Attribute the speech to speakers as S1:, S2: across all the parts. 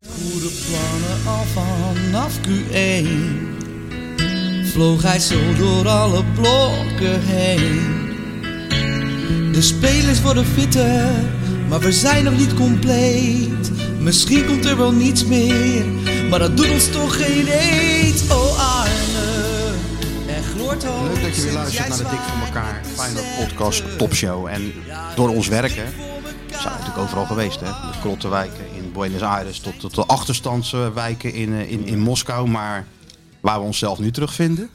S1: goede plannen al vanaf Q1 Vloog hij zo door alle blokken heen De spelers worden fitter, maar we zijn nog niet compleet Misschien komt er wel niets meer, maar dat doet ons toch geen eet Oh Arne, er gloort hoop
S2: Leuk dat je weer
S1: sinds
S2: luistert
S1: jij
S2: naar de Dik van
S1: zwaait
S2: elkaar
S1: met de
S2: Feyenoord
S1: centen.
S2: podcast topshow. En door ons werken
S1: Voor
S2: zijn we
S1: elkaar.
S2: natuurlijk overal geweest. Hè? Van De krottenwijken in Buenos Aires tot, tot de achterstandswijken in, eh, in, in Moskou. Maar waar we onszelf nu terugvinden.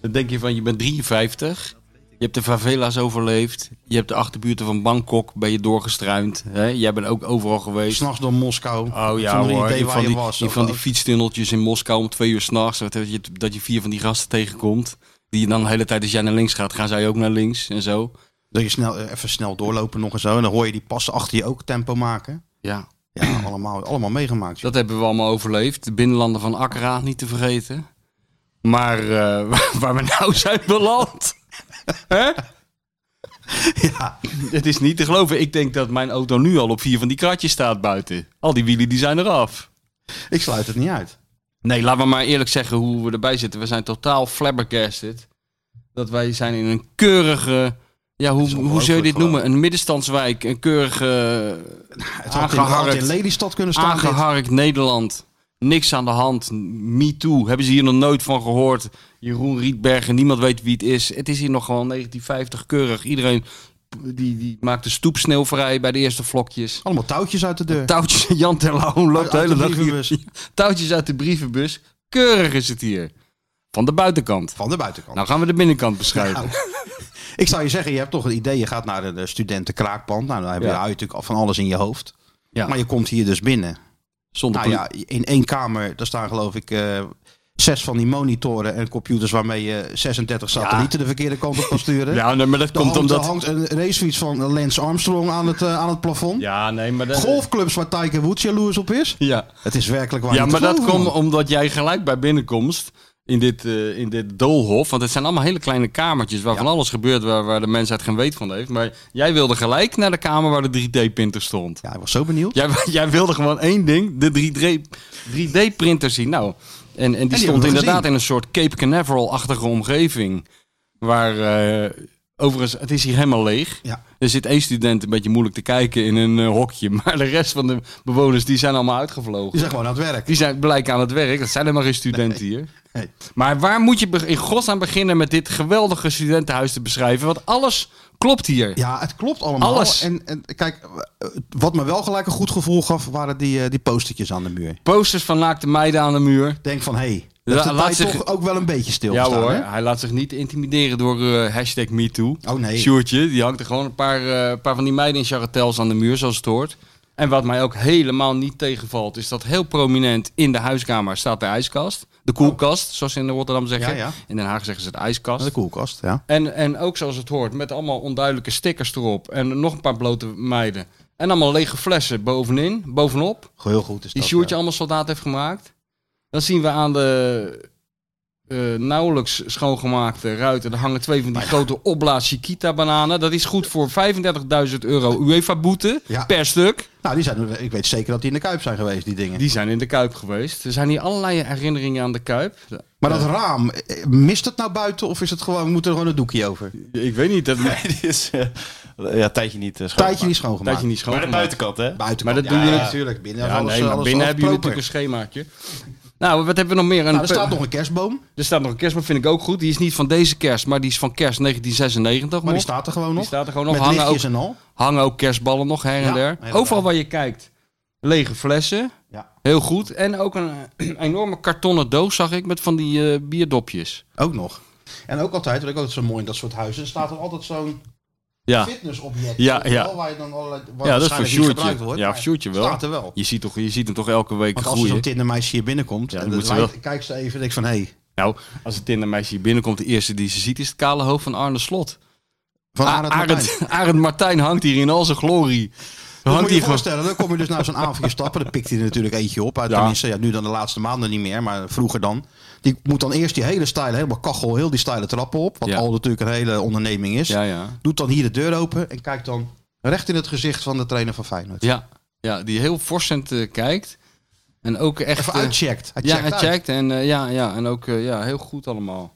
S3: Dan denk je van, je bent 53. Je hebt de favela's overleefd. Je hebt de achterbuurten van Bangkok ben je doorgestruind. Hè? Jij bent ook overal geweest.
S2: S'nachts door Moskou.
S3: Oh ja
S2: Zonder
S3: hoor,
S2: idee
S3: die
S2: waar
S3: van,
S2: je
S3: die,
S2: was. eh,
S3: die
S2: Of-
S3: van die
S2: of-
S3: fietstunneltjes in Moskou om twee uur s'nachts. Dat je, dat je vier van die gasten tegenkomt. Die je dan de hele tijd als jij naar links gaat, gaan zij ook naar links en zo.
S2: Dat je snel, eh, even snel doorlopen nog en zo. En dan hoor je die passen achter je ook tempo maken.
S3: Ja,
S2: Ja, allemaal, allemaal meegemaakt. joh.
S3: dat hebben we allemaal overleefd. De binnenlanden van Accra niet te vergeten. Maar eh, waar- waar we nou zijn beland. Hè?
S2: Ja.
S3: Het is niet te geloven. Ik denk dat mijn auto nu al op vier van die kratjes staat buiten. Al die wielen die zijn eraf.
S2: Ik sluit het niet uit.
S3: Nee, laten we maar eerlijk zeggen hoe we erbij zitten. We zijn totaal flabbergasted. Dat wij zijn in een keurige... Ja, hoe, hoe zou je dit
S2: ongelooflijk
S3: noemen? Een middenstandswijk. Een keurige...
S2: Het had in, het had in Lelystad kunnen staan. dit.
S3: Aangeharkt Nederland. Niks aan de hand. Me too. Hebben ze hier nog nooit van gehoord. Jeroen Rietbergen. Niemand weet wie het is. Het is hier nog gewoon 1950 keurig. Iedereen die, die maakt de stoep sneeuwvrij bij de eerste vlokjes.
S2: Allemaal touwtjes uit de deur.
S3: Touwtjes. Jan Terlouw loopt de
S2: Uit
S3: hele
S2: de
S3: dag hier.
S2: brievenbus.
S3: Touwtjes uit de brievenbus. Keurig is het hier. Van de buitenkant.
S2: Van de buitenkant.
S3: Nou gaan we de binnenkant beschrijven.
S2: Ik zou je zeggen, je hebt toch een idee. Je gaat naar de studentenkraakpand. Nou, dan heb je,
S3: Ja.
S2: hou je natuurlijk van alles in je hoofd.
S3: Ja.
S2: Maar je komt hier dus binnen.
S3: Zonder
S2: Nou
S3: poli-
S2: ja, in één kamer, daar staan geloof ik eh, zes van die monitoren en computers waarmee je 36 satellieten de verkeerde kant op kan sturen.
S3: ja, nee, maar dat
S2: Er
S3: komt
S2: hangt, er
S3: omdat...
S2: hangt een racefiets van Lance Armstrong aan het, eh, aan het plafond.
S3: Ja, nee, maar dat...
S2: Golfclubs waar Tiger Woods jaloers op is.
S3: Ja.
S2: Het is werkelijk waar.
S3: Ja,
S2: niet
S3: maar
S2: te
S3: dat
S2: geloven,
S3: komt
S2: man.
S3: omdat jij gelijk bij binnenkomst in dit, eh, in dit doolhof, want het zijn allemaal hele kleine kamertjes waar van alles gebeurt waar, waar de mensheid geen weet van heeft. Maar jij wilde gelijk naar de kamer waar de 3D-printer stond.
S2: Ja, ik was zo benieuwd.
S3: Jij, jij wilde gewoon één ding, de 3D-printer zien. Nou, en, en die,
S2: hebben
S3: stond
S2: we
S3: inderdaad
S2: gezien.
S3: in een soort Cape Canaveral-achtige omgeving. Waar, eh, overigens, het is hier helemaal leeg.
S2: Ja.
S3: Er zit één student een beetje moeilijk te kijken in een eh, hokje. Maar de rest van de bewoners, die zijn allemaal uitgevlogen.
S2: Die zijn gewoon aan het werk.
S3: Die zijn blijkbaar aan het werk. Dat zijn helemaal geen studenten hier.
S2: Nee.
S3: Maar waar moet je be- in godsnaam beginnen met dit geweldige studentenhuis te beschrijven? Want alles klopt hier.
S2: Ja, het klopt allemaal.
S3: Alles.
S2: En, en kijk, eh, wat me wel gelijk een goed gevoel gaf, waren die, eh, die postertjes aan de muur.
S3: Posters van naakte meiden aan de muur.
S2: Denk van, hé, hey,
S3: La-
S2: heeft de
S3: laat
S2: tijd
S3: zich-
S2: toch ook wel een beetje stil
S3: Ja
S2: gestaan,
S3: hoor,
S2: hè?
S3: hij laat zich niet intimideren door eh hashtag MeToo.
S2: Oh, nee.
S3: Sjoertje, die hangt er gewoon een paar, eh, paar van die meiden in charretels aan de muur, zoals het hoort. En wat mij ook helemaal niet tegenvalt, is dat heel prominent in de huiskamer staat de ijskast. De koelkast, zoals ze in Rotterdam
S2: Ja,
S3: zeggen.
S2: ja.
S3: In Den Haag zeggen ze de
S2: Dat
S3: ijskast.
S2: is de koelkast, ja.
S3: En, en ook zoals het hoort, met allemaal onduidelijke stickers erop. En nog een paar blote meiden. En allemaal lege flessen bovenin, bovenop.
S2: Goh, Heel goed is
S3: Die
S2: dat,
S3: Sjoerdje
S2: eh.
S3: allemaal soldaat heeft gemaakt. Dan zien we aan de eh, nauwelijks schoongemaakte ruiten. Er hangen twee van die grote opblaas Chiquita bananen. Dat is goed voor 35.000 euro UEFA-boete
S2: Ja.
S3: per stuk.
S2: Nou, die zijn, ik weet zeker dat die in de Kuip zijn geweest, die dingen.
S3: Die zijn in de Kuip geweest. Er zijn hier allerlei herinneringen aan de Kuip.
S2: maar dat raam, eh, mist het nou buiten of is het gewoon, moet er gewoon een doekje over?
S3: Ik weet niet, dat
S4: Nee, die is eh, ja, tijdje niet eh, schoongemaakt.
S2: Tijdje niet schoongemaakt.
S3: dat je niet
S4: Maar de
S3: schoongemaakt.
S4: buitenkant, hè?
S2: Buiten
S3: Maar dat doe je-
S2: natuurlijk. Binnen,
S3: Ja,
S2: alles,
S3: nee, maar
S2: alles,
S3: binnen
S2: alles
S3: hebben jullie
S2: proper.
S3: natuurlijk een schemaatje. Nou, wat hebben we nog meer? Een
S2: Nou, er
S3: pe-
S2: staat nog een kerstboom,
S3: er staat nog een kerstboom, vind ik ook goed. Die is niet van deze kerst, maar die is van kerst 1996.
S2: maar die
S3: nog.
S2: staat er gewoon
S3: Die
S2: nog.
S3: staat er gewoon nog.
S2: Met
S3: Hangen ook,
S2: lichtjes en al.
S3: hangen ook kerstballen nog her en
S2: Ja,
S3: der.
S2: inderdaad.
S3: Overal waar je kijkt, lege flessen.
S2: Ja.
S3: Heel goed. En ook een eh, enorme kartonnen doos zag ik met van die eh, bierdopjes.
S2: Ook nog. En ook altijd, wat ik ook altijd zo mooi in dat soort huizen, staat er altijd zo'n
S3: Ja,
S2: fitnessobject.
S3: Ja,
S2: weet je
S3: ja.
S2: wel, Waar je dan allerlei, waar
S3: ja dat is voor
S2: waarschijnlijk niet
S3: Sjoerdje.
S2: gebruikt wordt,
S3: Ja,
S2: maar
S3: voor Sjoerdje wel.
S2: Staat er wel.
S3: Je ziet, toch, je ziet hem toch elke week
S2: Want als er
S3: groeien.
S2: zo'n tindermeisje hier binnenkomt,
S3: Ja, dan
S2: en
S3: moet
S2: het
S3: ze
S2: lijkt- kijkt ze even en denkt van, hé, hey,
S3: Nou, als het tindermeisje hier binnenkomt, de eerste die ze ziet is het kale hoofd van Arne Slot.
S2: van
S3: A-
S2: Arend Martijn.
S3: Ah, Arend, Arend Martijn hangt hier in al zijn glorie.
S2: Dan moet
S3: Hangt
S2: je
S3: hier
S2: je
S3: gewoon.
S2: voorstellen, dan kom je dus naar zo'n avondje stappen. Dan pikt hij er natuurlijk eentje op. Uit,
S3: Ja.
S2: Tenminste, ja, nu dan de laatste maanden niet meer, maar vroeger dan. Die moet dan eerst die hele stijle, helemaal kachel, heel die stijle trappen op. Wat
S3: Ja.
S2: al natuurlijk een hele onderneming is.
S3: Ja, ja.
S2: Doet dan hier de deur open en kijkt dan recht in het gezicht van de trainer van Feyenoord.
S3: Ja, ja die heel forsend eh, kijkt. En ook echt...
S2: Even
S3: eh,
S2: uitcheckt. Hij
S3: ja,
S2: checkt
S3: hij
S2: uit.
S3: checkt. En, eh, ja, ja, en ook eh, ja, heel goed allemaal.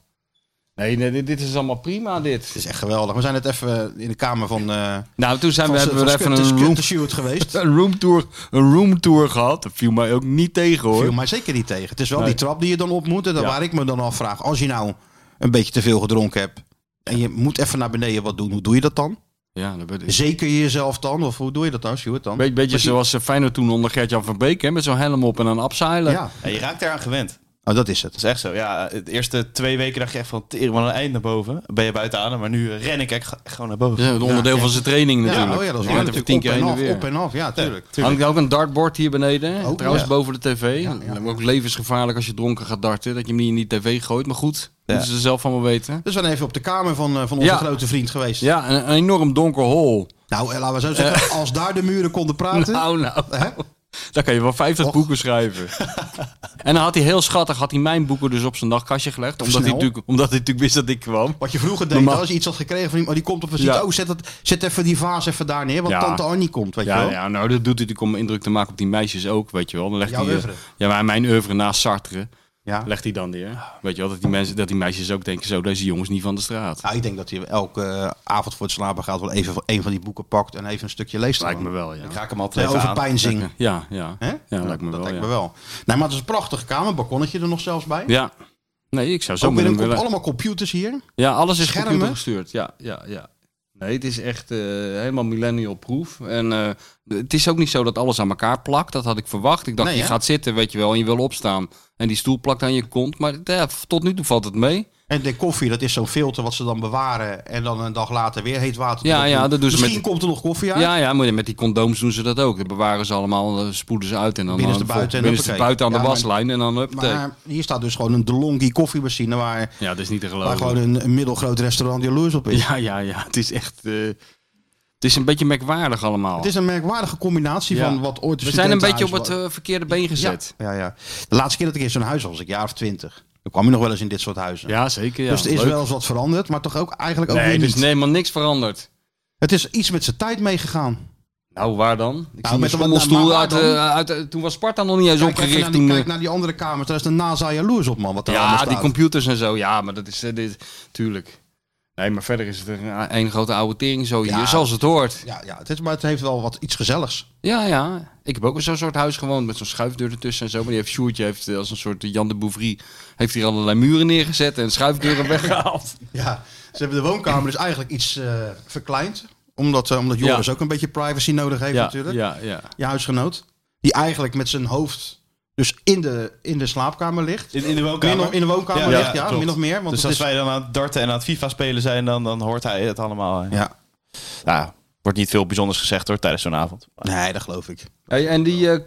S3: Nee, nee, dit, dit is allemaal prima,
S2: Het
S3: dit.
S2: is echt geweldig. We zijn net even in de kamer van... eh
S3: Nou, toen zijn
S2: van
S3: we,
S2: ze-
S3: hebben we
S2: van
S3: er even
S2: Skut-
S3: een room,
S2: Skuttershoot geweest.
S3: een, roomtour, een roomtour gehad. Dat viel mij ook niet tegen, hoor.
S2: Viel mij zeker niet tegen. Het is wel
S3: Nee.
S2: die trap die je dan op moet. En dan
S3: Ja.
S2: waar ik me dan afvraag. Als je nou een beetje te veel gedronken hebt. En je moet even naar beneden wat doen. Hoe doe je dat dan?
S3: Ja, dat ben ik.
S2: Zeker je jezelf dan? Of hoe doe je dat dan, Stuart? Dan?
S3: Be- beetje
S2: Want je-
S3: zoals eh, Feyenoord toen onder Gert-Jan van Beek, hè, met zo'n helm op en een abseilen.
S2: Ja,
S4: Ja, je raakt eraan gewend.
S2: oh, dat is het.
S4: Dat is echt zo. Ja, de eerste twee weken dacht je echt van, tering, wat een eind naar boven. Ben je buiten adem, maar nu eh, ren ik echt, echt gewoon naar boven.
S3: Dat is een onderdeel van zijn training natuurlijk.
S2: Ja, oh ja, dat is
S3: Je
S2: waar.
S3: bent er
S2: Natuurlijk
S3: tien
S2: op
S3: keer heen
S2: en
S3: en
S2: af,
S3: weer.
S2: op en af. Ja, tuurlijk.
S3: Hangt ook een dartbord hier beneden.
S2: Ook,
S3: Trouwens,
S2: ja.
S3: boven de tv. Ook levensgevaarlijk als je dronken gaat darten. Dat je hem niet in die tv gooit. Maar goed, moeten ze zelf van wel weten.
S2: Dus we zijn even op de kamer van, eh, van onze
S3: Ja.
S2: grote vriend geweest.
S3: Ja, een, een enorm donker hol.
S2: Nou, eh, laten we zo zeggen, als daar de muren konden praten.
S3: Nou, nou.
S2: Hè?
S3: Daar kan je wel 50
S2: Och.
S3: boeken schrijven. en dan had hij heel schattig had hij mijn boeken dus op zijn nachtkastje gelegd. Omdat hij,
S2: Snel.
S3: natuurlijk, omdat hij natuurlijk wist dat ik kwam.
S2: Wat je vroeger deed,
S3: Normaal-
S2: als je iets had gekregen van iemand, oh, die komt op visite.
S3: Ja.
S2: Oh, zet, dat, zet even die vaas even daar neer, want
S3: Ja.
S2: tante Annie komt, weet je
S3: Ja,
S2: wel.
S3: ja, nou, dat doet hij natuurlijk om indruk te maken op die meisjes ook, weet je wel. Dan legt
S2: Jouw
S3: hij, eh,
S2: oeuvre.
S3: Ja, maar mijn oeuvre naast Sartre
S2: Ja.
S3: legt hij dan neer. Weet je wel, dat die, mensen, dat die meisjes ook denken, zo, deze jongens niet van de straat.
S2: Nou, ik denk dat hij elke eh, avond voor het slapen gaat wel even een van die boeken pakt en even een stukje leest.
S3: Lijkt me
S2: gewoon.
S3: wel, ja.
S4: Ik raak hem altijd
S2: Nee, over
S4: even aan.
S2: pijnzing.
S3: Ja, ja.
S2: Hè?
S3: Ja, lijkt me
S2: dat
S3: wel,
S2: lijkt
S3: ja.
S2: me wel. Nee, maar het is een prachtige kamer, balkonnetje er nog zelfs bij.
S3: Ja. Nee, ik zou zo
S2: Ook
S3: met
S2: weer een,
S3: hem
S2: comp-
S3: willen.
S2: allemaal computers hier.
S3: Ja, alles is
S2: schermen.
S3: computer gestuurd. Ja, ja, ja. Nee, het is echt eh, helemaal millennial-proof. En eh, het is ook niet zo dat alles aan elkaar plakt. Dat had ik verwacht. Ik dacht,
S2: Nee,
S3: je
S2: hè?
S3: gaat zitten, weet je wel, en je wil opstaan. En die stoel plakt aan je kont. Maar ja, tot nu toe valt het mee.
S2: En de koffie, dat is zo'n filter wat ze dan bewaren. En dan een dag later weer heet water.
S3: Ja,
S2: erop
S3: ja,
S2: doen.
S3: dat doen ze
S2: Misschien
S3: met-
S2: komt er nog koffie uit.
S3: Ja, ja, maar met die condooms doen ze dat ook. Dat bewaren ze allemaal, eh, spoelen ze uit. En dan
S2: Binnenste
S3: aan-
S2: buiten en
S3: binnenste
S2: huppakee.
S3: buiten aan de
S2: Ja, maar-
S3: waslijn. En dan huppatee.
S2: Maar hier staat dus gewoon een DeLonghi koffiemachine waar,
S3: ja, dat is niet te
S2: waar
S3: geloven.
S2: gewoon een, een middelgroot restaurant jaloers op is.
S3: Oh. Ja, ja, ja. Het is echt... eh, het is een beetje merkwaardig allemaal.
S2: Het is een merkwaardige combinatie
S3: Ja.
S2: van wat ooit de
S3: We zijn een beetje op het
S2: studentenhuis
S3: eh, verkeerde been gezet.
S2: was. Ja, ja. De laatste keer dat ik in zo'n huis was, was ik een jaar of twintig. Dan kwam je nog wel eens in dit soort huizen.
S3: Ja, zeker. Ja.
S2: dus er is
S3: Leuk.
S2: wel eens wat veranderd, maar toch ook eigenlijk ook
S3: nee,
S2: weer
S3: dus
S2: niet.
S3: is helemaal niks veranderd.
S2: Het is iets met zijn tijd meegegaan.
S3: Nou, waar dan? Ik zie
S2: met
S3: een
S2: een- maar
S3: schommelstoel
S2: waar
S3: uit,
S2: dan?
S3: eh, uit, eh, Toen was Sparta nog niet eens
S2: Kijk, even naar
S3: opgericht.
S2: die,
S3: toen, eh,
S2: kijk naar die andere kamer, daar is de NASA jaloers op, man. Wat er allemaal
S3: ja,
S2: staat.
S3: die computers en zo. Ja, maar dat is... eh, dit, tuurlijk. Nee, maar verder is het een, eh, een grote oude tering zo hier,
S2: Ja.
S3: zoals het hoort.
S2: Ja, ja het is, maar het heeft wel wat iets gezelligs.
S3: Ja, ja. Ik heb ook in zo'n soort huis gewoond met zo'n schuifdeur ertussen en zo. Maar die heeft Sjoerdje heeft eh, als een soort Jan de Bouvry... heeft hier allerlei muren neergezet en schuifdeuren weggehaald.
S2: Ja, ze hebben de woonkamer dus eigenlijk iets eh, verkleind. Omdat, eh, omdat
S3: Ja.
S2: Joris ook een beetje privacy nodig heeft
S3: Ja,
S2: natuurlijk.
S3: ja, ja.
S2: Je huisgenoot. Die eigenlijk met zijn hoofd dus in de, in de slaapkamer ligt.
S4: In, in de
S2: In,
S4: woonkamer.
S2: de- in de woonkamer
S4: Ja,
S2: ligt,
S4: ja,
S2: ja,
S4: klopt.
S2: min of meer. Want
S4: dus
S2: het
S4: als
S2: is,
S4: wij dan aan het darten en aan het FIFA spelen zijn, dan, dan hoort hij het allemaal. hè.
S2: Ja,
S4: Nou, wordt niet veel bijzonders gezegd hoor, tijdens zo'n avond.
S2: nee, dat geloof ik.
S3: Hey, en die eh,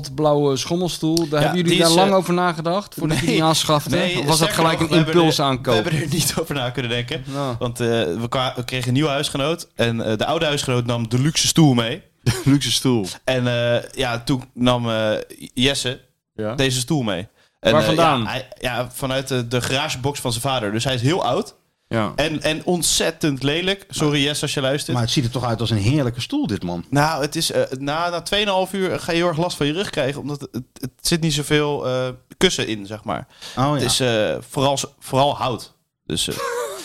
S3: kobaltblauwe schommelstoel, daar hebben jullie
S4: die
S3: daar
S4: is,
S3: lang
S4: eh,
S3: over nagedacht voordat jullie die aanschafte? of was dat
S4: sterker
S3: gelijk
S4: nog,
S3: een
S4: we hebben
S3: impuls
S4: er-
S3: aankoop?
S4: We hebben er niet over na kunnen denken.
S3: Nou.
S4: Want eh, we, kwa- we kregen een nieuwe huisgenoot. En eh, de oude huisgenoot nam de luxe stoel mee.
S3: Luxe stoel.
S4: En eh, ja, toen nam eh, Jesse
S3: Ja.
S4: deze stoel mee. En,
S3: Waar
S4: eh,
S3: vandaan?
S4: ja, hij- ja, vanuit de, de garagebox van zijn vader. Dus hij is heel oud
S3: Ja.
S4: en, en ontzettend lelijk. Sorry Jesse als je luistert.
S2: Maar het ziet er toch uit als een heerlijke stoel, dit man.
S4: Nou, het is, eh, na, na 2,5 uur ga je heel erg last van je rug krijgen. Omdat het, het zit niet zoveel eh, kussen in, zeg maar.
S2: Oh ja.
S4: Het is eh, vooral, vooral hout. Dus eh,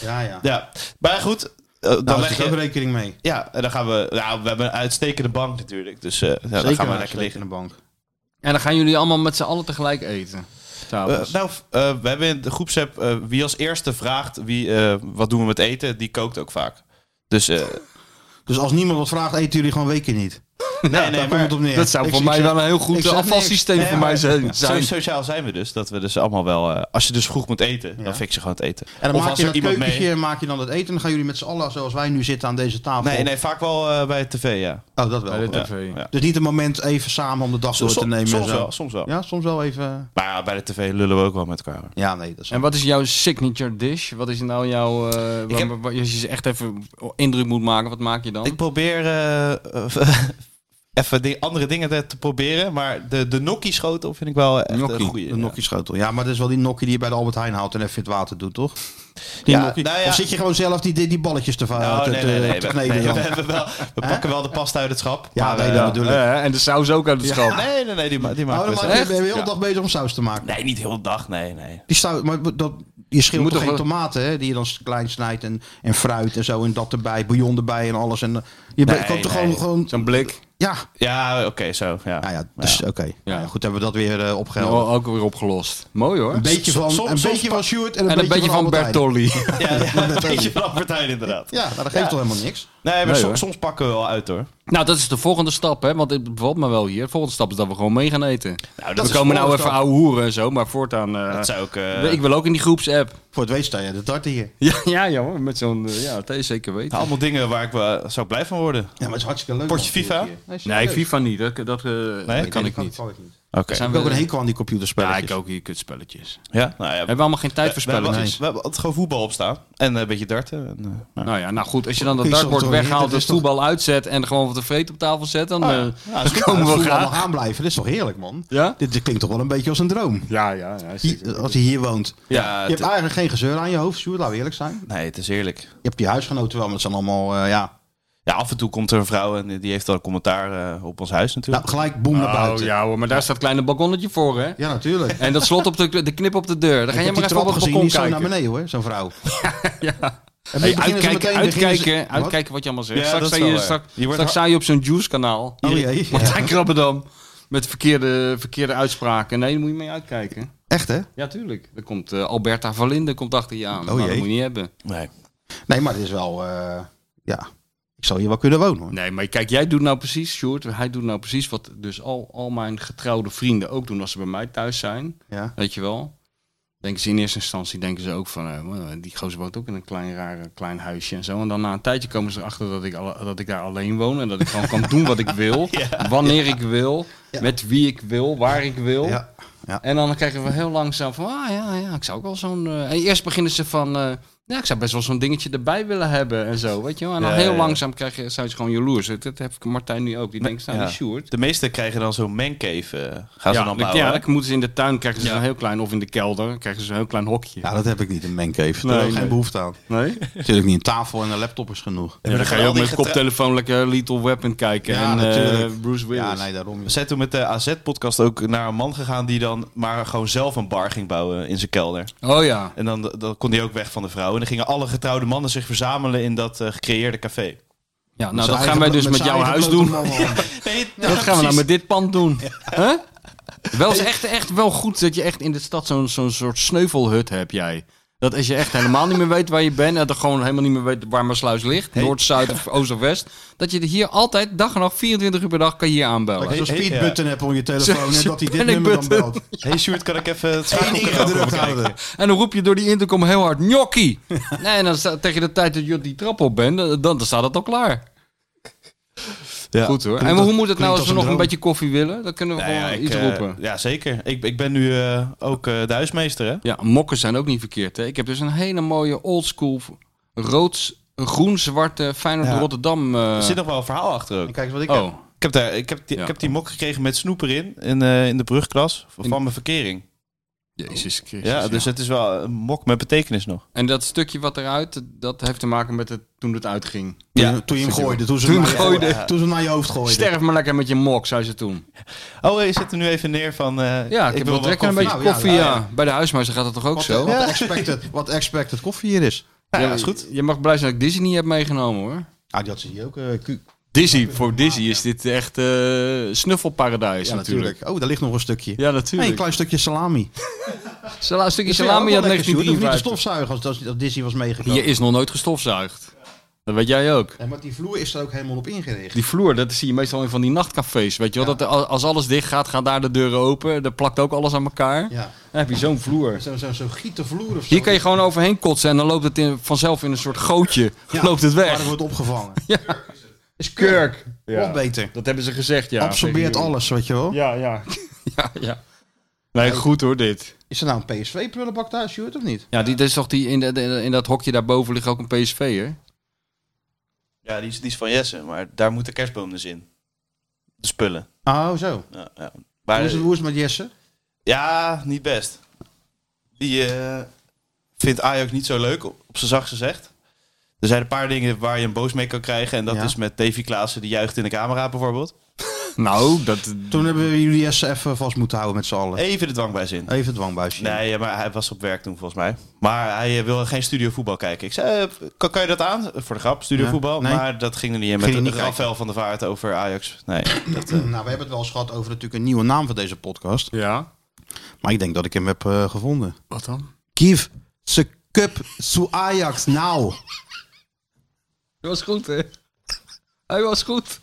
S2: ja, ja.
S4: ja. Maar goed, eh, dan
S2: Daar
S4: leg
S2: leg je Nou, ook
S4: je...
S2: rekening mee.
S4: Ja, en dan gaan we... Nou, we hebben een uitstekende bank natuurlijk. Dus eh, ja,
S2: Zeker
S4: dan gaan we
S2: een
S4: lekker
S2: uitstekende
S4: liggen.
S2: bank.
S3: En dan gaan jullie allemaal met z'n allen tegelijk eten. s'avonds.
S4: Eh, nou, f- eh, we hebben in de groepsapp eh, wie als eerste vraagt wie, eh, wat doen we met eten, die kookt ook vaak. Dus eh,
S2: Dus als niemand wat vraagt, eten jullie gewoon weken niet.
S4: nee,
S2: Daar
S4: nee,
S2: komt
S4: maar
S2: het op neer.
S3: dat zou
S2: Ik-
S3: voor
S2: ik
S3: mij
S2: zeg-
S3: wel een heel
S2: ik
S3: goed
S2: zeg
S3: afvalsysteem
S4: niks.
S3: voor
S4: Nee,
S3: mij zijn.
S4: zo sociaal zijn we dus. Dat we dus allemaal wel... eh, als je dus vroeg moet eten,
S2: Ja.
S4: dan fik je gewoon het eten.
S2: En dan
S4: Of
S2: maak
S4: als
S2: je
S4: er
S2: dat keukentje, maak je dan het eten. En dan gaan jullie met z'n allen, zoals wij nu zitten aan deze tafel.
S4: Nee, nee, vaak wel eh, bij de tv, ja.
S2: Oh, dat wel.
S3: Bij de
S4: Ja,
S3: tv.
S4: ja.
S2: Dus niet een moment even samen om de dag door
S4: Som-
S2: te nemen. en
S4: soms
S2: zo.
S4: wel, soms wel.
S2: Ja, soms wel even. eh,
S4: Maar ja, bij de tv lullen we ook wel met elkaar.
S2: Ja, nee, dat is.
S3: En wat is jouw signature dish? Wat is nou jouw... eh, waar-
S4: heb-
S3: waar- waar- als je ze echt even indruk moet maken, wat maak je dan?
S4: Ik probeer eh, eh, even die andere dingen te, te proberen. Maar de, de Nokkie schotel vind ik wel echt
S3: Gnocchi,
S4: een goede.
S2: Een nokkie schotel. Ja, maar dat is wel die nokkie die je bij de Albert Heijn haalt en even in het water doet, toch? Die
S4: Ja,
S2: nokkie.
S4: nou ja.
S2: Of zit je gewoon zelf die, die, die balletjes te, va-
S4: Oh,
S2: te,
S4: nee,
S2: te-
S4: nee, nee.
S2: te
S4: We,
S2: kneden
S4: nee,
S2: dan?
S4: we, hebben wel, we pakken wel de pasta uit het schap.
S2: Ja,
S4: maar,
S2: nee,
S4: eh,
S2: dat bedoel ik.
S3: Eh, en de saus ook uit het schap.
S4: Nee, nee, nee, die, ma- die
S2: Oh,
S4: maken
S2: dan
S4: we
S2: maak je-
S4: zelf.
S2: ben je de hele
S4: Ja.
S2: dag bezig om saus te maken.
S4: Nee, niet heel de dag, nee, nee.
S2: Die stout, maar dat, je
S3: Je
S2: schilt
S3: moet
S2: toch
S3: toch
S2: geen
S3: wel-
S2: tomaten, hè? Die je dan klein snijdt en, en fruit en zo en dat erbij, bouillon erbij en alles. En, eh, je
S4: Nee,
S2: bent koopt er
S4: nee.
S2: gewoon, gewoon...
S3: Zo'n blik.
S2: Ja,
S4: Ja, oké, zo. Ja.
S2: nou ja, dus oké.
S3: Ja.
S2: Nou ja, goed, hebben we dat weer eh, opgehelderd.
S3: Oh, ook weer opgelost. Mooi hoor.
S2: Een beetje van,
S4: soms-
S2: een
S4: soms
S2: beetje
S4: pa-
S2: van Stuart en een,
S3: en een beetje van
S2: Albert Heijn.
S3: Bertolli.
S4: Ja, ja, een beetje van Albert Heijn, inderdaad.
S2: Ja, nou, dat geeft
S4: Ja.
S2: toch helemaal niks.
S4: Nee, maar
S3: Nee,
S4: so-
S3: hoor.
S4: soms pakken we wel uit, hoor.
S3: nou, dat is de volgende stap, hè? Want het bevalt me wel hier. De volgende stap is dat we gewoon mee gaan eten.
S4: Nou,
S3: we
S4: is
S3: komen nou
S4: gewoon-
S3: even ouwe hoeren en zo, maar voortaan. eh,
S4: Dat zou ik... eh,
S3: ik wil ook in die groepsapp.
S2: Voor het weet sta je de tarte hier.
S3: Ja, ja, ja hoor, met zo'n. eh, ja, dat is zeker weten.
S4: Nou, allemaal dingen waar ik wel zou blij van worden.
S2: Ja, maar het is hartstikke leuk.
S4: Portje
S2: man,
S4: FIFA?
S2: hier.
S3: Nou, Nee, FIFA niet. Dat, dat eh, dat kan ik niet.
S2: Kan ik niet.
S4: Oké.
S3: Zijn
S2: Ik
S3: we-
S2: heb ook een hekel aan die computerspelletjes.
S3: Ja, ik ook hier kutspelletjes.
S4: Ja, nou ja.
S3: Hebben we allemaal geen tijd voor
S4: We hebben,
S3: spelletjes?
S4: we hebben altijd gewoon voetbal op staan. En een beetje darten. En, eh, nou.
S3: Nou ja, nou goed, als je dan dat
S2: Pixel
S3: dartboard
S2: toch niet, dat
S3: weghaalt,
S2: is
S3: het
S2: toch-
S3: voetbal uitzet en gewoon wat de vreet op tafel zet, dan eh,
S4: Ja, is goed.
S3: komen we
S2: Als we allemaal
S3: graag.
S2: gaan blijven, dit is toch heerlijk, man?
S3: Ja?
S2: Dit, dit klinkt toch wel een beetje als een droom.
S3: Ja, ja, ja.
S2: Hier- als hij hier woont.
S4: Ja,
S2: Je
S4: het-
S2: hebt eigenlijk geen gezeur aan je hoofd, Sjoerd, laten we eerlijk zijn.
S4: nee, het is heerlijk.
S2: Je hebt die huisgenoten wel, maar het zijn allemaal, eh, ja...
S4: Ja, af en toe komt er een vrouw en die heeft dan een commentaar eh, op ons huis natuurlijk.
S2: Nou, gelijk boem naar
S3: Oh
S2: buiten. ja.
S3: ja hoor, maar daar staat het kleine balkonnetje voor hè.
S2: natuurlijk.
S3: En dat slot op de, de knip op de deur. Dan
S2: Ik
S3: ga je
S2: heb
S3: maar
S2: die
S3: even op
S2: trap
S3: het
S2: gezien,
S3: balkon
S2: die is zo naar
S3: kijken.
S2: beneden hoor, zo'n vrouw.
S3: Ja.
S2: En
S3: Hey,
S2: beginnen ze
S3: uitkijken,
S2: meteen- beginnen ze-
S3: uitkijken,
S2: Wat?
S3: uitkijken wat je allemaal zegt.
S4: Ja,
S3: straks
S4: dat is
S3: sta je,
S4: wel waar.
S3: straks,
S4: Je wordt
S3: straks sta je op zo'n juice kanaal.
S2: Oh jee. Ja.
S3: Martijn Krabbedam. Met verkeerde, verkeerde uitspraken. Nee, daar moet je mee uitkijken.
S2: Echt hè?
S3: Ja, tuurlijk. Dan komt eh, Alberta Valinde komt achter je aan.
S2: Oh,
S3: Nou, dat
S2: jee.
S3: moet je niet hebben.
S4: Nee.
S2: Nee, maar het is wel, eh, ja... Ik zou hier wel kunnen wonen hoor.
S3: Nee, maar kijk, jij doet nou precies, Sjoerd. Hij doet nou precies wat dus al, al mijn getrouwde vrienden ook doen als ze bij mij thuis zijn.
S2: Ja.
S3: Weet je wel? Denken ze in eerste instantie denken ze ook van, eh, "Wow, die gozer woont ook in een klein rare klein huisje en zo. En dan na een tijdje komen ze erachter dat ik, alle- dat ik daar alleen woon en dat ik gewoon kan doen wat ik wil, wanneer ik wil, met wie ik wil, waar ik wil.
S2: Ja.
S3: En dan krijgen we heel langzaam van, ah ja, ja, ik zou ook wel zo'n... eh, en eerst beginnen ze van, eh, ja, ik zou best wel zo'n dingetje erbij willen hebben en zo, weet je wel. En dan
S4: Ja,
S3: heel
S4: ja.
S3: langzaam krijg je, zijn ze gewoon jaloers. Dat, dat heb ik Martijn nu ook. Die denkt, nou,
S4: Ja.
S3: die Sjoerd.
S4: De meesten krijgen dan zo'n mancave. eh, gaan
S3: ja,
S4: ze dan
S3: dat-
S4: bouwen.
S3: ja,
S4: hè?
S3: dan moeten ze in de tuin, krijgen ze een heel klein, of in de kelder, krijgen ze een heel klein hokje.
S2: ja, dat heb ik niet, een mancave. Daar
S3: Nee,
S2: heb ik
S3: nee.
S2: geen behoefte aan.
S3: Nee?
S2: Natuurlijk niet, een tafel en een laptop is genoeg.
S3: Ja, dan
S4: dan
S3: ga
S4: gaan
S3: je
S4: al
S3: ook
S4: die
S3: met
S4: getra-
S3: koptelefoon lekker Lethal Weapon kijken
S2: Ja,
S3: en eh,
S2: natuurlijk.
S3: Bruce Willis.
S2: Ja, nee, daarom.
S4: We zijn toen met de AZ-podcast ook naar een man gegaan die dan maar gewoon zelf een bar ging bouwen in zijn kelder.
S3: Oh ja.
S4: En dan, dan kon hij ook weg van de vrouw. En dan gingen alle getrouwde mannen zich verzamelen in dat eh, gecreëerde café.
S3: ja nou, dat gaan wij dus met,
S2: jouw
S3: jouw huis doen.
S4: Nee,
S3: dat gaan we nou met dit pand doen. Huh? Wel is echt, echt wel goed dat je echt in de stad zo'n zo'n soort sneuvelhut hebt jij. Dat als je echt helemaal niet meer weet waar je bent... en dat gewoon helemaal niet meer weet waar mijn sluis ligt... noord, zuid of oost of west... dat je hier altijd dag en nacht, 24 uur per dag kan je hier aanbellen.
S2: Dat je zo'n
S4: Hey, hey,
S2: speedbutton hebt om je telefoon en
S3: Zo'n
S2: dat hij dit
S3: panic
S2: nummer dan
S3: button.
S2: belt.
S4: Hey Sjoerd, kan ik even het
S2: Eén
S4: schakelkanaal
S2: ingedrukt
S4: bekijken?
S2: houden.
S3: En dan roep je door die intercom heel hard... Gnocchi! nee, en dan sta- tegen de tijd dat je op die trap op bent... dan, dan staat het al klaar.
S4: Ja.
S3: Goed hoor. En
S2: klinkt
S3: hoe
S2: als-
S3: moet het nou
S2: klinkt als
S3: als we
S2: een
S3: nog een
S2: droom.
S3: beetje koffie willen? Dan kunnen we
S4: Nou
S3: gewoon
S4: ja, ik,
S3: iets
S4: eh,
S3: roepen.
S4: ja, zeker. Ik, ik ben nu eh, ook eh, de huismeester, hè?
S3: Ja, mokken zijn ook niet verkeerd. Hè? Ik heb dus een hele mooie oldschool rood, groen-zwarte Feyenoord
S4: Ja.
S3: Rotterdam. eh,
S4: Er zit nog wel een verhaal achter ook.
S2: En kijk eens wat ik heb.
S3: oh,
S4: Ik heb, daar, ik heb, die,
S3: Ja.
S4: ik heb die mok gekregen met snoep erin in, eh, in de brugklas van
S3: In-
S4: mijn verkering.
S3: jezus Christus.
S4: Ja, dus het is wel een mok met betekenis nog.
S3: En dat stukje wat eruit, dat heeft te maken met het, toen het uitging.
S2: Toen,
S4: Ja.
S2: je- toen je hem gooide. Toen ze
S3: Toen
S2: hem
S3: hem
S2: naar je-
S3: gooide.
S2: Toen ze hem naar je hoofd gooiden.
S3: Sterf maar lekker met je mok, zei ze toen.
S4: Oh, hey, je zet er nu even neer van... eh,
S3: Ja, ik, heb
S4: wil
S3: wel lekker een
S4: koffie.
S3: beetje
S2: Nou, ja,
S3: koffie.
S2: nou,
S3: ja,
S2: ja.
S3: Bij de huismuizen gaat dat toch ook
S2: Wat,
S3: zo?
S2: wat, expected, wat expected koffie hier is.
S4: Ja,
S3: eh, Ja,
S4: is goed.
S3: Je mag blij zijn dat ik Disney niet heb meegenomen hoor.
S2: Ah, die had ze hier ook. eh, Q. Ja,
S3: Disney, voor Disney is dit echt eh snuffelparadijs natuurlijk.
S2: Oh, daar ligt nog een stukje.
S3: Ja,
S2: Hey,
S3: natuurlijk.
S2: een klein stukje salami.
S3: Sala- een stukje
S2: Dat vind je ook
S3: salami
S2: wel
S3: uit
S2: lekker, Sjoerd. Je hoeft niet te
S3: 1953.
S2: stofzuigen als, als, als Disney was meegekomen.
S3: Hier is nog nooit gestofzuigd. Dat weet jij ook.
S2: Nee, maar die vloer is er ook helemaal op ingericht.
S3: Die vloer, dat zie je meestal in van die nachtcafés. Weet je wel, dat er- als alles dicht gaat, gaan daar de deuren open. Daar plakt ook alles aan elkaar.
S2: Ja.
S3: Dan heb je zo'n vloer.
S2: Zo'n zo, zo gieten vloer of zo.
S3: Hier kan je gewoon overheen kotsen en dan loopt het in, vanzelf in een soort gootje.
S2: Ja,
S3: Loopt het
S2: Maar dat
S3: weg.
S2: wordt opgevangen.
S3: Is kurk.
S2: Nog beter.
S3: Dat hebben ze gezegd, ja.
S2: Absorbeert
S3: tegen
S2: alles, weet je wel.
S3: jullie. Ja, ja. ja, ja. Nee, goed hoor, dit.
S2: Is er nou een PSV-prullenbak daar, Sjoerd, of niet?
S3: Ja, die, dat is toch die, in, de- in dat hokje daarboven ligt ook een PSV, hè?
S4: Ja, die is, die is van Jesse, maar daar moet de kerstboom dus in. de spullen.
S2: Oh, zo.
S4: Ja, ja.
S2: Hoe
S4: Maar,
S2: is, het, hoe is het met Jesse?
S4: ja, niet best. Die eh, vindt Ajax niet zo leuk, op op zijn zacht gezegd. Er zijn een paar dingen waar je een boos mee kan krijgen. En dat
S2: Ja.
S4: is met Davy Klaassen, die juicht in de camera bijvoorbeeld.
S3: Nou, dat...
S2: Toen hebben we jullie Jesse even vast moeten houden met z'n allen.
S4: Even de dwang bij zin.
S2: Even het dwangbuisje.
S4: Nee, ja, maar hij was op werk toen volgens mij. Maar hij eh, wilde geen studio voetbal kijken. Ik zei, eh, kan, kan je dat aan? Voor de grap, studio
S2: Ja,
S4: voetbal.
S2: nee.
S4: Maar dat ging er niet in.
S2: Ging
S4: Met
S2: je
S4: de
S2: niet kijken.
S4: Rafael van de Vaart over Ajax. Nee, dat, eh,
S2: Nou, we hebben het wel eens gehad over natuurlijk een nieuwe naam van deze podcast.
S3: Ja,
S2: Maar ik denk dat ik hem heb eh, gevonden.
S3: wat dan?
S2: Give the cup to Ajax now.
S3: Hij was goed, hè? Hij was goed.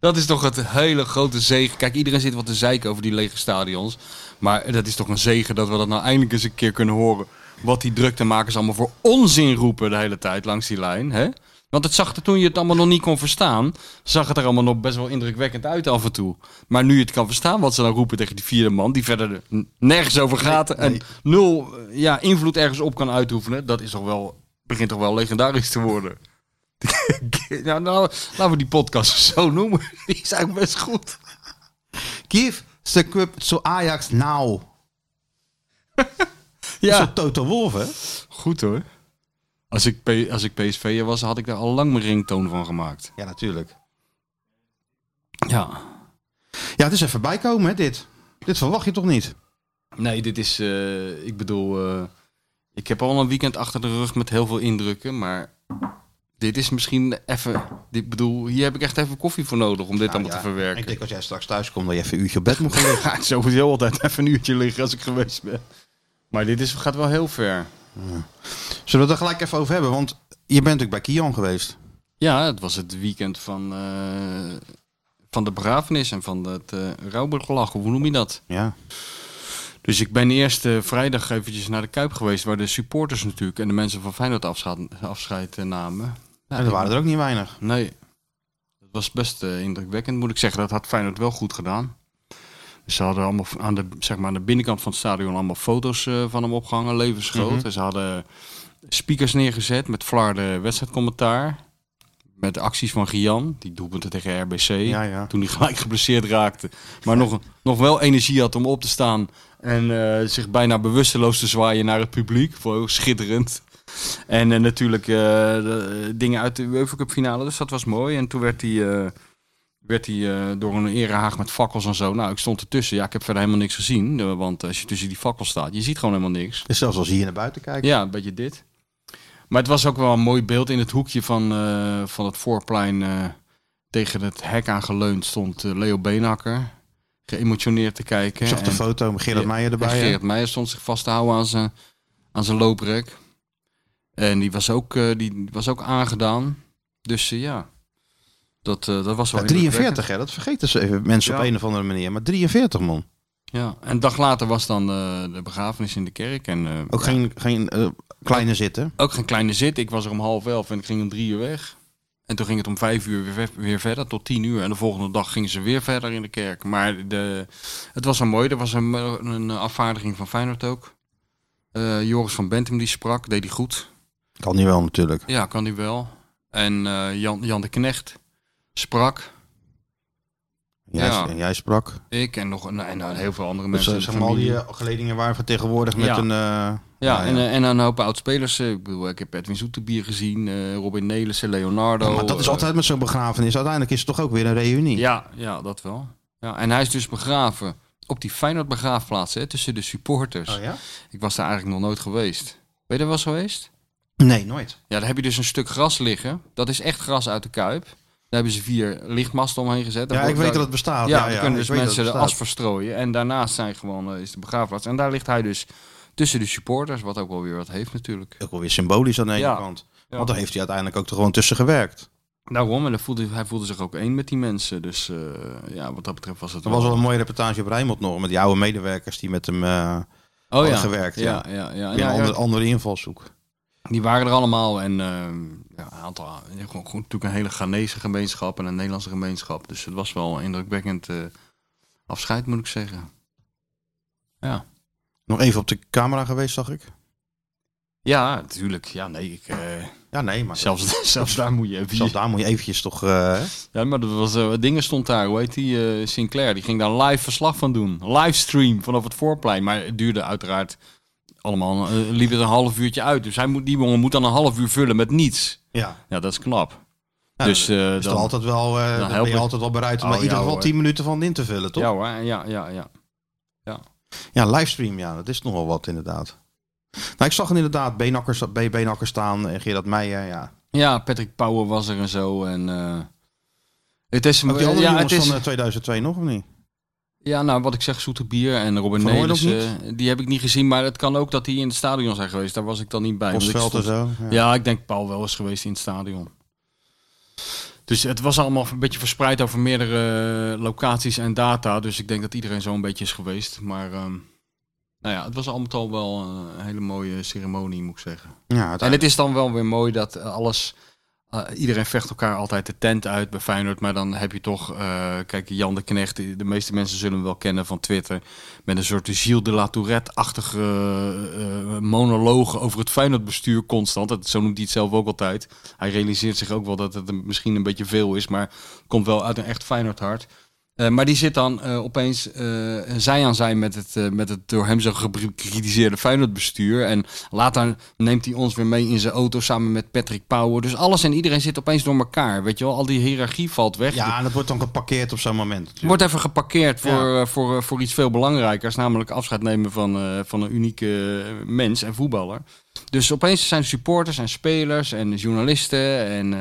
S3: Dat is toch het hele grote zegen. Kijk, iedereen zit wat te zeiken over die lege stadions. Maar dat is toch een zegen dat we dat nou eindelijk eens een keer kunnen horen. Wat die druktemakers allemaal voor onzin roepen de hele tijd langs die lijn. Hè? Want het zag er toen je het allemaal nog niet kon verstaan. Zag het er allemaal nog best wel indrukwekkend uit af en toe. Maar nu je het kan verstaan wat ze dan roepen tegen die vierde man. Die verder er n- nergens over gaat. En nul eh, ja, invloed ergens op kan uitoefenen. Dat is toch wel, begint toch wel legendarisch te worden. Ja, nou, laten we die podcast zo noemen. Die is eigenlijk best goed.
S2: Give the cup to Ajax now. Dat is
S3: Ja.
S2: een Toto Wolf, hè?
S3: Goed hoor. Als ik, P- als ik PSV'er was, had ik daar al lang mijn ringtoon van gemaakt.
S2: Ja, natuurlijk.
S3: Ja.
S2: Ja, het is even bijkomen, hè, dit. Dit verwacht je toch niet?
S3: Nee, dit is... eh, ik bedoel... eh, ik heb al een weekend achter de rug met heel veel indrukken, maar... Dit is misschien even... Ik bedoel, hier heb ik echt even koffie voor nodig om dit allemaal te verwerken.
S2: Ik denk als jij straks thuis komt, dat je even een uurtje op bed moet gaan
S3: Ik ga sowieso altijd even een uurtje liggen als ik geweest ben. Maar dit is, gaat wel heel ver.
S2: Zullen we het er gelijk even over hebben? Want je bent natuurlijk bij Kian geweest.
S3: Ja, het was het weekend van, eh, van de begrafenis en van het eh rouwbegelag, hoe noem je dat?
S2: Ja.
S3: Dus ik ben eerst eh, vrijdag eventjes naar de Kuip geweest, waar de supporters natuurlijk en de mensen van Feyenoord afscheid, afscheid eh, namen. Ja,
S2: En er waren er ook niet weinig.
S3: Nee, dat was best eh, indrukwekkend, moet ik zeggen. Dat had Feyenoord wel goed gedaan. Dus ze hadden allemaal aan de, zeg maar, aan de binnenkant van het stadion allemaal foto's eh, van hem opgehangen, levensgroot.
S2: Mhm.
S3: En ze hadden speakers neergezet met flarde wedstrijdcommentaar. Met de acties van Gian, die doelpunten tegen RBC.
S2: Ja, ja.
S3: Toen hij gelijk geblesseerd raakte. Maar nog, nog wel energie had om op te staan. En eh, zich bijna bewusteloos te zwaaien naar het publiek. Wow, schitterend. En eh, natuurlijk eh, de, eh, dingen uit de UEFA Cup finale. Dus dat was mooi. En toen werd hij, eh, werd hij eh, door een erehaag met fakkels en zo. Nou, ik stond ertussen. Ja, ik heb verder helemaal niks gezien. eh, Want als je tussen die fakkels staat, je ziet gewoon helemaal niks.
S2: Dus zelfs als je hier naar buiten kijkt.
S3: Ja, een beetje dit. Maar het was ook wel een mooi beeld. In het hoekje van, eh, van het voorplein eh, tegen het hek aangeleund stond eh, Leo Beenhakker. Geëmotioneerd te kijken.
S2: Ik zag de
S3: En-
S2: foto met Gerard
S3: Ja,
S2: Meijer erbij.
S3: en
S2: hè?
S3: Geert Meijer stond zich vast te houden aan zijn, aan zijn looprek. En die was ook, eh, die was ook aangedaan. Dus eh, ja, dat, eh, dat was wel
S2: Ja,
S3: indrukwekkend.
S2: 43, hè? Dat vergeten ze even mensen op
S3: Ja.
S2: een of andere manier. Maar 43, man.
S3: Ja, en een dag later was dan eh, de begrafenis in de kerk. En, eh,
S2: Ook geen, geen eh, kleine zitten.
S3: ook geen kleine zit. Ik was er om half elf en ik ging om drie uur weg. En toen ging het om vijf uur weer, ver- weer verder, tot tien uur. En de volgende dag gingen ze weer verder in de kerk. Maar de, het was wel mooi. Er was een, een afvaardiging van Feyenoord ook. Eh, Joris van Bentum die sprak, deed hij goed.
S2: Kan niet wel, natuurlijk.
S3: Ja, kan hij wel. En eh, Jan, Jan de Knecht sprak.
S2: Jij,
S3: Ja.
S2: en jij sprak.
S3: Ik en nog nou, en, nou, heel veel andere
S2: Dus,
S3: mensen.
S2: eh,
S3: in de
S2: zeg maar, al die
S3: familie.
S2: eh, geledingen waren vertegenwoordigd met
S3: Ja.
S2: een... eh,
S3: Ja,
S2: nou
S3: en, eh, en een hoop oud-spelers. Eh, Ik bedoel, ik heb Edwin Zoetebier gezien, eh, Robin Nelissen, Leonardo.
S2: maar dat is
S3: eh,
S2: altijd met zo'n begrafenis. Uiteindelijk is het toch ook weer een reunie.
S3: Ja, ja, dat wel. Ja, en hij is dus begraven op die Feyenoord begraafplaats, hè, tussen de supporters.
S2: Oh, ja?
S3: Ik was daar eigenlijk nog nooit geweest. Ben je er wel eens geweest?
S2: Nee, nooit.
S3: Ja, daar heb je dus een stuk gras liggen. Dat is echt gras uit de Kuip. Daar hebben ze vier lichtmasten omheen gezet. Daar
S2: Ja, ik
S3: wordt-
S2: weet dat
S3: daar-
S2: het bestaat.
S3: Ja,
S2: ja,
S3: daar
S2: ja,
S3: kunnen
S2: ik
S3: dus
S2: weet dat
S3: mensen de
S2: het
S3: as
S2: bestaat.
S3: verstrooien. En daarnaast zijn gewoon, eh, is de begraafplaats. En daar ligt hij dus tussen de supporters, wat ook wel weer wat heeft natuurlijk.
S2: Ook wel weer symbolisch aan de ene
S3: Ja.
S2: kant.
S3: Ja.
S2: Want daar heeft hij uiteindelijk ook er gewoon tussen gewerkt.
S3: Daarom, en hij voelde, hij voelde zich ook één met die mensen. Dus eh, ja, wat dat betreft was het
S2: Er was al een mooie reportage op Rijnmond nog. Met die oude medewerkers die met hem... eh,
S3: oh,
S2: hadden gewerkt, ja.
S3: Ja, ja, ja.
S2: weer
S3: Ja,
S2: een
S3: ja.
S2: andere, andere invalshoek.
S3: Die waren er allemaal en ehm, ja, een aantal, gewoon, gewoon natuurlijk een hele Ghanese gemeenschap en een Nederlandse gemeenschap. Dus het was wel een indrukwekkend eh, afscheid, moet ik zeggen. Ja.
S2: Nog even op de camera geweest, zag ik.
S3: Ja, natuurlijk. Ja, nee, ik, eh,
S2: Ja, nee, maar
S3: zelfs, zelfs daar moet je even...
S2: zelfs daar moet je eventjes toch... eh,
S3: Ja, maar dat was, eh, dingen stond daar, hoe heet die, eh, Sinclair. Die ging daar live verslag van doen. Livestream vanaf het voorplein. Maar het duurde uiteraard allemaal, eh, liep het een half uurtje uit. Dus hij moet, die jongen moet dan een half uur vullen met niets.
S2: ja,
S3: Ja, dat is knap.
S2: Ja,
S3: dus eh,
S2: is
S3: dan...
S2: toch altijd wel, eh, dan ben
S3: help
S2: je
S3: ik-
S2: altijd wel bereid om
S3: Oh,
S2: er in ieder
S3: ja,
S2: geval
S3: hoor.
S2: 10 minuten van in te vullen, toch?
S3: Ja
S2: Ja,
S3: hoor, ja, ja, ja.
S2: livestream, ja, dat is nogal wat inderdaad. Nou, ik zag er inderdaad Beenakkers, B- Beenakkers staan en Gerard Meijer, ja.
S3: Ja, Patrick Power was er en zo. En, eh, het is,
S2: Ook die andere
S3: ja, het
S2: jongens
S3: is,
S2: van eh, 2002 nog of niet?
S3: ja, nou wat ik zeg, Zoete Bier en Robin
S2: Van Hooydonk
S3: Nelissen. Die heb ik niet gezien, maar het kan ook dat die in het stadion zijn geweest. Daar was ik dan niet bij. want ik
S2: Bosveld en
S3: stond-
S2: zo. Ja.
S3: Ja, ik denk Paul wel is geweest in het stadion. Dus het was allemaal een beetje verspreid over meerdere eh, locaties en data. Dus ik denk dat iedereen zo een beetje is geweest. Maar ehm, nou ja, het was allemaal wel eh, een hele mooie ceremonie, moet ik zeggen.
S2: Ja,
S3: En
S2: uiteindelijk-
S3: het is dan wel weer mooi dat eh, alles. eh, iedereen vecht elkaar altijd de tent uit bij Feyenoord. Maar dan heb je toch. eh, kijk, Jan de Knecht. De meeste mensen zullen hem wel kennen van Twitter. Met een soort Gilles de La Tourette-achtige eh, eh, monoloog over het Feyenoordbestuur constant. Dat, zo noemt hij het zelf ook altijd. Hij realiseert zich ook wel dat het een- misschien een beetje veel is. Maar komt wel uit een echt Feyenoord hart. Eh, maar die zit dan eh, opeens eh, zij aan zij met het, eh, met het door hem zo gekritiseerde Feyenoordbestuur. En later neemt hij ons weer mee in zijn auto samen met Patrick Power. Dus alles en iedereen zit opeens door elkaar. Weet je wel, al die hiërarchie valt weg.
S2: ja, en dat wordt dan geparkeerd op zo'n moment. natuurlijk.
S3: Wordt even geparkeerd voor,
S2: Ja.
S3: eh, voor, eh, voor iets veel belangrijkers. Namelijk afscheid nemen van, eh, van een unieke eh, mens en voetballer. Dus opeens zijn supporters en spelers en journalisten en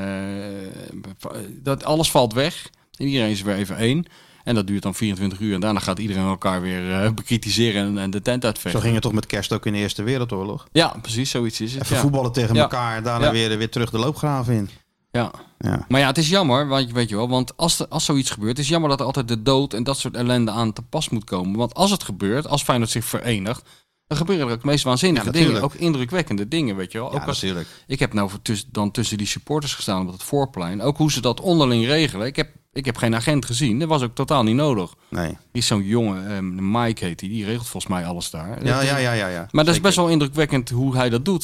S3: eh, dat, alles valt weg. En iedereen is weer even één. En dat duurt dan 24 uur. En daarna gaat iedereen elkaar weer eh, bekritiseren en, en de tent
S2: Zo
S3: uitvechten.
S2: ging het toch met kerst ook in de Eerste Wereldoorlog.
S3: Ja, precies, zoiets is het.
S2: Even
S3: Ja.
S2: voetballen tegen
S3: Ja.
S2: elkaar en daarna
S3: Ja.
S2: weer, weer terug de loopgraaf in.
S3: Ja.
S2: Ja.
S3: Maar ja, het is jammer, want weet je wel, want als, er- als zoiets gebeurt, is jammer dat er altijd de dood en dat soort ellende aan te pas moet komen. Want als het gebeurt, als Feyenoord zich verenigt, dan gebeuren er ook meest waanzinnige
S2: Ja,
S3: dingen,
S2: natuurlijk.
S3: ook indrukwekkende dingen, weet je wel.
S2: Ja,
S3: ook als,
S2: natuurlijk.
S3: ik heb nou voor tuss- dan tussen die supporters gestaan op het voorplein, ook hoe ze dat onderling regelen. Ik heb, ik heb geen agent gezien, dat was ook totaal niet nodig.
S2: Nee.
S3: Er is zo'n jongen, ehm, Mike heet die, die regelt volgens mij alles daar.
S2: Ja, ja, ja, ja. ja.
S3: Maar dat is
S2: Zeker.
S3: best wel indrukwekkend hoe hij dat doet.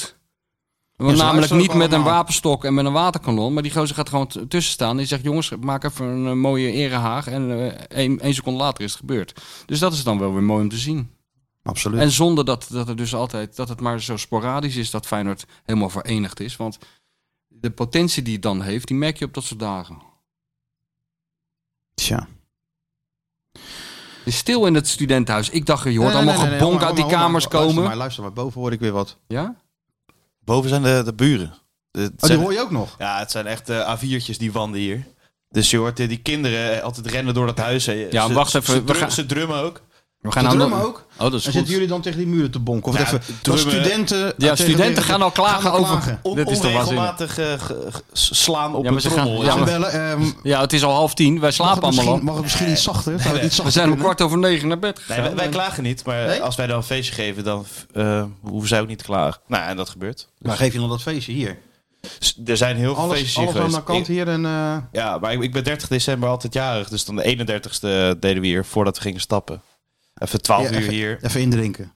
S2: ze
S3: namelijk
S2: luisteren
S3: niet
S2: ook
S3: met een
S2: allemaal.
S3: wapenstok en met een waterkanon. Maar die gozer gaat gewoon t- tussen staan. Die zegt, jongens, maak even een eh, mooie erehaag. En eh, één, één seconde later is het gebeurd. Dus dat is dan wel weer mooi om te zien.
S2: Absoluut.
S3: En zonder dat, dat, het dus altijd, dat het maar zo sporadisch is dat Feyenoord helemaal verenigd is. Want de potentie die het dan heeft, die merk je op dat soort dagen.
S2: Tja.
S3: Het is stil in het studentenhuis. Ik dacht, je hoort allemaal
S2: Nee, nee, nee,
S3: gebonk
S2: nee,
S3: uit die
S2: maar- maar-
S3: kamers
S2: maar- luister
S3: komen. Oh,
S2: Maar luister maar, boven hoor ik weer wat.
S3: Ja?
S4: Boven zijn de, de buren. De- het
S2: Oh, die
S4: zijn-
S2: hoor je ook nog?
S4: Ja, het zijn echt eh, A4'tjes die wanden hier. Dus je hoort eh, die kinderen altijd rennen door dat huis. eh,
S3: Ja,
S4: ze-
S3: wacht even,
S4: Ze,
S3: we
S4: drum-
S3: gaan-
S4: ze drummen ook.
S3: We
S2: Gaan
S3: nou-
S2: drummen ook?
S3: Oh, dat is
S2: En
S3: goed.
S2: zitten jullie dan tegen die muren te bonken? Of
S4: Ja,
S2: even, dat
S4: drummen-
S2: studenten... eh,
S3: Ja,
S2: tegen-
S3: studenten gaan al klagen
S2: gaan al
S3: over-
S2: klagen.
S4: On,
S3: Dit is toch
S4: onregelmatig eh, ge- ge- slaan op
S3: Ja,
S4: een
S3: maar ze gaan-
S4: trommel.
S3: ja,
S4: Ja,
S2: Ze
S3: maar-
S2: bellen, ehm, mag
S3: Ja, het is al half tien. Wij
S2: het
S3: slapen allemaal
S2: misschien-
S3: al.
S2: Mag het misschien iets zachter? Zou het iets
S3: We
S2: zachter
S3: zijn om
S2: kunnen?
S3: kwart over negen naar bed
S4: Nee,
S3: gegaan.
S4: wij, wij klagen niet, maar
S2: Nee?
S4: als wij dan een feestje geven, dan eh, hoeven zij ook niet te klagen. Nou, ja, en dat gebeurt.
S2: Maar geef je dan dat feestje hier?
S4: Dus er zijn heel veel
S2: Alles,
S4: feestjes hier
S2: alles aan de
S4: geweest.
S2: kant hier en... eh,
S4: Ja, maar ik, ik ben 30 december altijd jarig. Dus dan de 31ste deden we hier voordat we gingen stappen. Even 12
S2: Ja,
S4: uur hier.
S2: Even indrinken.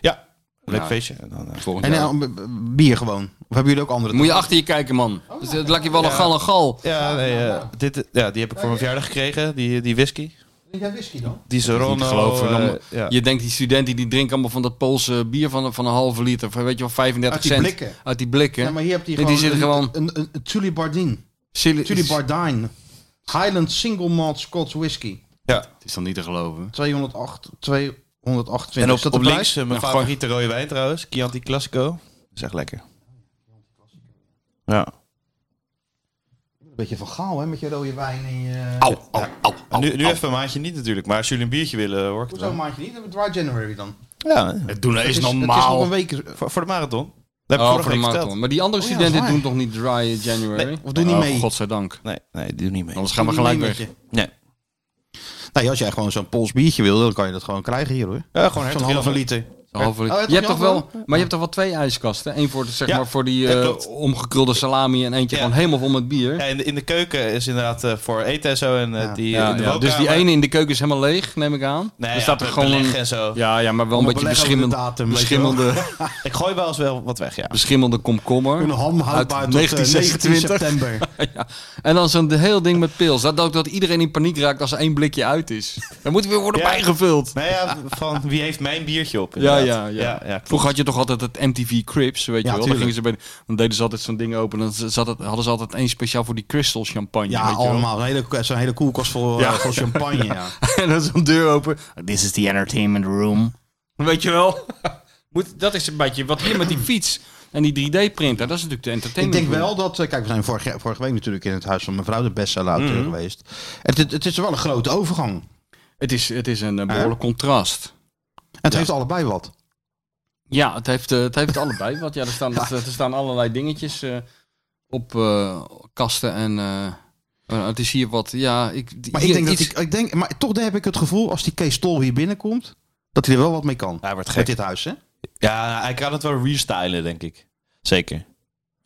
S4: Ja, leuk
S3: Ja.
S4: feestje. En dan, eh,
S3: Volgend
S2: En
S3: jaar.
S2: eh, b- b- bier gewoon. Of hebben jullie ook andere...
S3: Moet je achter je kijken, man.
S4: Oh.
S3: Dus dat laat je wel een gal en gal.
S4: ja, nee, eh, dit, eh, ja, die heb ik voor mijn verjaardag gekregen, die, die whisky.
S2: Drink jij whisky dan?
S4: Die Zerono.
S3: Niet te geloven,
S4: eh,
S3: dan-
S4: ja.
S3: Oh, Je denkt, die studenten die drinken allemaal van dat Poolse bier van, van een halve liter. Van, weet je wel, 35
S2: Uit die
S3: cent.
S2: blikken.
S3: Uit die blikken.
S2: Ja, maar hier heb je
S3: Nee,
S2: gewoon...
S3: die zitten
S2: een-
S3: gewoon...
S2: Een, een, een Tully Bardine.
S3: Silly- Oh,
S2: Tully Bardine. Highland Single Malt Scotch Whisky.
S4: ja.
S3: Het is dan niet te geloven.
S2: 208, 228.
S4: En
S2: Is
S4: op,
S2: dat
S4: op
S2: de prijs?
S4: links eh, mijn
S3: Ja,
S4: favoriete rode wijn trouwens. Chianti Classico. Dat is echt lekker. Ja.
S2: Een beetje van gaal, hè? Met je rode wijn en je...
S3: Au, au, au, au.
S4: nu nu even een maandje niet natuurlijk, maar als jullie een biertje willen, hoor ik het
S2: Hoezo
S4: wel.
S2: maand je niet? Dan hebben we Dry January dan.
S4: Ja,
S3: Het doen is,
S2: Het Het is nog
S3: normaal.
S2: een week... eh,
S4: voor, voor de marathon. Dat heb ik
S3: Oh,
S4: vorige
S3: voor de
S4: week
S3: marathon.
S4: verteld.
S3: Maar die andere
S2: Oh ja,
S3: studenten
S2: waar.
S3: doen toch niet dry January?
S4: Nee,
S2: of doen niet
S3: Oh,
S2: mee.
S3: godzijdank.
S4: Nee, nee, doe niet mee.
S3: Anders gaan we gelijk
S2: Met
S3: weg.
S2: je. Nou
S4: Nee.
S2: Nee, als jij gewoon zo'n Pools biertje wil, dan kan je dat gewoon krijgen hier, hoor.
S4: Ja, gewoon
S2: Zo'n
S4: hertog
S2: halve
S4: Jan.
S2: liter.
S3: Halve liter.
S4: Oh,
S3: je hebt toch wel,
S4: antwoord?
S3: maar je hebt toch wel twee ijskasten? Eén voor, de, zeg
S4: Ja,
S3: maar, voor die
S4: dat
S3: eh,
S4: klopt.
S3: omgekrulde salami en eentje
S4: Ja.
S3: gewoon helemaal vol met bier.
S4: Ja, in, de, in de keuken is inderdaad eh, voor eten en zo. En, eh,
S2: Ja.
S4: die,
S3: Ja,
S4: in de
S3: ja. Dus die
S4: woonkamer-
S3: ene in de keuken is helemaal leeg, neem ik aan.
S4: Nee,
S3: er
S4: ja,
S3: staat er
S4: be-
S3: gewoon
S4: beleg
S3: een,
S4: en zo.
S3: ja, ja, maar wel een beetje beschimmeld,
S2: datum, weet je wel.
S3: beschimmelde,
S4: Ik gooi wel eens wel wat weg, ja.
S3: beschimmelde komkommer.
S2: Een ham houdbaar
S3: Uit
S2: tot 1926
S3: 1926.
S2: september.
S3: Ja. En dan zo'n heel ding met pils. Dat ook dat iedereen in paniek raakt als er één blikje uit is. Dan moet weer worden
S4: Ja.
S3: bijgevuld.
S4: Nou ja, van wie heeft mijn biertje op?
S3: Ja,
S4: inderdaad.
S3: ja, ja.
S4: ja, klopt.
S3: Vroeger had je toch altijd het MTV Crips, weet
S2: Ja,
S3: je wel. Dan,
S2: tuurlijk.
S3: gingen ze bij, dan deden ze altijd zo'n ding open. Dan zat het, hadden ze altijd één speciaal voor die crystal champagne.
S2: Ja,
S3: weet je wel.
S2: allemaal. Zo'n hele, zo'n hele koelkast vol, eh, vol champagne. Ja.
S3: En dan zo'n deur open.
S5: This is the entertainment room.
S3: Weet je wel. Moet, dat is een beetje wat hier met die fiets en die 3D-printer. Dat is natuurlijk de
S2: Ik
S3: entertainment.
S2: denk wel dat... eh, Kijk, we zijn vorige, vorige week natuurlijk in het huis van mevrouw de bestseller
S3: Mhm.
S2: auteur geweest. Het, het, het is wel een grote overgang. En
S3: Het is, het is een eh, behoorlijk contrast.
S2: het heeft allebei wat.
S3: Ja, het heeft, eh, het heeft allebei. Want ja, er staan, er staan allerlei dingetjes eh, op eh, kasten en... eh, eh, het is hier wat, ja... Ik,
S2: Maar
S3: hier
S2: ik denk
S3: iets-
S2: dat ik, ik denk, maar toch heb ik het gevoel als die Kees Tol hier binnenkomt, dat hij er wel wat mee kan.
S4: Hij wordt
S2: Met
S4: gek.
S2: dit huis, hè?
S4: Ja, hij kan het wel restylen, denk ik. Zeker.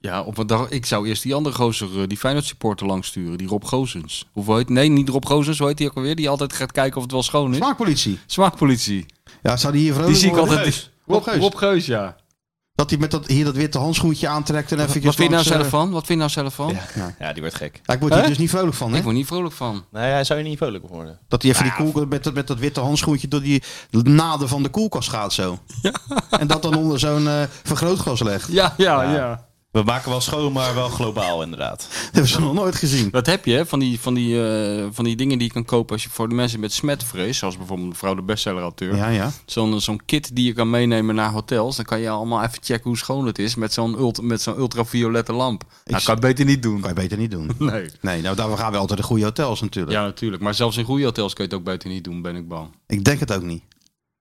S3: Ja, op een dag, ik zou eerst die andere gozer, eh, die Feyenoord supporter langs sturen. Die Rob Gozens. Of hoe heet, nee, niet Rob Gozens, hoe heet die ook alweer? Die altijd gaat kijken of het wel schoon is.
S2: Smaakpolitie.
S3: Smaakpolitie.
S2: Ja, zou die hier vrolijk
S3: Die zie ik
S2: worden?
S3: altijd.
S4: Geus.
S2: Rob
S3: Rob
S2: Geus.
S3: Geus. Rob Geus, ja.
S2: Dat hij met dat, hier dat witte handschoentje aantrekt en eh, even...
S3: Wat vind je nou zelf van? Wat vind je nou zelf van?
S4: Ja, die wordt gek.
S2: ik word hier
S3: Hè?
S2: dus niet vrolijk van, hè?
S3: Ik word niet vrolijk van.
S4: Nee, hij zou je niet vrolijk op worden.
S2: Dat hij even die koelkast, met, dat, met dat witte handschoentje door die naden van de koelkast gaat zo. En dat dan onder zo'n eh, vergrootglas legt.
S3: Ja, ja, ja.
S4: We maken wel schoon, maar wel globaal inderdaad.
S2: Dat hebben ze nog nooit gezien.
S3: Dat heb je, hè? Van die, van, die, eh, van die dingen die je kan kopen als je voor de mensen met smetvrees, zoals bijvoorbeeld mevrouw de bestsellerauteur,
S2: Ja, ja.
S3: zo'n eh, zo'n kit die je kan meenemen naar hotels. Dan kan je allemaal even checken hoe schoon het is met zo'n ult met zo'n ultraviolette lamp. dat kan je beter niet doen.
S2: Kan je beter niet doen.
S3: Nee.
S2: Nee, nou daar gaan we altijd de goede hotels natuurlijk.
S3: Ja, natuurlijk. Maar zelfs in goede hotels kun je het ook beter niet doen, ben ik bang.
S2: Ik denk het ook niet.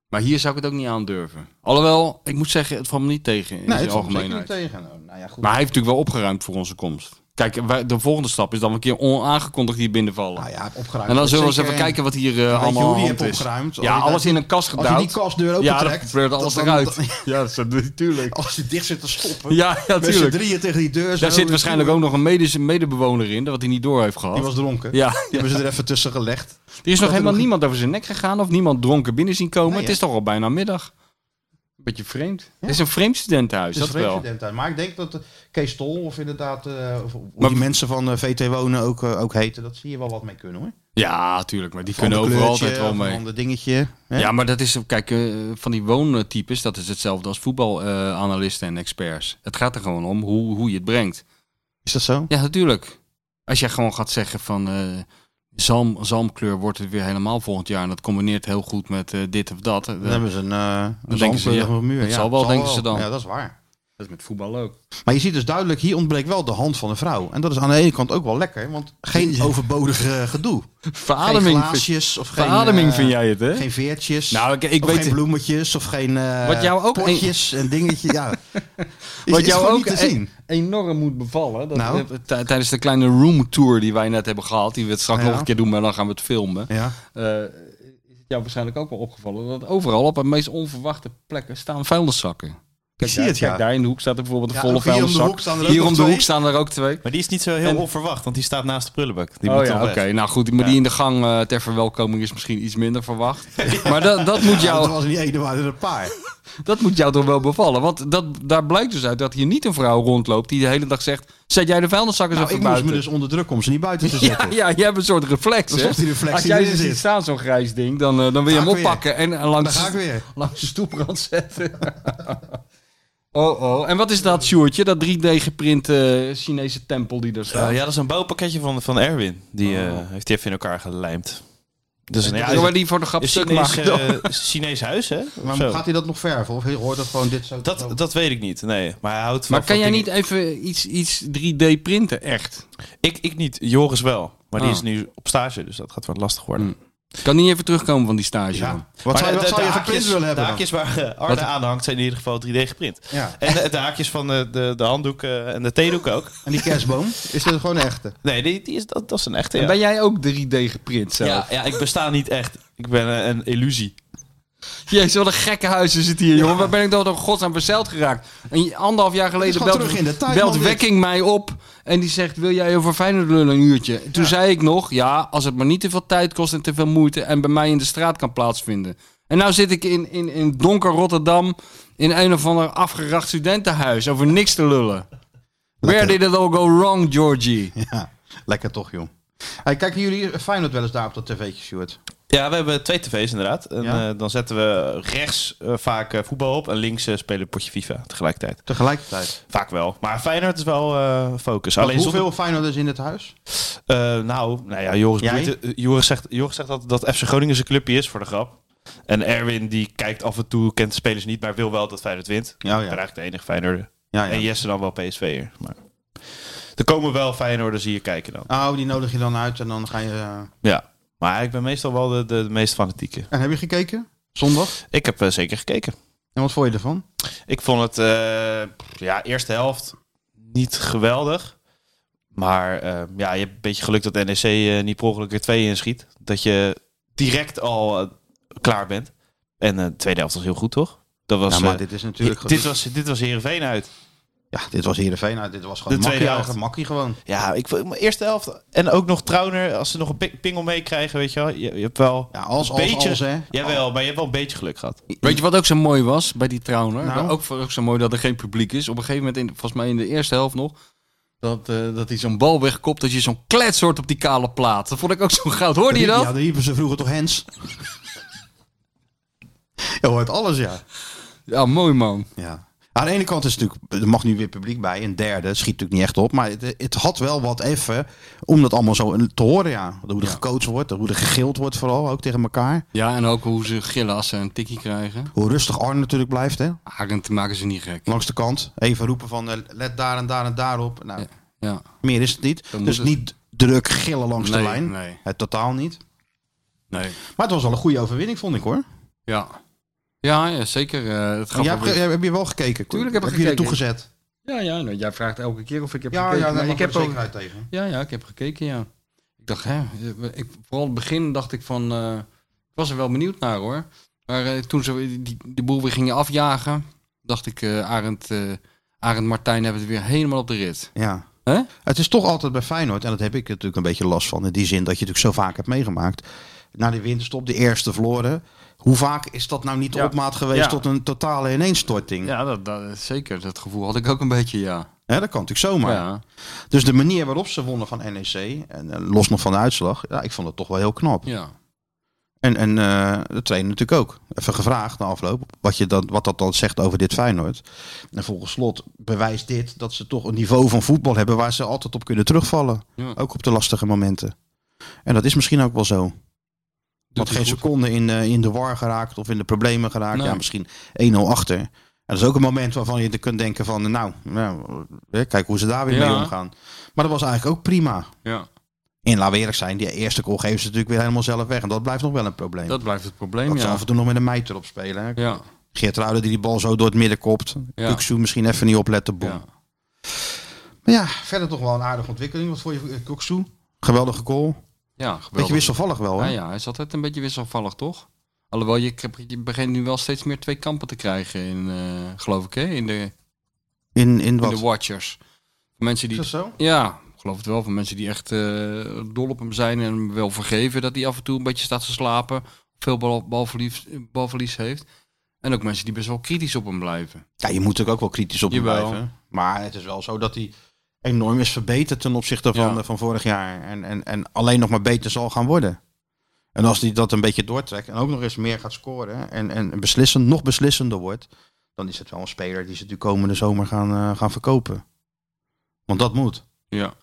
S3: Maar hier zou ik het ook niet aandurven. Alhoewel, ik moet zeggen, het valt me niet tegen in
S2: Nee,
S3: zijn
S2: het valt zeker
S3: algemeenheid.
S2: niet tegen. Nou, nou ja, goed.
S3: Maar hij heeft natuurlijk wel opgeruimd voor onze komst. Kijk, wij- de volgende stap is dan een keer onaangekondigd hier binnenvallen.
S2: Nou ja, opgeruimd.
S3: en dan zullen we eens
S2: Zeker.
S3: even kijken wat hier eh,
S2: Weet je
S3: allemaal
S2: hoe die
S3: aan de
S2: hebt
S3: hand is.
S2: opgeruimd? Als
S3: Ja,
S2: je daar-
S3: alles in een kast
S2: Als je die
S3: gedouwd.
S2: kastdeur opentrekt...
S3: Ja, dan gebeurt
S2: dat-
S3: alles
S2: dan-
S3: eruit.
S2: dan-
S3: ja, dat is natuurlijk.
S2: als je dicht zit te stoppen...
S3: Ja, ja,
S2: met z'n
S3: natuurlijk.
S2: drieën tegen die deur... dus zo,
S3: Daar zit waarschijnlijk ook nog een medische medebewoner in, wat hij niet door heeft
S2: Die
S3: gehad.
S2: was dronken.
S3: Ja,
S2: Die hebben ze er even tussen gelegd.
S3: er is nog helemaal
S2: nog-
S3: niemand over zijn nek gegaan of niemand dronken binnen zien komen.
S2: Nee,
S3: het
S2: hè?
S3: is toch al bijna middag. Beetje vreemd. Het is een vreemd studentenhuis,
S2: Dus
S3: dat wel.
S2: Maar ik denk dat eh, Kees Tol of inderdaad... eh, of, of
S3: Maar-
S2: die mensen van eh, VT Wonen ook, eh, ook heten. Dat zie je wel wat mee kunnen hoor.
S3: Ja, tuurlijk, maar die
S2: Van
S3: kunnen
S2: de
S3: overal
S2: kleurtje,
S3: altijd wel
S2: of een
S3: mee.
S2: ander dingetje. hè?
S3: Ja, maar dat is, kijk, eh, van die woontypes, dat is hetzelfde als voetbalanalisten en experts. Het gaat er gewoon om hoe, hoe je het brengt.
S2: Is dat zo?
S3: Ja, natuurlijk. Als jij gewoon gaat zeggen van eh, zalm, zalmkleur wordt het weer helemaal volgend jaar en dat combineert heel goed met eh, dit of dat.
S2: Dan hebben ze een, eh een
S3: denken ze,
S2: zandkleur
S3: ja,
S2: op een muur.
S3: het
S2: ja,
S3: zal wel, denken ze dan.
S2: Ja, dat is waar.
S3: is met voetbal ook.
S2: Maar je ziet dus duidelijk, hier ontbreekt wel de hand van een vrouw. En dat is aan de ene kant ook wel lekker, want geen overbodig eh, gedoe.
S3: Verademing,
S2: geen
S3: vind,
S2: glaasjes of geen,
S3: verademing
S2: eh,
S3: vind jij het, hè?
S2: Geen veertjes.
S3: nou, ik, ik
S2: of
S3: weet
S2: geen bloemetjes of geen eh,
S3: Wat jou ook een-
S2: potjes en dingetje. Ja.
S3: Wat jou
S2: gewoon
S3: ook
S2: niet te
S3: een-
S2: zien.
S3: enorm moet bevallen. Dat
S2: Nou.
S3: eh, tij- tijdens de kleine roomtour die wij net hebben gehad, die we het straks
S2: Ja.
S3: nog een keer doen, maar dan gaan we het filmen.
S2: Ja.
S3: eh, is het jou waarschijnlijk ook wel opgevallen dat overal op de meest onverwachte plekken staan vuilniszakken. Kijk,
S2: zie
S3: daar,
S2: het, ja.
S3: Kijk, daar in de hoek staat er bijvoorbeeld een
S2: Ja,
S3: volle
S2: ook hier om de
S3: vuilniszak.
S2: hoek staan er ook
S3: Hier
S2: nog
S3: om de
S2: twee.
S3: hoek staan er ook twee.
S4: Maar die is niet zo heel
S3: En-
S4: onverwacht, want die staat naast de prullenbak. Die
S3: oh
S4: moet
S3: ja,
S4: toch
S3: oké.
S4: weg.
S3: Nou goed, maar
S4: Ja.
S3: die in de gang eh, ter verwelkoming is misschien iets minder verwacht. Maar dat, dat,
S2: Ja,
S3: moet
S2: Nou, dat
S3: jou,
S2: was niet één, er waren er een paar. Nou,
S3: dat moet jou toch wel bevallen. Want dat, daar blijkt dus uit dat hier niet een vrouw rondloopt die de hele dag zegt... Zet jij de vuilniszakken
S2: Nou,
S3: zo
S2: ik
S3: even
S2: moest me
S3: buiten?
S2: dus onder druk om ze niet buiten te
S3: Ja,
S2: zetten.
S3: ja, je hebt een soort reflex.
S2: Dat is
S3: hè?
S2: toch die reflex
S3: Als
S2: die
S3: jij
S2: erin
S3: ze ziet
S2: zit.
S3: staan, zo'n grijs ding, dan, eh, dan wil je
S2: Ga
S3: hem
S2: ik weer.
S3: oppakken en, en
S2: Daar
S3: langs,
S2: ga ik weer.
S3: langs de stoeprand zetten. oh, oh. En wat is dat, Sjoertje? Dat 3D-geprinte eh, Chinese tempel die daar staat.
S4: Eh, ja, dat is een bouwpakketje van, van Erwin. Die eh, heeft die even in elkaar gelijmd. Dus een, ja,
S3: Zullen we die voor de grap
S4: is
S3: stuk
S4: Chinees,
S3: maken? dan?
S4: eh, Chinees huis, hè? Of
S2: Maar
S4: zo.
S2: gaat hij dat nog verven? Of hoort dat gewoon dit zo?
S4: Dat, dat weet ik niet, nee. Maar hij houdt van...
S3: Maar kan jij
S4: van dingen-
S3: niet even iets, iets 3D printen, echt?
S4: Ik, ik niet, Joris wel. Maar die
S3: Ah.
S4: is nu op stage, dus dat gaat wat lastig worden.
S3: Mm. Kan niet even terugkomen van die stage?
S2: Ja.
S3: dan?
S2: Wat zou, je- wat
S4: de-
S2: zou
S4: de
S2: je
S4: haakjes-
S2: geprint willen hebben?
S4: De
S2: dan?
S4: haakjes waar eh,
S3: Wat-
S4: Arne aan hangt zijn in ieder geval 3D geprint.
S2: Ja.
S4: En de, de haakjes van de, de, de handdoeken en de theedoeken ook.
S2: En die kerstboom? Is dat gewoon een echte?
S4: Nee, die, die is, dat, dat is een echte,
S3: En
S4: ja.
S3: ben jij ook 3D geprint zelf?
S4: ja, ja, ik besta niet echt. Ik ben eh, een illusie.
S3: Ja, Jezus, wat een gekke huizen zit hier, jongen. Waar ben ik dan door godsnaam verzeild geraakt? En anderhalf jaar geleden
S2: gewoon
S3: belt,
S2: terug in de tijd,
S3: belt
S2: man, dit.
S3: Wekking mij op. En die zegt, wil jij over Feyenoord lullen een uurtje? Toen zei ik nog, ja, als het maar niet te veel tijd kost en te veel moeite... en bij mij in de straat kan plaatsvinden. En nou zit ik in, in, in donker Rotterdam... in een of ander afgeracht studentenhuis over niks te lullen. Where did it all go wrong, Georgie?
S2: Ja, lekker toch, joh. Hey, kijken jullie Feyenoord wel eens daar op dat tv'tje, Stuart?
S4: Ja, we hebben twee tv's inderdaad. En,
S2: Ja.
S4: eh, dan zetten we rechts eh, vaak eh, voetbal op en links eh, spelen we potje FIFA tegelijkertijd.
S2: Tegelijkertijd.
S4: Vaak wel. Maar Feyenoord is wel eh, focus.
S2: Alleen
S4: Alleen
S2: hoeveel
S4: zonder-
S2: Feyenoorders in het huis?
S4: Eh, nou, nou ja, Joris,
S2: Jij?
S4: Boeit- eh, Joris zegt, Joris zegt dat, dat FC Groningen zijn clubje is, voor de grap. En Erwin, die kijkt af en toe, kent de spelers niet, maar wil wel dat Feyenoord wint.
S2: Ja,
S4: Ik ben
S2: ja.
S4: eigenlijk de enige Feyenoorder.
S2: ja,
S4: En
S2: ja.
S4: Jesse dan wel PSV'er. Maar... Er komen wel Feyenoorders hier kijken dan.
S2: Oh, die nodig je dan uit en dan ga je... eh,
S4: Ja. Maar ik ben meestal wel de, de, de meest fanatieke.
S2: En heb je gekeken? Zondag?
S4: Ik heb eh, zeker gekeken.
S2: En wat vond je ervan?
S4: Ik vond het, eh, ja, eerste helft niet geweldig. Maar eh, ja, je hebt een beetje geluk dat NEC eh, niet per ongeluk er twee inschiet. Dat je direct al eh, klaar bent. En eh, de tweede helft was heel goed, toch? Dat was,
S2: Ja, maar
S4: eh,
S2: dit is natuurlijk...
S4: dit, was, dit was Heerenveen uit.
S2: Ja, dit was Heerenveen. Nou, dit was gewoon
S4: De tweede
S2: makkie,
S4: helft.
S2: eigenlijk, makkie gewoon.
S4: Ja, ik vond mijn eerste helft. En ook nog Trauner, als ze nog een pi- pingel meekrijgen, weet je wel. Je, je hebt wel
S2: Ja, als,
S4: een
S2: als,
S4: beetje...
S2: als, hè.
S4: jawel, maar je hebt wel een beetje geluk gehad.
S3: Weet je wat ook zo mooi was bij die trouwner?
S2: Nou?
S3: Ook, ook zo mooi dat er geen publiek is. Op een gegeven moment, in, volgens mij in de eerste helft nog, dat, eh, dat hij zo'n bal wegkopt, dat je zo'n klets hoort op die kale plaat. Dat vond ik ook zo goud. Hoorde je dat?
S2: Ja, daar riepen ze vroeger toch Hens? Je hoort alles, ja.
S3: Ja, mooi man.
S2: ja. Aan de ene kant is het natuurlijk, er mag nu weer publiek bij. Een derde schiet natuurlijk niet echt op. Maar het, het had wel wat even om dat allemaal zo te horen, ja. Hoe er gecoacht wordt, hoe er gegild wordt vooral, ook tegen elkaar.
S3: Ja, en ook hoe ze gillen als ze een tikkie krijgen.
S2: Hoe rustig Arne natuurlijk blijft, hè.
S3: Arend maken ze niet gek.
S2: Langs de kant. Even roepen van, eh, let daar en daar en daar op. Nou,
S3: Ja.
S2: meer is het niet.
S3: Dan
S2: dus
S3: moet het-
S2: niet druk gillen langs
S3: Nee,
S2: de lijn.
S3: nee.
S2: Het totaal niet.
S3: Nee.
S2: Maar het was wel een goede overwinning, vond ik, hoor.
S3: Ja. Ja, ja zeker. eh, het
S2: Jij
S3: gaf wel
S2: hebt,
S3: weer-
S2: ge- heb je wel gekeken?
S3: Tuurlijk
S2: heb
S3: heb
S2: je
S3: ik
S2: er
S3: gekeken.
S2: toegezet?
S3: Ja, ja. nou, jij vraagt elke keer of ik heb
S2: Ja,
S3: gekeken.
S2: ja,
S3: maar
S2: nee,
S3: ik heb ook...
S2: zekerheid tegen.
S3: Ja, ja, ik heb gekeken, ja. Ik dacht, hè, ik, vooral in het begin dacht ik van, eh, ik was er wel benieuwd naar hoor. Maar eh, toen ze die, die de boel weer gingen afjagen, dacht ik, eh Arend, eh, Arend Martijn hebben het weer helemaal op de rit.
S2: Ja.
S3: Hè?
S2: Het is toch altijd bij Feyenoord, en dat heb ik natuurlijk een beetje last van, in die zin dat je natuurlijk zo vaak hebt meegemaakt. Na de winterstop, de eerste verloren. Hoe vaak is dat nou niet de
S4: Ja.
S2: opmaat geweest
S4: Ja.
S2: tot een totale ineenstorting?
S3: Ja, dat, dat, zeker. Dat gevoel had ik ook een beetje, ja.
S2: Hè, dat kan natuurlijk zomaar.
S3: ja.
S2: Dus de manier waarop ze wonnen van NEC, en eh, los nog van de uitslag, ja, ik vond het toch wel heel knap.
S3: ja.
S2: En, en eh, de trainer natuurlijk ook. Even gevraagd na afloop wat, je dan, wat dat dan zegt over dit Feyenoord. En volgens slot bewijst dit dat ze toch een niveau van voetbal hebben waar ze altijd op kunnen terugvallen.
S3: Ja.
S2: Ook op de lastige momenten. En dat is misschien ook wel zo. Want
S3: hij
S2: geen
S3: goed.
S2: seconde in, eh, in de war geraakt of in de problemen geraakt.
S3: Nee.
S2: Ja, misschien 1-0 achter. En dat is ook een moment waarvan je er kunt denken van, nou, nou eh, kijk hoe ze daar weer mee
S3: Ja.
S2: omgaan. Maar dat was eigenlijk ook prima.
S3: Ja,
S2: En laten we eerlijk zijn, die eerste goal geven ze natuurlijk weer helemaal zelf weg. En dat blijft nog wel een probleem.
S3: dat blijft het probleem,
S2: Dat ze
S3: ja.
S2: af en toe nog met een meid erop spelen. hè.
S3: Ja,
S2: Geert Ruiden die die bal zo door het midden kopt.
S3: Ja.
S2: Kuksu misschien even niet opletten. Boom.
S3: ja.
S2: Maar ja, verder toch wel een aardige ontwikkeling. Wat voor je eh, Kuksu? Geweldige goal.
S3: ja geweldig. Ah,
S2: Beetje wisselvallig wel. Hè?
S3: Ja, ja, hij is altijd een beetje wisselvallig, toch? Alhoewel, je, krijgt- je begint nu wel steeds meer twee kampen te krijgen, in, eh, geloof ik, hè? In de,
S2: In, in
S3: in
S2: wat?
S3: de Watchers. Mensen
S2: Is
S3: die
S2: dat zo?
S3: Ja, ik geloof het wel. Van mensen die echt eh, dol op hem zijn en hem wel vergeven dat hij af en toe een beetje staat te slapen. Veel bal, balverlies, balverlies heeft. En ook mensen die best wel kritisch op hem blijven.
S2: Ja, je moet natuurlijk ook wel kritisch op hem
S3: Jawel.
S2: blijven. Maar het is wel zo dat hij enorm is verbeterd ten opzichte van,
S3: Ja.
S2: eh, van vorig jaar. En, en, en alleen nog maar beter zal gaan worden. En als hij dat een beetje doortrekt en ook nog eens meer gaat scoren en, en beslissend, nog beslissender wordt, dan is het wel een speler die ze de komende zomer gaan, eh, gaan verkopen. Want dat moet.
S3: Ja.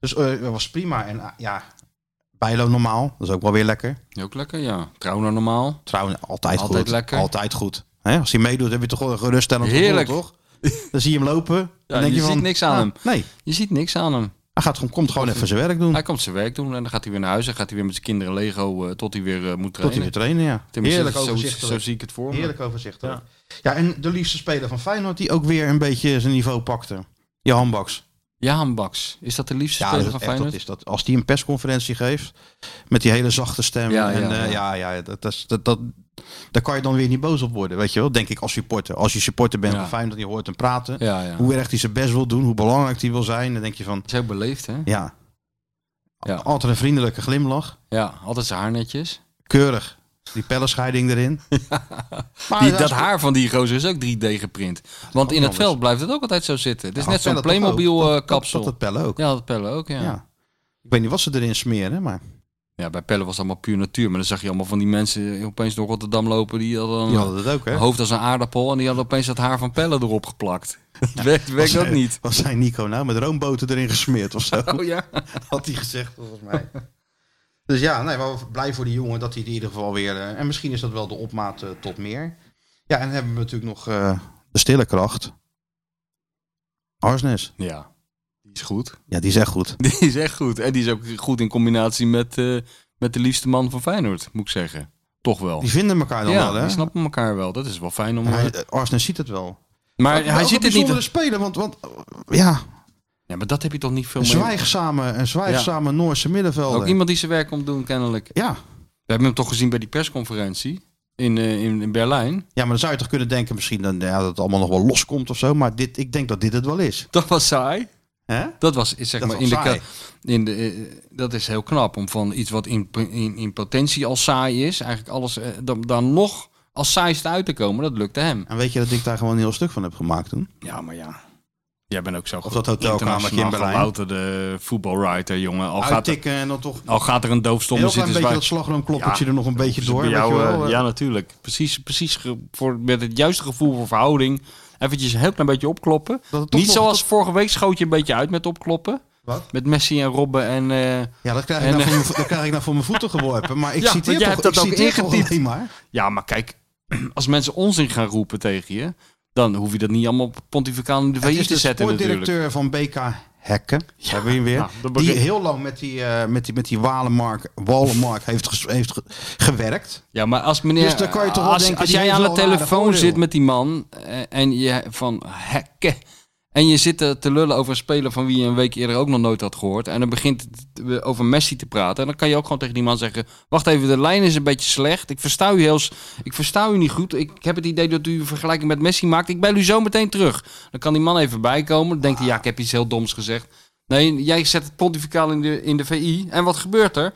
S2: Dus eh, dat was prima. En ah, ja, Bijlo normaal, dat is ook wel weer lekker.
S3: Ook lekker, ja. Trouwner normaal.
S2: Trouwens, altijd,
S3: Altijd
S2: goed.
S3: lekker.
S2: Altijd goed. Hè, als hij meedoet, heb je toch wel een geruststellend
S3: Heerlijk.
S2: gevoel, toch? Dan zie je hem lopen. dan denk
S3: je
S2: je van,
S3: ziet niks aan
S2: ah,
S3: hem.
S2: Nee,
S3: Je ziet niks aan hem.
S2: hij gaat gewoon, komt gewoon even zijn werk doen.
S3: Hij komt zijn werk doen en dan gaat hij weer naar huis. En gaat hij weer met zijn kinderen Lego eh, tot hij weer eh, moet
S2: Tot hij
S3: trainen.
S2: weer trainen, ja.
S3: Tenminste,
S2: Heerlijk
S3: zo, zo
S2: overzichtelijk.
S3: zie ik het voor me.
S2: Heerlijk overzichtelijk. Ja. en de liefste speler van Feyenoord die ook weer een beetje zijn niveau pakte. Johan Baks.
S3: Jaan Baks. Is dat de liefste
S2: Ja, dat
S3: speler
S2: is,
S3: van
S2: echt, dat
S3: Feyenoord?
S2: is dat. Als die een persconferentie geeft met die hele zachte stem.
S3: Ja,
S2: en,
S3: ja,
S2: eh,
S3: ja.
S2: ja, ja, dat, is- dat, dat, Daar kan je dan weer niet boos op worden, weet je wel? Denk ik als supporter. Als je supporter bent,
S3: Ja.
S2: fijn dat je hoort hem praten.
S3: Ja, ja.
S2: Hoe erg hij zijn best wil doen, hoe belangrijk hij wil zijn. Dan denk je van,
S3: is ook beleefd, hè?
S2: ja.
S3: Ja.
S2: Altijd een vriendelijke glimlach.
S3: Ja, altijd zijn haar netjes.
S2: Keurig. Die pellenscheiding erin. Maar
S3: Die,
S2: Ah, ja,
S3: dat
S2: sp-
S3: haar van die gozer is ook 3D geprint. Want in het
S2: anders.
S3: veld blijft het ook altijd zo zitten. Het is
S2: Ja,
S3: net zo'n
S2: pellen toch ook.
S3: Playmobil
S2: Dat-
S3: eh,
S2: dat-
S3: kapsel.
S2: Dat, dat pellen ook. Ja.
S3: Ja, dat pellen ook, ja. ja.
S2: Ik weet niet wat ze erin smeren, maar
S3: bij pellen was het allemaal puur natuur. Maar dan zag je allemaal van die mensen eh, opeens door Rotterdam lopen. Die hadden
S2: die
S3: een
S2: hadden het ook, hè?
S3: hoofd als een aardappel. En die hadden opeens dat haar van pellen erop geplakt. Dat werkt, werkt
S2: Was-
S3: ook niet.
S2: Wat zei Nico nou? Met roomboten erin gesmeerd of zo?
S3: Oh ja.
S2: had hij gezegd, volgens mij. Dus ja, nee, maar we- blij voor die jongen dat hij het in ieder geval weer... eh, en misschien is dat wel de opmaat eh, tot meer. Ja, en dan hebben we natuurlijk nog eh, de stille kracht. Arsnes.
S3: Ja, die is goed.
S2: Ja, die is echt goed.
S3: Die is echt goed. En die is ook goed in combinatie met, eh, met de liefste man van Feyenoord, moet ik zeggen. Toch wel.
S2: Die vinden elkaar dan
S3: ja,
S2: wel, hè?
S3: die snappen elkaar wel. Dat is wel fijn om... eh,
S2: Hij, eh, Arsnes ziet het wel.
S3: maar hij
S2: ook een
S3: ziet het niet...
S2: bijzondere speler, want, want eh, ja,
S3: Ja, maar dat heb je toch niet veel
S2: een
S3: mee...
S2: zwijgzame, een zwijgzame Noorse middenvelder.
S3: Ook iemand die zijn werk komt doen, kennelijk.
S2: Ja.
S3: We hebben hem toch gezien bij die persconferentie in, eh, in, in Berlijn.
S2: ja, maar dan zou je toch kunnen denken misschien dan, ja, dat het allemaal nog wel loskomt of zo. Maar dit, ik denk dat dit het wel is.
S3: Dat was saai.
S2: Hè?
S3: Dat was, is zeg
S2: Dat
S3: maar,
S2: was
S3: in de,
S2: saai.
S3: ka- in de, eh, dat is heel knap. Om van iets wat in, in, in potentie al saai is, eigenlijk alles eh, dan, dan nog als saaist uit te komen, dat lukte hem.
S2: En weet je dat ik daar gewoon een heel stuk van heb gemaakt toen?
S3: Ja, maar ja. Jij bent ook zo goed.
S2: dat hotelkamertje in
S3: internationaal
S2: Berlijn.
S3: gelouterde de voetbalwriter, jongen. Al gaat, er,
S2: Uittikken en dan toch
S3: al gaat er een
S2: een
S3: doofstomme
S2: heel klein
S3: zitten.
S2: beetje
S3: zwaai-
S2: dat slagroomkloppertje
S3: Ja,
S2: er nog een beetje door.
S3: bij
S2: Weet
S3: jou,
S2: je wel,
S3: eh,
S2: eh.
S3: ja, natuurlijk. Precies, precies ge- voor, met het juiste gevoel voor verhouding. Eventjes een heel klein beetje opkloppen.
S2: Dat het toch
S3: Niet
S2: nog-
S3: zoals vorige week schoot je een beetje uit met opkloppen.
S2: Wat?
S3: Met Messi en Robben en... eh,
S2: Ja, dat krijg, ik nou
S3: En, eh,
S2: voor mijn, vo- dat krijg ik nou voor mijn voeten geworpen. Maar ik
S3: Ja,
S2: zie
S3: want
S2: citeer
S3: jij
S2: toch,
S3: hebt dat
S2: ik
S3: ook
S2: citeer toch
S3: ingetypt.
S2: alleen maar.
S3: ja, maar kijk, als mensen onzin gaan roepen tegen je... dan hoef je dat niet allemaal op pontificaal in de
S2: Het
S3: VI
S2: is
S3: te
S2: de
S3: zetten natuurlijk.
S2: sportdirecteur van BK Hekken. Ja, hebben we hem weer.
S3: nou, dat
S2: die
S3: begin-
S2: heel lang met die, eh met die, met die Walenmark, Walenmark heeft, ges- heeft ge- gewerkt.
S3: Ja, maar als meneer...
S2: Dus dan kan je toch wel
S3: als,
S2: denken,
S3: als
S2: die
S3: jij
S2: heeft
S3: aan de
S2: wel een aardig
S3: telefoon
S2: oordeel.
S3: zit met die man eh, en je van hekken... En je zit eh, te lullen over een speler van wie je een week eerder ook nog nooit had gehoord. En dan begint het eh, over Messi te praten. En dan kan je ook gewoon tegen die man zeggen... Wacht even, de lijn is een beetje slecht. Ik versta u, heel, s- ik versta u niet goed. Ik heb het idee dat u een vergelijking met Messi maakt. Ik bel u zo meteen terug. Dan kan die man even bijkomen. Dan denkt hij, ja, ik heb iets heel doms gezegd. Nee, jij zet het pontificaal in de, in de VI. En wat gebeurt er?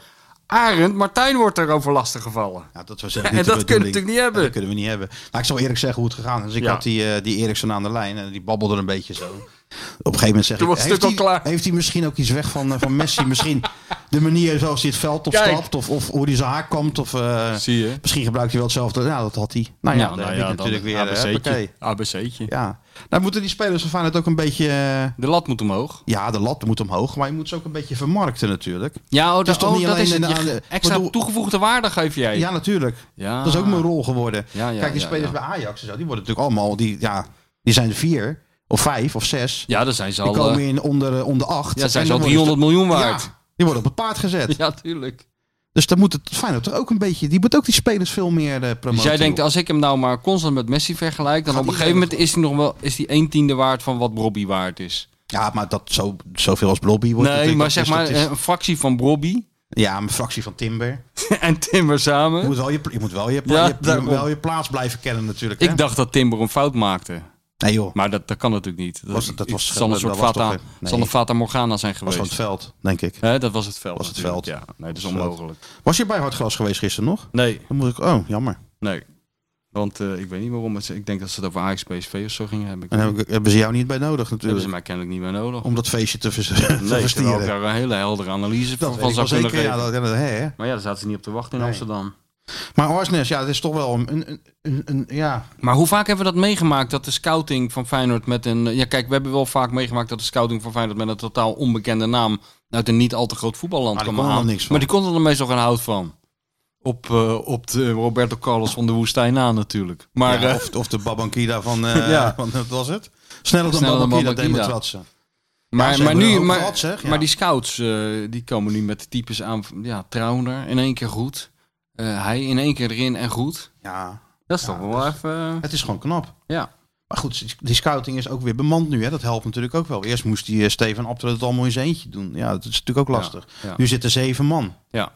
S3: Arend Martijn wordt erover lastig gevallen.
S2: Ja, dat was echt niet
S3: En
S2: de
S3: dat kunnen we
S2: bedoeling.
S3: natuurlijk niet hebben.
S2: Ja, dat kunnen we niet hebben. Nou, ik zal eerlijk zeggen hoe het gegaan is. Dus ik
S3: Ja.
S2: had die, eh, die Eriksen aan de lijn en die babbelde een beetje zo. Op een gegeven moment zeg
S3: Toen
S2: ik,
S3: was het stuk
S2: hij,
S3: al klaar.
S2: heeft hij misschien ook iets weg van, eh, van Messi? misschien de manier zoals hij het veld
S3: Kijk.
S2: opstapt of, of hoe hij zijn haar komt. Of, eh,
S3: Zie je.
S2: Misschien gebruikt hij wel hetzelfde. Ja, dat had hij. Nou ja,
S3: Ja,
S2: daar
S3: nou
S2: heb
S3: ja,
S2: ik
S3: dan
S2: natuurlijk weer. eh,
S3: ABC'tje.
S2: hoppakee.
S3: ABC'tje.
S2: Ja, nou moeten die spelers van Feyenoord ook een beetje... eh,
S3: De lat moet omhoog.
S2: ja, de lat moet omhoog, maar je moet ze ook een beetje vermarkten natuurlijk.
S3: Ja, oh,
S2: is
S3: dat,
S2: toch
S3: oh,
S2: niet
S3: dat
S2: alleen
S3: is het.
S2: een
S3: Je-
S2: aan-
S3: extra
S2: bedoel-
S3: toegevoegde waarde geef jij.
S2: Ja, natuurlijk.
S3: Ja.
S2: Dat is ook mijn rol geworden.
S3: Ah. Ja, ja,
S2: Kijk, die
S3: ja,
S2: spelers
S3: ja.
S2: bij Ajax en zo, die worden natuurlijk allemaal, die, ja, die zijn vier of vijf of zes.
S3: Ja, dan zijn ze
S2: Die
S3: al,
S2: komen
S3: eh,
S2: in onder, eh, onder acht.
S3: ja, zijn
S2: En
S3: ze al
S2: dan worden
S3: 300 miljoen
S2: ze-
S3: waard.
S2: Ja, die worden op het paard gezet.
S3: Ja, tuurlijk.
S2: Dus dan moet het Feyenoord er ook een beetje, die moet ook die spelers veel meer eh, promoten.
S3: Dus jij denkt, als ik hem nou maar constant met Messi vergelijk, dan
S2: Gaat
S3: op een gegeven
S2: iedereen
S3: moment is hij nog wel is die 1 tiende waard van wat Robbie waard is.
S2: Ja, maar dat zo, zoveel als Blobby wordt
S3: Nee,
S2: natuurlijk
S3: maar
S2: ook-
S3: zeg
S2: dus
S3: maar eh,
S2: dat is-
S3: een fractie van Robbie
S2: ja, een fractie van Timber.
S3: en Timber
S2: Je
S3: samen.
S2: moet wel je, je, moet wel je, pla-
S3: Ja,
S2: je- je,
S3: daarom.
S2: moet wel je plaats blijven kennen natuurlijk. hè?
S3: Ik dacht dat Timber een fout maakte.
S2: Nee joh,
S3: Maar dat, dat kan natuurlijk niet. Dat,
S2: Was- dat was-
S3: het zal een
S2: dat
S3: soort
S2: was
S3: Fata,
S2: toch een- nee.
S3: zal een Fata Morgana zijn
S2: was
S3: geweest.
S2: van het veld, denk ik.
S3: Hè, dat was het veld.
S2: Was het
S3: natuurlijk,
S2: veld.
S3: Ja, nee, dat is
S2: Was het veld.
S3: onmogelijk.
S2: Was je bij Hartgras geweest gisteren nog?
S3: Nee,
S2: Dan moet ik, oh, jammer.
S3: nee. Want eh, ik weet niet waarom. het- Ik denk dat ze het over Ajax, PSV of zo gingen hebben. Ik
S2: En heb ik- hebben ze jou niet bij nodig
S3: hebben ze
S2: natuurlijk.
S3: mij kennelijk niet meer nodig.
S2: Om dat feestje te, vers te
S3: Nee, ze hebben
S2: verstieren.
S3: ook daar een hele heldere analyse
S2: Dat
S3: van
S2: weet ik
S3: zou
S2: wel
S3: kunnen
S2: zeker.
S3: geven.
S2: Ja, dat, ja, dat- hè, hè.
S3: Maar ja, daar zaten ze niet op te wachten in
S2: Nee.
S3: Amsterdam.
S2: Maar Orsnes, ja, het is toch wel een, een, een, een- ja.
S3: Maar hoe vaak hebben we dat meegemaakt? Dat de scouting van Feyenoord met een... eh, Ja, kijk, we hebben wel vaak meegemaakt dat de scouting van Feyenoord... met een totaal onbekende naam uit een niet al te groot voetballand
S2: Maar die
S3: kwam
S2: kon er
S3: aan.
S2: dan niks van.
S3: Maar die kon er dan meestal geen hout van. Op, eh, op de Roberto Carlos van de woestijn aan natuurlijk. Maar
S2: ja,
S3: eh,
S2: of, of de Babankida van, eh
S3: Ja.
S2: van, wat was het? Sneller dan
S3: Sneller dan
S2: Babankida,
S3: Babangida.
S2: Demetratse.
S3: Maar,
S2: Ja, ze
S3: maar,
S2: hebben
S3: nu,
S2: er ook
S3: maar,
S2: gehad, zeg, ja.
S3: maar die scouts eh, die komen nu met types aan. van, Ja, Trauner in één keer goed. Eh, hij in één keer erin en goed.
S2: Ja, dus-
S3: Dat is toch wel even. eh,
S2: het is gewoon knap.
S3: ja.
S2: Maar goed, die scouting is ook weer bemand nu. Hè? Dat helpt natuurlijk ook wel. Eerst moest die eh, Steven Abter het allemaal in zijn eentje doen. Ja, dat is natuurlijk ook lastig.
S3: Ja, ja.
S2: Nu zitten zeven man.
S3: ja.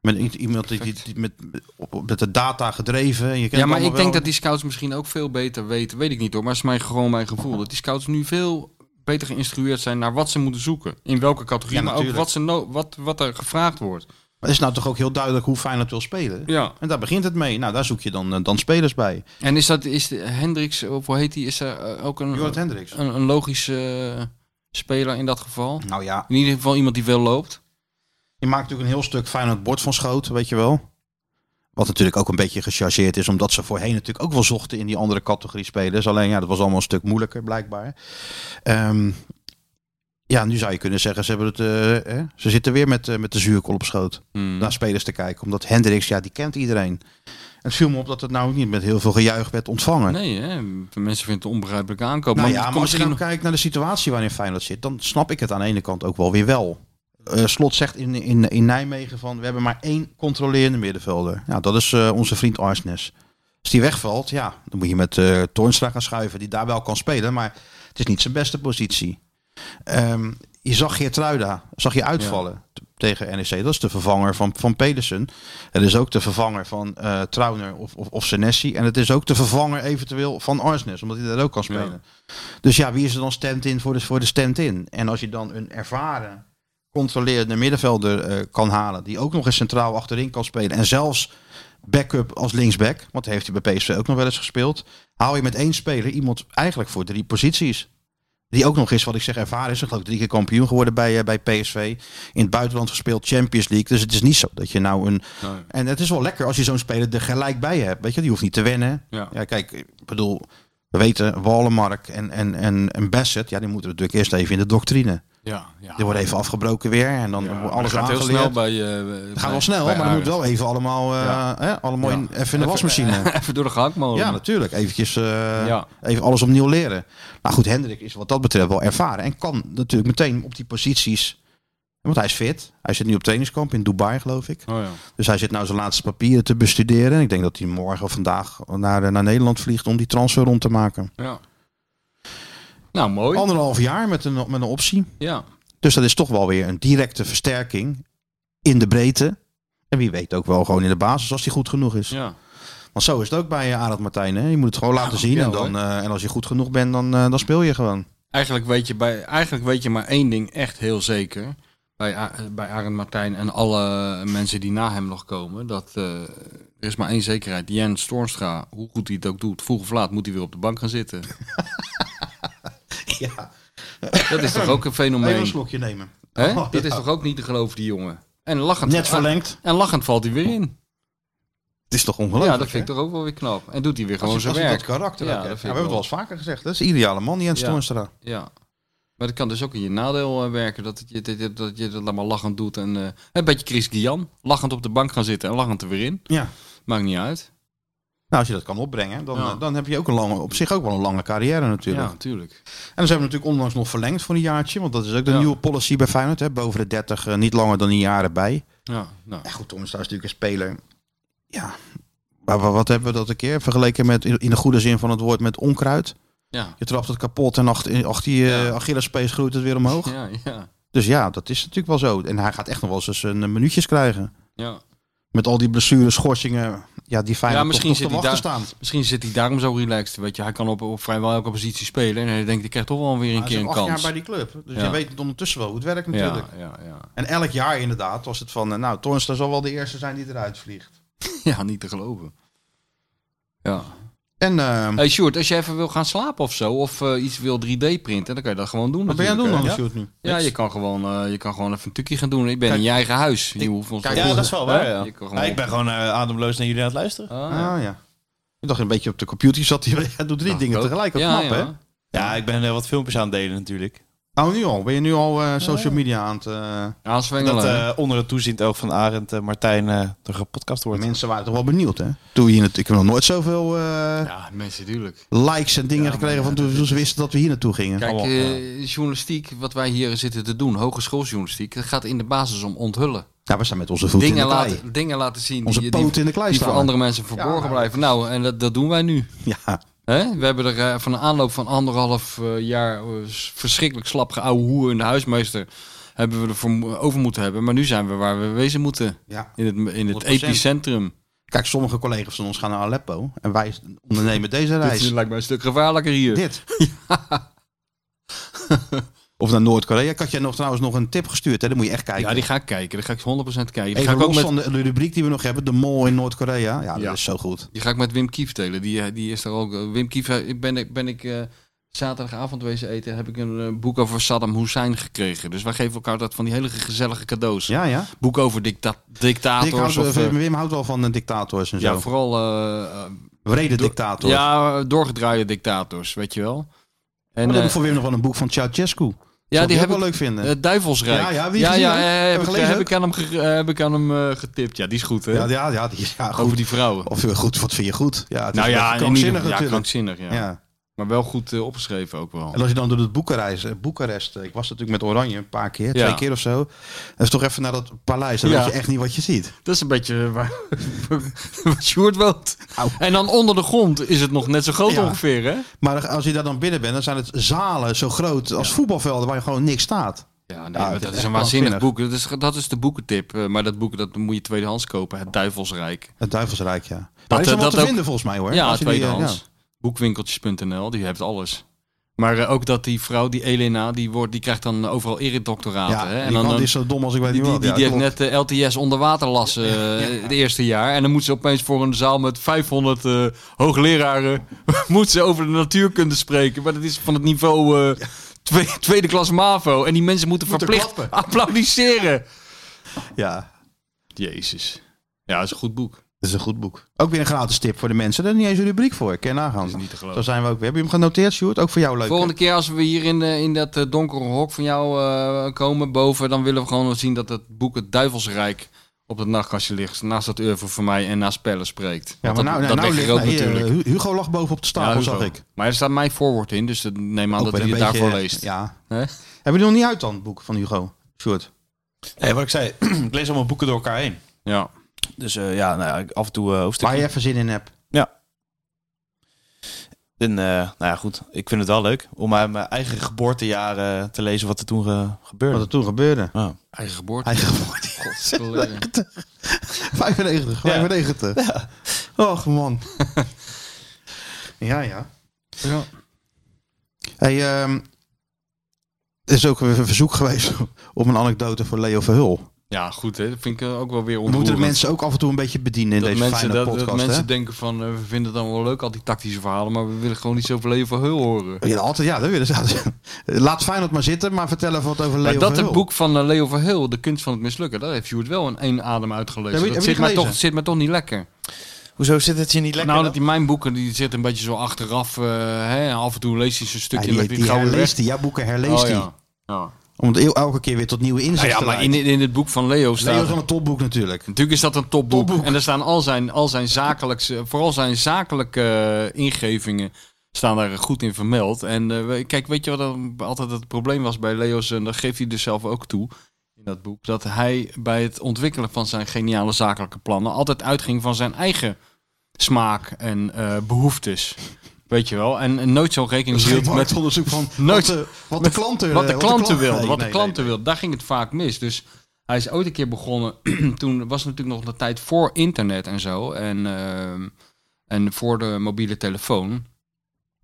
S2: Met i- iemand die, die, die met, op- op- met de data gedreven. en Je kent
S3: Ja, maar
S2: het
S3: ik denk
S2: allemaal
S3: dat die scouts misschien ook veel beter weten. Weet ik niet hoor, maar het is mijn, gewoon mijn gevoel. Dat die scouts nu veel beter geïnstrueerd zijn naar wat ze moeten zoeken. In welke categorie,
S2: Ja,
S3: maar ook
S2: natuurlijk.
S3: wat, ze no- wat, wat er gevraagd wordt.
S2: wel. Maar het is nou toch ook heel duidelijk hoe Feyenoord wil spelen.
S3: Ja.
S2: En daar begint het mee. Nou, daar zoek je dan, eh, dan spelers bij.
S3: En is dat, is de- Hendricks, of hoe heet die, is er eh, ook een,
S2: Jorrit
S3: een,
S2: Hendricks.
S3: een logische eh, speler in dat geval?
S2: Nou ja,
S3: In ieder geval iemand die veel loopt.
S2: Je maakt natuurlijk een heel stuk Feyenoord bord van schoot, weet je wel. Wat natuurlijk ook een beetje gechargeerd is, omdat ze voorheen natuurlijk ook wel zochten in die andere categorie spelers. Alleen ja, dat was allemaal een stuk moeilijker blijkbaar. Ehm, ja, nu zou je kunnen zeggen, ze, hebben het, eh, hè, ze zitten weer met, eh, met de zuurkool op schoot
S3: Hmm.
S2: naar spelers te kijken. Omdat Hendricks, ja, die kent iedereen. En het viel me op dat het nou ook niet met heel veel gejuich werd ontvangen.
S3: Nee, hè? mensen vinden het een onbegrijpelijke aankoop.
S2: Nou
S3: het
S2: ja, maar
S3: komt
S2: als je
S3: misschien
S2: nou kijkt naar de situatie waarin Feyenoord zit, dan snap ik het aan de ene kant ook wel weer wel. Eh, Slot zegt in, in, in Nijmegen van, we hebben maar één controlerende middenvelder. Ja, dat is eh, onze vriend Arsnes. Als die wegvalt, ja, dan moet je met eh Toornstra gaan schuiven, die daar wel kan spelen, maar het is niet zijn beste positie. Ehm, je zag Geertruida, zag je uitvallen t- tegen NEC. Dat is de vervanger van, van Pedersen. Het is ook de vervanger van eh Trauner of, of, of Senesi. En het is ook de vervanger eventueel van Arsnes, omdat hij daar ook kan spelen. Dus ja, wie is er dan stand-in voor de, voor de stand-in? En als je dan een ervaren, controlerende middenvelder eh, kan halen, die ook nog eens centraal achterin kan spelen en zelfs backup als linksback, want heeft hij bij PSV ook nog wel eens gespeeld, haal je met één speler iemand eigenlijk voor drie posities. Die ook nog eens, wat ik zeg, ervaren is. Ik geloof drie keer kampioen geworden bij, eh, bij PSV. In het buitenland gespeeld, Champions League. Dus het is niet zo dat je nou een...
S3: Nee.
S2: En het is wel lekker als je zo'n speler er gelijk bij hebt. Weet je, die hoeft niet te wennen.
S3: Ja.
S2: Ja, kijk, ik bedoel, we weten, Wallenmark en, en, en, en Bassett, ja, die moeten natuurlijk eerst even in de doctrine.
S3: Ja, ja.
S2: Die worden even afgebroken weer en dan wordt alles
S3: gaat heel
S2: aangeleerd.
S3: snel bij...
S2: Het gaat wel snel, maar dat moet wel even allemaal, eh, hè, allemaal in, even in de wasmachine.
S3: Even door de gehaktmolen.
S2: Ja, natuurlijk. Eventjes, eh,
S3: Ja.
S2: Even alles opnieuw leren. Maar goed, Hendrik is wat dat betreft wel ervaren. En kan natuurlijk meteen op die posities. Want hij is fit. Hij zit nu op trainingskamp in Dubai, geloof ik.
S3: Oh, ja.
S2: Dus hij zit nou zijn laatste papieren te bestuderen. En ik denk dat hij morgen of vandaag naar, eh, naar Nederland vliegt om die transfer rond te maken.
S3: Ja. Nou, mooi.
S2: Anderhalf jaar met een, met een optie.
S3: Ja.
S2: Dus dat is toch wel weer een directe versterking in de breedte. En wie weet ook wel gewoon in de basis als hij goed genoeg is.
S3: ja.
S2: Want zo is het ook bij eh, Arend Martijn. Hè? Je moet het gewoon laten zien.
S3: ja,
S2: en, dan, eh, en als je goed genoeg bent, dan, eh, dan speel je gewoon.
S3: Eigenlijk, weet je bij, eigenlijk weet je maar één ding echt heel zeker. Bij, A- bij Arend Martijn en alle mensen die na hem nog komen. Dat, eh, er is maar één zekerheid. Jan Stormstra, hoe goed hij het ook doet. Vroeg of laat moet hij weer op de bank gaan zitten.
S2: Ja,
S3: Dat is toch ook een
S2: even een
S3: fenomeen.
S2: slokje nemen.
S3: Hè?
S2: Oh,
S3: Dat is
S2: ja.
S3: toch ook niet te geloven, die jongen. En lachend,
S2: Net verlengd.
S3: en lachend valt hij weer in.
S2: Het is toch ongelooflijk?
S3: Ja, dat vind ik toch ook wel weer knap. En doet hij weer
S2: hè?
S3: gewoon
S2: als, je-
S3: zijn
S2: als je dat
S3: werk.
S2: karakter
S3: Ja,
S2: ook
S3: dat
S2: hebt.
S3: vind
S2: Ja,
S3: ik
S2: we hebben het wel
S3: wel.
S2: eens vaker gezegd. Dat is de ideale man, Jens
S3: Ja.
S2: Toornstra.
S3: Ja. Maar dat kan dus ook in je nadeel eh, werken. Dat je dat, je- dat je dat allemaal lachend doet. En, eh, een beetje Chris Guillan. Lachend op de bank gaan zitten en lachend er weer in.
S2: Ja.
S3: Maakt niet uit.
S2: Nou, als je dat kan opbrengen, dan,
S3: Ja.
S2: eh, dan heb je ook een lange, op zich ook wel een lange carrière natuurlijk.
S3: Ja, natuurlijk.
S2: En ze hebben natuurlijk onlangs nog verlengd voor een jaartje. Want dat is ook de
S3: Ja.
S2: nieuwe policy bij Feyenoord. Hè? Boven de 30, eh, niet langer dan een jaar erbij.
S3: Ja, nou.
S2: En goed, Toornstra is natuurlijk een speler. Ja, maar wa- wat hebben we dat een keer vergeleken met, in de goede zin van het woord, met onkruid?
S3: Ja.
S2: Je trapt het kapot en achter ach, die
S3: Ja.
S2: eh Achillespees groeit het weer omhoog.
S3: Ja, ja.
S2: Dus ja, dat is natuurlijk wel zo. En hij gaat echt nog wel eens eh, een minuutjes krijgen.
S3: Ja.
S2: Met al die blessures, schorsingen. Ja, die Feyenoord
S3: Ja, misschien
S2: toch nog
S3: zit
S2: te
S3: hij
S2: wachten
S3: daar-
S2: staan.
S3: Misschien zit hij daarom zo relaxed. Weet je, hij kan op, op vrijwel elke positie spelen. En hij denkt, ik krijg toch wel weer een
S2: Hij is
S3: keer een
S2: acht jaar
S3: kans.
S2: bij die club. Dus
S3: Ja.
S2: je weet het ondertussen wel hoe het werkt natuurlijk.
S3: ja, ja, ja.
S2: En elk jaar inderdaad was het van, eh, nou, Toornstra zal wel de eerste zijn die eruit vliegt.
S3: ja, niet te geloven. Ja.
S2: En eh,
S3: Hey Sjoerd, als je even wil gaan slapen of zo, of eh, iets wil 3D printen, dan kan je dat gewoon doen.
S2: wat ben je aan het doen dan,
S3: natuurlijk, hè?
S2: Sjoerd, nu?
S3: Ja, je kan, gewoon, eh, je kan gewoon even een tukje gaan doen. Ik ben in je eigen huis. Je hoeft ons
S2: kijk,
S3: toch-
S4: Ja, dat is wel waar.
S3: Hè?
S4: ja.
S3: Je kan gewoon-
S4: Nou, ik ben gewoon eh, ademloos naar jullie aan het luisteren.
S3: Ah, ja.
S2: Ah ja. Ik dacht een beetje op de computer zat. Hij Hij doet drie
S3: Ja,
S2: dingen
S3: ook.
S2: tegelijk. Wat
S3: Ja,
S2: knap, hè?
S3: ja.
S4: Ja, ik ben eh, wat filmpjes aan het delen natuurlijk.
S2: Nou, nu al. Ben je nu al eh, social media aan het... eh,
S3: Aanzwengelen.
S4: Dat
S3: hè?
S4: eh, onder het toezicht ook van Arend en Martijn eh, er gepodcast wordt.
S2: mensen waren toch wel benieuwd, hè? Toen we hier nat- ik heb nog nooit zoveel eh,
S3: ja, mensen, tuurlijk.
S2: likes en dingen
S3: Ja, maar
S2: gekregen
S3: ja,
S2: van toen toen ze wisten dat we hier naartoe gingen.
S3: Kijk,
S4: Oh, ja.
S3: eh, journalistiek, wat wij hier zitten te doen, hogeschooljournalistiek, dat gaat in de basis om onthullen.
S2: Ja, we staan met onze voeten
S3: Dingen
S2: in de klei.
S3: laten, dingen laten zien
S2: Onze
S3: die,
S2: poot
S3: die,
S2: in de klei
S3: die voor
S2: staan.
S3: andere mensen verborgen
S2: nou,
S3: blijven. Nou, en dat, dat doen wij nu.
S2: Ja,
S3: Hè? We hebben er eh, van een aanloop van anderhalf eh, jaar eh, s- verschrikkelijk slap geouwe hoer in de huismeester. hebben we ervoor mo- over moeten hebben. Maar nu zijn we waar we wezen moeten.
S2: Ja.
S3: In het, in het
S2: 100%.
S3: epicentrum.
S2: Kijk, sommige collega's van ons gaan naar Aleppo. En wij ondernemen deze
S3: Dit
S2: reis.
S3: lijkt mij een stuk gevaarlijker hier.
S2: Dit. of naar Noord-Korea. Ik had jij nog trouwens nog een tip gestuurd. Hè? Dan moet je echt kijken.
S3: ja, die ga ik kijken. Die ga ik 100% kijken. Die ga
S2: Even
S3: ik ook
S2: los
S3: met,
S2: van de, de rubriek die we nog hebben. De mol in Noord-Korea. Ja, dat
S3: Ja.
S2: is zo goed.
S3: die ga ik met Wim Kief delen. Die, eh, die is er ook. Wim Kief, eh, ik ben, ik- ben ik eh, zaterdagavond wezen eten. Heb ik een eh, boek over Saddam Hussein gekregen. Dus wij geven elkaar dat van die hele gezellige cadeaus.
S2: Ja, ja.
S3: Boek over dicta
S2: Ik hou-
S3: dictators. of, eh,
S2: Wim houdt wel van eh, dictators en zo. Oh,
S3: ja, vooral eh, eh,
S2: Wrede
S3: Door-
S2: dictator.
S3: Ja, doorgedraaide dictators, weet je wel. En
S2: En, heb ik
S3: eh,
S2: voor Wim nog wel een boek van Ceausescu.
S3: ja, die heb
S2: wel
S3: ik eh,
S2: leuk vinden.
S3: het Duivelsrijk.
S2: Ja, ja, heb je
S3: ja,
S2: gezien ook?
S3: eh,
S2: Heb
S3: heb,
S2: je
S3: ik,
S2: gelezen
S3: heb
S2: ook?
S3: ik aan hem, ge- eh, heb ik aan hem eh, getipt. Ja, die is goed, hè?
S2: ja, ja, ja, die- ja, Ah, goed.
S3: Over die vrouwen.
S2: Of eh, goed, wat vind je goed? Ja, het is
S3: nou
S2: een
S3: ja,
S2: beetje
S3: in ieder
S2: krankzinnig
S3: geval- ja,
S2: natuurlijk.
S3: krankzinnig, ja.
S2: Ja,
S3: Maar wel goed eh, opgeschreven ook wel.
S2: En als je dan door het Boekarest, eh, Boekarest, eh, ik was natuurlijk met Oranje een paar keer,
S3: Ja.
S2: twee keer of zo. Dat is toch even naar dat paleis, dan
S3: Ja.
S2: weet je echt niet wat je ziet.
S3: Dat is een beetje waar, waar Sjoerd woont.
S2: Au.
S3: En dan onder de grond is het nog net zo groot
S2: Ja.
S3: ongeveer, hè?
S2: Maar als je daar dan binnen bent, dan zijn het zalen zo groot als voetbalvelden waar je gewoon niks staat.
S3: Ja, nee,
S2: Ja,
S3: maar
S2: het
S3: dat
S2: is
S3: is een
S2: echt
S3: waanzinnig
S2: krankzinnig.
S3: boek. Dat is, dat is de boekentip. Eh, maar dat boek dat moet je tweedehands kopen. Het Duivelsrijk.
S2: Het Duivelsrijk, ja.
S3: Dat,
S2: Dat, is
S3: eh,
S2: er wat
S3: dat
S2: te
S3: ook-
S2: vinden volgens mij hoor.
S3: Ja,
S2: Als je die, eh,
S3: tweedehands.
S2: ja.
S3: Boekwinkeltjes.nl, die heeft alles. Maar eh, ook dat die vrouw, die Elena, die, wordt, die krijgt dan overal eredoctoraten.
S2: Ja,
S3: hè? En
S2: die
S3: dan,
S2: man
S3: dan-
S2: is zo dom als ik weet
S3: die,
S2: niet
S3: die,
S2: wat.
S3: die,
S2: Ja,
S3: die heeft
S2: klopt.
S3: net eh, de LTS onder water lassen eh, het eerste jaar. En dan moet ze opeens voor een zaal met 500 eh, hoogleraren... moet ze over de natuurkunde spreken. Maar dat is van het niveau eh, tweede, tweede klas MAVO. En die mensen moeten,
S2: Moeten
S3: verplicht
S2: klappen.
S3: applaudisseren.
S2: ja,
S3: Jezus. Ja, dat is een goed boek.
S2: Dat is een goed boek. Ook weer een gratis tip voor de mensen. Daar is niet eens een rubriek voor. Kan je nagaan.
S3: Dat is niet te geloven.
S2: Zo zijn we ook weer. Heb je hem genoteerd, Sjoerd? Ook voor jou leuk.
S3: Volgende keer als we hier in, eh, in dat eh, donkere hok van jou eh, komen boven, dan willen we gewoon zien dat het boek Het Duivelsrijk op het nachtkastje ligt. Naast dat oeuvre voor mij en naast Pelle spreekt.
S2: hè? Ja, maar
S3: Want
S2: nou,
S3: dat,
S2: nou,
S3: dat
S2: nou
S3: ligt
S2: ligt,
S3: er ook
S2: nee, eh,
S3: natuurlijk.
S2: Hu- Hugo lag boven op de stapel,
S3: Ja,
S2: zag
S3: Hugo.
S2: ik.
S3: Maar er staat mijn voorwoord in, dus dat- neem aan
S2: Ook
S3: dat
S2: weer
S3: hij het
S2: een beetje- eh,
S3: daarvoor leest.
S2: Ja.
S3: Hè?
S2: Hebben jullie nog niet uit dan, het boek van Hugo? Sjoerd?
S4: Nee, wat ik zei, ik lees allemaal boeken door elkaar heen.
S3: Ja.
S4: Dus eh, ja, nou ja, ik- af en toe eh hoofdstukken.
S2: Waar je even zin in hebt.
S4: En, eh, nou ja, goed. Ik vind het wel leuk om aan mijn eigen geboortejaren te lezen wat er toen eh, gebeurde.
S2: Wat er toen gebeurde.
S4: Ja.
S3: Eigen geboorte.
S2: Hij geboorte.
S3: Geleden.
S2: 95,
S4: Ja.
S2: 95. Och man. ja, ja.
S3: Ja.
S2: Hey, ehm, er is ook weer een verzoek geweest om een anekdote voor Leo Verhul.
S3: ja, goed hè. Dat vind ik eh, ook wel weer
S2: We moeten de
S3: ontroerend.
S2: mensen ook af en toe een beetje bedienen in
S3: dat
S2: deze
S3: mensen,
S2: fijne
S3: dat, dat
S2: podcast.
S3: mensen
S2: hè?
S3: denken van, eh, we vinden het dan wel leuk, al die tactische verhalen, maar we willen gewoon niet zoveel leven van heul horen.
S2: Ja, altijd, ja, dat willen ze. altijd. Laat Feyenoord maar zitten, maar vertel even wat over Leo
S3: maar dat
S2: Verhul.
S3: het boek van eh, Leo Verheul, De Kunst van het Mislukken, daar heeft Sjoerd wel in één adem uitgelezen.
S2: Heb je-
S3: dat
S2: heb je
S3: zit, mij
S2: gelezen?
S3: toch, zit mij toch niet lekker.
S4: Hoezo zit het je niet lekker?
S3: nou,
S4: dan?
S3: dat die mijn boeken, die zitten een beetje zo achteraf. eh, hè, en af en toe leest hij zo'n
S2: Ja,
S3: stukje en
S2: die,
S3: legt hij
S2: die
S3: het gauw weer weg.
S2: herleest hij. Jouw boeken herleest
S3: Oh,
S2: hij.
S3: ja. Ja.
S2: Om het eeuw- elke keer weer tot nieuwe
S3: Nou
S2: inzichten
S3: ja,
S2: te
S3: maar in,
S2: leiden.
S3: in het boek van Leo staat...
S2: Leo is wel een topboek natuurlijk.
S3: Natuurlijk is dat een topboek.
S2: Topboek.
S3: En daar staan al zijn, al zijn zakelijkse, vooral zijn zakelijke eh, ingevingen staan daar goed in vermeld. En eh, we- kijk, weet je wat dan altijd het probleem was bij Leo's, en dat geeft hij dus zelf ook toe in dat boek, dat hij bij het ontwikkelen van zijn geniale zakelijke plannen altijd uitging van zijn eigen smaak en eh, behoeftes. Weet je wel? En, en nooit zo'n rekening
S2: Misschien
S3: hield
S2: met
S3: met
S2: het onderzoek van
S3: Nooit-
S2: wat, de, wat de
S3: met-
S2: klanten
S3: wat de
S2: eh,
S3: klanten
S2: klant-
S3: wilden.
S2: Nee,
S3: Wat de
S2: nee,
S3: klanten
S2: nee.
S3: wilden. Daar ging het vaak mis. Dus hij is ooit een keer begonnen. Toen was het natuurlijk nog de tijd voor internet en zo. En, ehm, en voor de mobiele telefoon.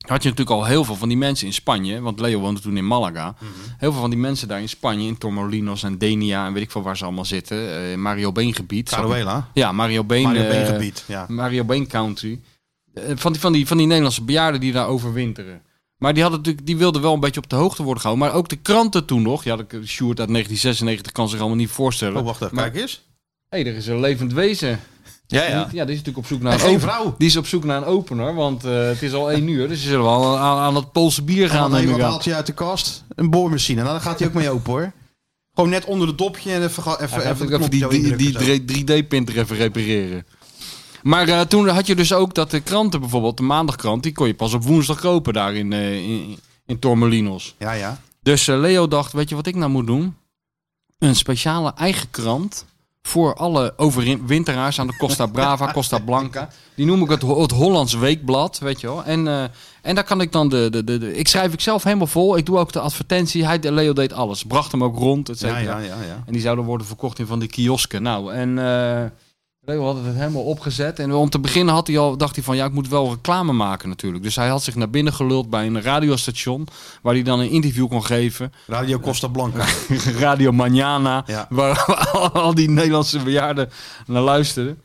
S3: Had je natuurlijk al heel veel van die mensen in Spanje. Want Leo woonde toen in Malaga.
S2: Mhm.
S3: Heel veel van die mensen daar in Spanje. In Tormolinos en Denia. En weet ik veel waar ze allemaal zitten. eh, in Mario Been gebied.
S2: Caruela,
S3: Ja, Mario Been.
S2: Mario
S3: eh,
S2: Beengebied, ja.
S3: Mario Been County. Eh, Van die, van, die, van die Nederlandse bejaarden die daar overwinteren. Maar die, hadden natuurlijk, die wilden wel een beetje op de hoogte worden gehouden. Maar ook de kranten toen nog. Ja, de Sjoerd uit 1996 kan zich allemaal niet voorstellen.
S2: Oh, wacht even,
S3: Maar-
S2: kijk eens.
S3: Hé, er is een levend wezen.
S4: Ja,
S3: Ja,
S4: ja.
S3: die is natuurlijk op zoek naar
S2: En
S3: een
S2: geen
S3: opener.
S2: vrouw.
S3: Die is op zoek naar een opener, want eh, het is al één uur. Dus ze zullen wel aan, aan dat Poolse bier gaan,
S2: Dan hey,
S3: neem
S2: wat
S3: ik aan.
S2: haalt hij uit de kast? Een boormachine. Nou, daar gaat hij ook mee open hoor. Gewoon net onder het dopje en even, even, even, het
S3: Even, even
S2: knopje
S3: die,
S2: zo
S3: die,
S2: indrukken,
S3: die
S2: zo.
S3: 3D-print er even repareren. Maar eh, toen had je dus ook dat de kranten bijvoorbeeld, de maandagkrant, die kon je pas op woensdag kopen daar in, eh, in, in Tormelinos.
S2: Ja, ja.
S3: Dus eh, Leo dacht, weet je wat ik nou moet doen? Een speciale eigen krant voor alle overwinteraars aan de Costa Brava, Costa Blanca. Die noem ik het, Ho- het Hollands Weekblad, weet je wel. En, eh, en daar kan ik dan de, de, de, de- Ik schrijf ik zelf helemaal vol. Ik doe ook de advertentie. Hij, Leo deed alles. Bracht hem ook rond, et
S2: Ja,
S3: cetera.
S2: ja, ja, ja.
S3: En die zouden worden verkocht in van die kiosken. Nou, en eh Leo had het helemaal opgezet. En om te beginnen had hij al, dacht hij van... ja, ik moet wel reclame maken natuurlijk. Dus hij had zich naar binnen geluld bij een radiostation... waar hij dan een interview kon geven.
S2: Radio Costa Blanca.
S3: Radio Manana.
S2: Ja.
S3: Waar al die Nederlandse bejaarden naar luisteren.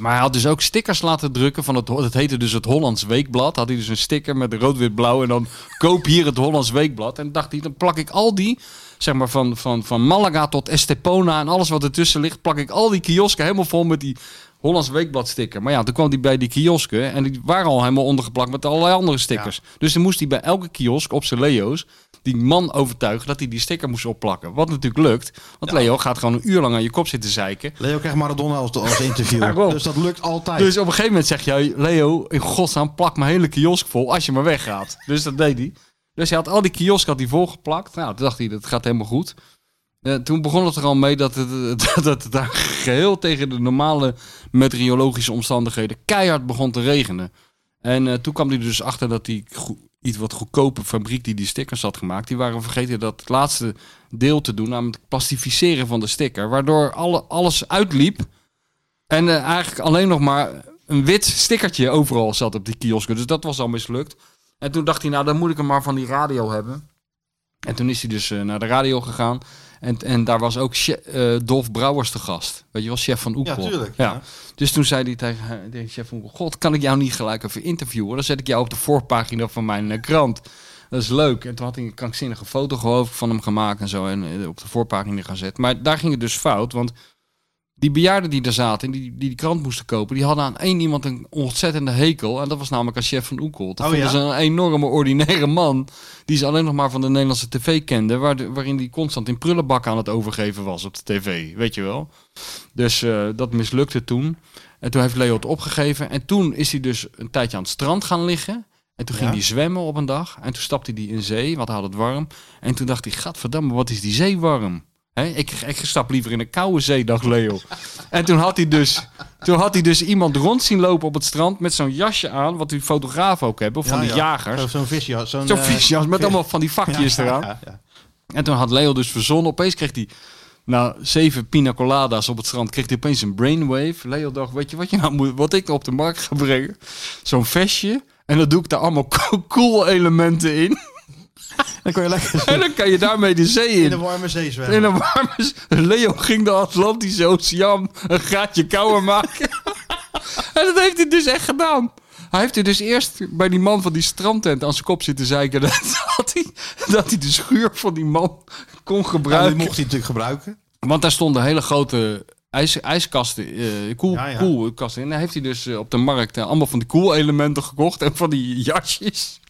S3: Maar hij had dus ook stickers laten drukken van het, het heette dus het Hollands Weekblad. Had hij dus een sticker met rood-wit-blauw en dan koop hier het Hollands Weekblad. En dacht hij, dan plak ik al die, zeg maar van, van, van Malaga tot Estepona en alles wat ertussen ligt, plak ik al die kiosken helemaal vol met die Hollands Weekblad sticker. Maar ja, toen kwam hij bij die kiosken en die waren al helemaal ondergeplakt met allerlei andere stickers. Dus dan moest hij bij elke kiosk op zijn Leo's die man overtuigen dat hij die sticker moest opplakken. Wat natuurlijk lukt, want Leo gaat gewoon een uur lang aan je kop zitten zeiken.
S2: Leo krijgt Maradona als, als interview.
S3: Daarom.
S2: dus dat lukt altijd.
S3: Dus op een gegeven moment zeg jij, Leo, in godsnaam, plak mijn hele kiosk vol als je maar weggaat. Dus dat deed hij. Dus hij had al die kiosk had hij volgeplakt. Nou, toen dacht hij, dat gaat helemaal goed. Eh, toen begon het er al mee dat het, dat, dat het daar geheel tegen de normale meteorologische omstandigheden keihard begon te regenen. En eh, toen kwam hij er dus achter dat die goe- iets wat goedkope fabriek die die stickers had gemaakt, die waren vergeten dat laatste deel te doen, namelijk het plastificeren van de sticker. Waardoor alle, alles uitliep en eh, eigenlijk alleen nog maar een wit stickertje overal zat op die kiosken. Dus dat was al mislukt. En toen dacht hij, nou dan moet ik hem maar van die radio hebben. En toen is hij dus eh, naar de radio gegaan. En, en daar was ook che- eh, Dolf Brouwers te gast. Weet je wel, chef van Oekpop.
S2: tuurlijk,
S3: Ja.
S2: ja.
S3: Dus toen zei hij tegen, eh, tegen chef van Oekpop... God, kan ik jou niet gelijk even interviewen? Dan zet ik jou op de voorpagina van mijn eh, krant. Dat is leuk. En toen had hij een krankzinnige foto geloof ik van hem gemaakt en zo. En eh, op de voorpagina gaan zetten. Maar daar ging het dus fout. Want die bejaarden die daar zaten en die, die die krant moesten kopen, die hadden aan één iemand een ontzettende hekel. En dat was namelijk aan chef van Oekel. Dat
S2: Oh,
S3: vonden
S2: ja?
S3: ze een enorme ordinaire man. Die ze alleen nog maar van de Nederlandse tv kende. Waar de- waarin die constant in prullenbakken aan het overgeven was op de tv. Weet je wel. Dus eh, dat mislukte toen. En toen heeft Leo het opgegeven. En toen is hij dus een tijdje aan het strand gaan liggen. En toen ging
S2: Ja.
S3: hij zwemmen op een dag. En toen stapte hij in zee, want hij had het warm. En toen dacht hij, gadverdamme, wat is die zee warm? Hè, ik, ik stap liever in een koude zee, dacht Leo. en toen had, hij dus, toen had hij dus iemand rond zien lopen op het strand met zo'n jasje aan, wat die fotografen ook hebben, of van
S2: Ja,
S3: die
S2: ja.
S3: jagers.
S2: Zo- Zo'n visje. Zo'n
S3: Zo'n
S2: eh,
S3: visjas met allemaal van die vakjes
S2: ja,
S3: eraan.
S2: ja, ja.
S3: En toen had Leo dus verzonnen. Opeens kreeg hij, na zeven pina coladas op het strand, kreeg hij opeens een brainwave. Leo dacht, weet je wat, je nou moet, wat ik op de markt ga brengen? Zo'n vestje. En dan doe ik daar allemaal co- cool elementen in.
S2: Dan kon je lekker
S3: En dan kan je daarmee de zee
S2: in de
S3: in.
S2: warme zee
S3: In
S2: zwemmen.
S3: een warme... Leo ging de Atlantische Oceaan een gaatje kouder maken. en dat heeft hij dus echt gedaan. Hij heeft er dus eerst bij die man van die strandtent aan zijn kop zitten zeiken... dat dat hij, dat hij de schuur van die man kon
S2: Ja, die
S3: gebruiken.
S2: mocht hij natuurlijk gebruiken.
S3: Want daar stonden hele grote ijs, ijskasten, eh, koel,
S2: Ja, ja.
S3: koelkasten in. En daar heeft hij dus eh, op de markt eh, allemaal van die koelelementen gekocht en van die jasjes.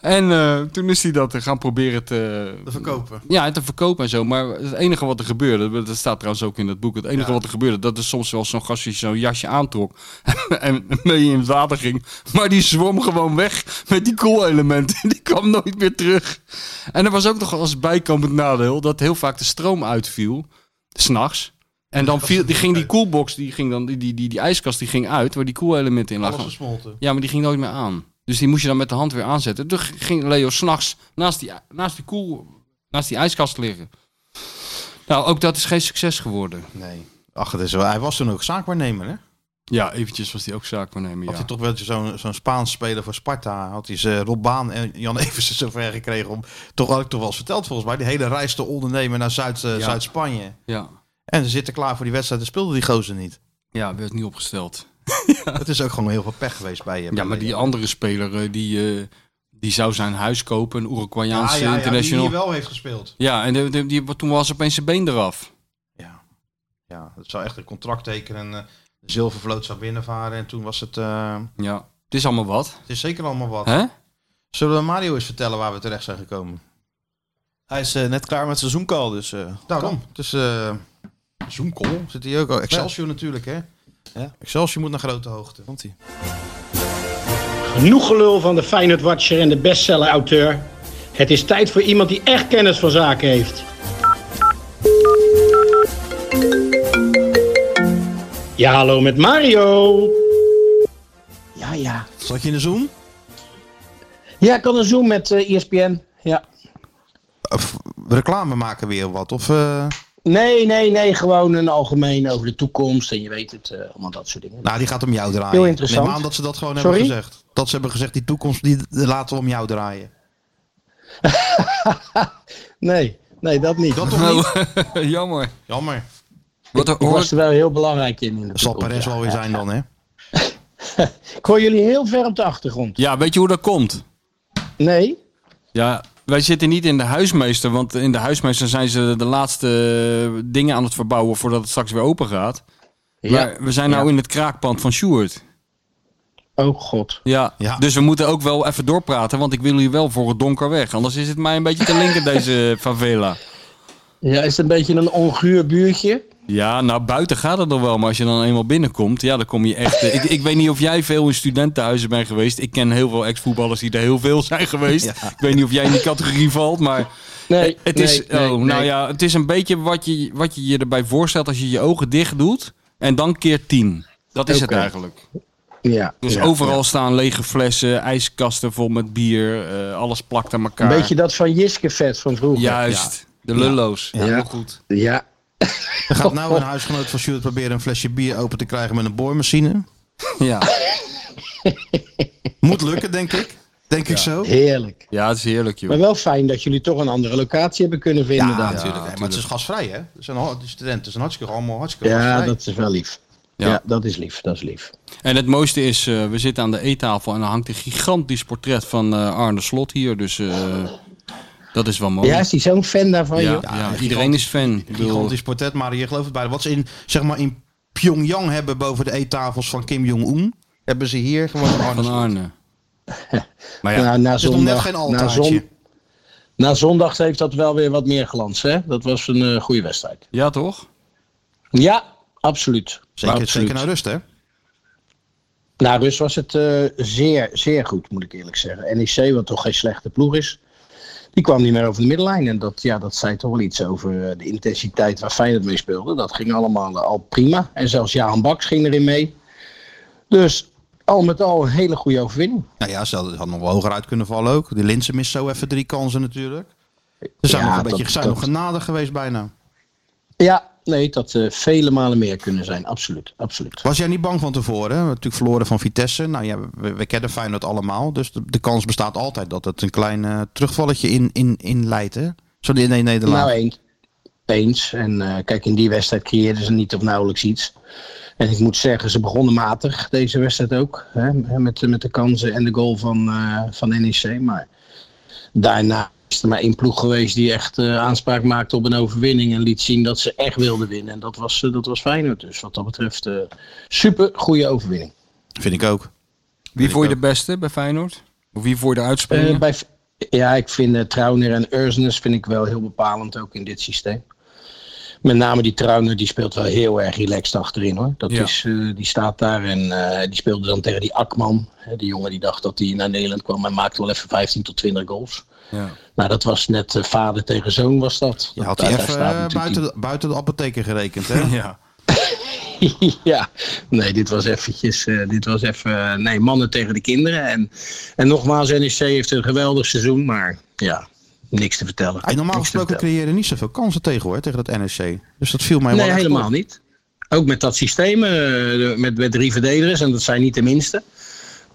S3: En eh, toen is hij dat eh, gaan proberen te,
S2: De verkopen.
S3: ja, te verkopen en zo. Maar het enige wat er gebeurde, dat staat trouwens ook in dat boek. Het enige
S2: Ja.
S3: wat er gebeurde, dat is soms wel zo'n gastje zo'n jasje aantrok. en mee in het water ging. Maar die zwom gewoon weg met die koelelementen. Die kwam nooit meer terug. En er was ook nog als bijkomend nadeel dat heel vaak de stroom uitviel. S'nachts. En dan viel, die ging die koelbox, die, ging dan, die, die, die, die ijskast, die ging uit waar die koelelementen in
S2: Alles
S3: lagen.
S2: gesmolten.
S3: Ja, maar die ging nooit meer aan. Dus die moest je dan met de hand weer aanzetten. Toen ging Leo s'nachts naast die, naast, die koel, naast die ijskast liggen. Nou, ook dat is geen succes geworden.
S2: Nee. Ach, het is wel, hij was toen ook zaakwaarnemer, hè?
S3: Ja, eventjes was die ook zaakwaarnemer,
S2: Had
S3: ja.
S2: hij toch wel zo'n zo'n Spaans speler voor Sparta. Had hij ze Rob Baan en Jan Eversen zover gekregen om... Toch had ik toch wel eens verteld volgens mij. Die hele reis te ondernemen naar Zuid, eh,
S3: Ja.
S2: Zuid-Spanje.
S3: Ja,
S2: En ze zitten klaar voor die wedstrijd en speelde die gozer niet.
S3: ja werd niet opgesteld.
S2: Het is ook gewoon heel veel pech geweest bij je.
S3: Ja, maar die andere speler, eh, die, eh, die zou zijn huis kopen. Een Uruguayaanse
S2: die
S3: international.
S2: hier
S3: Ja,
S2: wel heeft gespeeld.
S3: en de- de- die, toen was opeens zijn been eraf.
S2: Ja. Ja, het zou echt een contract tekenen. En, eh, de zilvervloot zou binnenvaren. En toen was het... eh,
S3: Ja, het is allemaal wat.
S2: het is zeker allemaal wat.
S3: Hè?
S2: Zullen we Mario eens vertellen waar we terecht zijn gekomen?
S4: Hij is eh, net klaar met zijn seizoencall, dus... eh,
S2: Daarom. Nou, Het is eh Zoomcall. Zit hier ook. al. Excelsior natuurlijk, hè?
S4: Ja.
S2: Excelsior moet naar grote hoogte.
S4: Komt hij.
S6: Genoeg gelul van de Feyenoord-watcher en de bestseller-auteur. Het is tijd voor iemand die echt kennis van zaken heeft. Ja, hallo met Mario.
S7: Ja, ja.
S2: Zat je in de Zoom?
S7: Ja, ik kan een Zoom met eh ESPN. Ja.
S2: Of reclame maken weer wat? Of, eh,
S7: Nee, nee, nee. Gewoon een algemeen over de toekomst. En je weet het, eh, allemaal dat soort dingen.
S2: nou, die gaat om jou draaien.
S7: Heel interessant.
S2: Neem aan dat ze dat gewoon
S7: Sorry?
S2: hebben gezegd. Dat ze hebben gezegd, die toekomst die die laten we om jou draaien.
S7: Nee, nee, dat niet.
S2: Dat toch niet?
S3: Jammer.
S2: Jammer.
S3: Wat er
S7: Ik
S3: hoor
S7: was er wel heel belangrijk in. in de
S2: Dat zal
S7: toekomst,
S2: Perez
S7: ja.
S2: wel weer zijn dan, hè?
S7: Ik hoor jullie heel ver op de achtergrond.
S3: Ja, weet je hoe dat komt?
S7: Nee?
S3: Ja, wij zitten niet in de huismeester, want in de huismeester zijn ze de laatste eh, dingen aan het verbouwen voordat het straks weer open gaat.
S7: Ja.
S3: Maar we zijn nou in het kraakpand van Sjoerd.
S7: Oh god.
S3: Ja.
S2: Ja.
S3: dus we moeten ook wel even doorpraten, want ik wil jullie wel voor het donker weg. Anders is het mij een beetje te linker, deze eh, favela.
S7: Ja, is het een beetje een onguur buurtje?
S3: Ja, nou buiten gaat het nog wel, maar als je dan eenmaal binnenkomt, ja, dan kom je echt. eh, ik, ik weet niet of jij veel in studentenhuizen bent geweest. Ik ken heel veel ex-voetballers die er heel veel zijn geweest. Ik weet niet of jij in die categorie valt, maar
S7: Nee.
S3: het
S7: nee,
S3: is,
S7: nee,
S3: oh,
S7: nee.
S3: nou ja, het is een beetje wat je, wat je je erbij voorstelt als je je ogen dicht doet en dan keer tien. Dat is het
S7: Oké.
S3: eigenlijk.
S7: Ja.
S3: Dus
S7: ja.
S3: overal staan lege flessen, ijskasten vol met bier, eh, alles plakt aan elkaar.
S7: Een beetje dat van Jiske vet van vroeger.
S3: Juist, de lullo's.
S7: Ja.
S3: Heel goed.
S7: Ja.
S2: Er gaat nou een huisgenoot van Stuart proberen een flesje bier open te krijgen met een boormachine.
S3: Ja.
S2: Moet lukken, denk ik. Denk ik zo.
S7: Heerlijk.
S3: ja, het is heerlijk, joh.
S7: Maar wel fijn dat jullie toch een andere locatie hebben kunnen vinden
S2: Ja,
S7: dan.
S2: natuurlijk. hè, maar het is gasvrij, hè? Het zijn al- die studenten zijn hartstikke, allemaal hartstikke
S7: Ja,
S2: gasvrij.
S7: dat is wel lief.
S3: Ja.
S7: Ja. dat is lief. Dat is lief.
S3: En het mooiste is, eh, we zitten aan de eettafel en er hangt een gigantisch portret van eh, Arne Slot hier. Dus eh, dat is wel mooi.
S7: Ja, is hij zo'n fan daarvan,
S3: Oh. Ja,
S7: joh?
S3: ja, iedereen is fan. Ik bedoel,
S2: Gigantisch portret, maar je gelooft het bijna. Wat ze in, zeg maar in Pyongyang hebben boven de eettafels van Kim Jong-un, hebben ze hier gewoon een
S3: van
S2: harde
S3: Arne. Maar ja,
S7: Nou, na
S2: is nog net
S7: zondag,
S2: geen
S7: na,
S2: altaartje.
S7: zon, na zondag heeft dat wel weer wat meer glans, hè? Dat was een eh, goede wedstrijd.
S3: ja toch?
S7: Ja, absoluut.
S2: Zeker,
S7: Absoluut.
S2: zeker Nou, naar rust, hè?
S7: Na rust was het eh, zeer, zeer goed, moet ik eerlijk zeggen. NEC, wat toch geen slechte ploeg is, die kwam niet meer over de middenlijn. En dat, ja, dat zei toch wel iets over eh, de intensiteit waar Feyenoord mee speelde. Dat ging allemaal eh, al prima. En zelfs Jaan Baks ging erin mee. Dus al met al een hele goede overwinning.
S2: Nou ja, ze hadden- hadden nog wel hoger uit kunnen vallen ook. Die Linsen mist zo even drie kansen natuurlijk. Ze zijn
S7: Ja,
S2: nog een beetje
S7: dat-
S2: zijn
S7: dat-
S2: nog genade geweest bijna.
S7: Ja, nee, dat had eh, vele malen meer kunnen zijn. Absoluut, absoluut.
S2: Was jij niet bang van tevoren? We hebben natuurlijk verloren van Vitesse. Nou ja, we, we kennen Feyenoord allemaal. Dus de, de kans bestaat altijd dat het een klein eh, terugvalletje in, in, in leidt, hè? Zo in een nederlaag.
S7: Nou, eens. Eens. En eh, kijk, in die wedstrijd creëerden ze niet of nauwelijks iets. En ik moet zeggen, ze begonnen matig, deze wedstrijd ook. Hè, met, de- met de kansen en de goal van, eh, van NEC. Maar daarna is er maar één ploeg geweest die echt eh, aanspraak maakte op een overwinning. En liet zien dat ze echt wilden winnen. En dat was, eh, dat was Feyenoord. Dus wat dat betreft, eh, super goede overwinning.
S2: Vind ik ook.
S3: Wie vond je de beste bij Feyenoord? Of wie vond je eruit
S7: Eh,
S3: springen?
S7: bij, ja, ik vind eh, Trauner en Ursnes vind ik wel heel bepalend ook in dit systeem. Met name die Trauner, die speelt wel heel erg relaxed achterin hoor. Dat
S3: Ja.
S7: is, eh, die staat daar en eh, die speelde dan tegen die Akman. Hè, die jongen die dacht dat hij naar Nederland kwam en maakte wel even 15 tot 20 goals.
S3: Ja.
S7: Nou, dat was net eh, vader tegen zoon was dat.
S2: Je
S7: Dat-
S2: had
S7: daar-
S2: hij
S7: daar
S2: even
S7: staat
S2: eh,
S7: natuurlijk die-
S2: buiten, de- buiten de apotheker gerekend, hè?
S3: Ja.
S7: ja, nee, dit was eventjes, eh, dit was even, eh, nee, mannen tegen de kinderen. En, en nogmaals, NEC heeft een geweldig seizoen, maar ja, niks te vertellen.
S2: Hey, normaal
S7: Niks te
S2: gesproken
S7: vertellen.
S2: creëren niet zoveel kansen tegen, hoor, tegen dat NSC. Dus dat viel mij wel
S7: Nee,
S2: echt
S7: helemaal
S2: op.
S7: niet. Ook met dat systeem, eh, de- met, met drie verdedigers, en dat zijn niet de minste.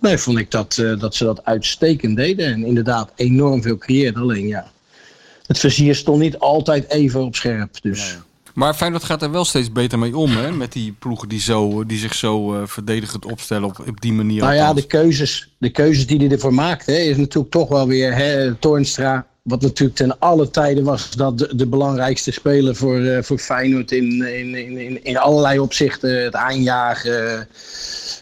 S7: Nee, vond ik dat, eh, dat ze dat uitstekend deden. En inderdaad enorm veel creëerden. Alleen ja, het vizier stond niet altijd even op scherp. Dus
S3: Maar Feyenoord gaat er wel steeds beter mee om, hè? Met die ploegen die, zo, die zich zo eh, verdedigend opstellen op, op die manier.
S7: Nou ja,
S3: althans.
S7: de keuzes, de keuzes die hij ervoor maakt, hè, is natuurlijk toch wel weer hè, Toornstra. Wat natuurlijk ten alle tijden was dat de, de belangrijkste speler voor, eh, voor Feyenoord in, in, in, in, in allerlei opzichten. Het aanjagen. eh,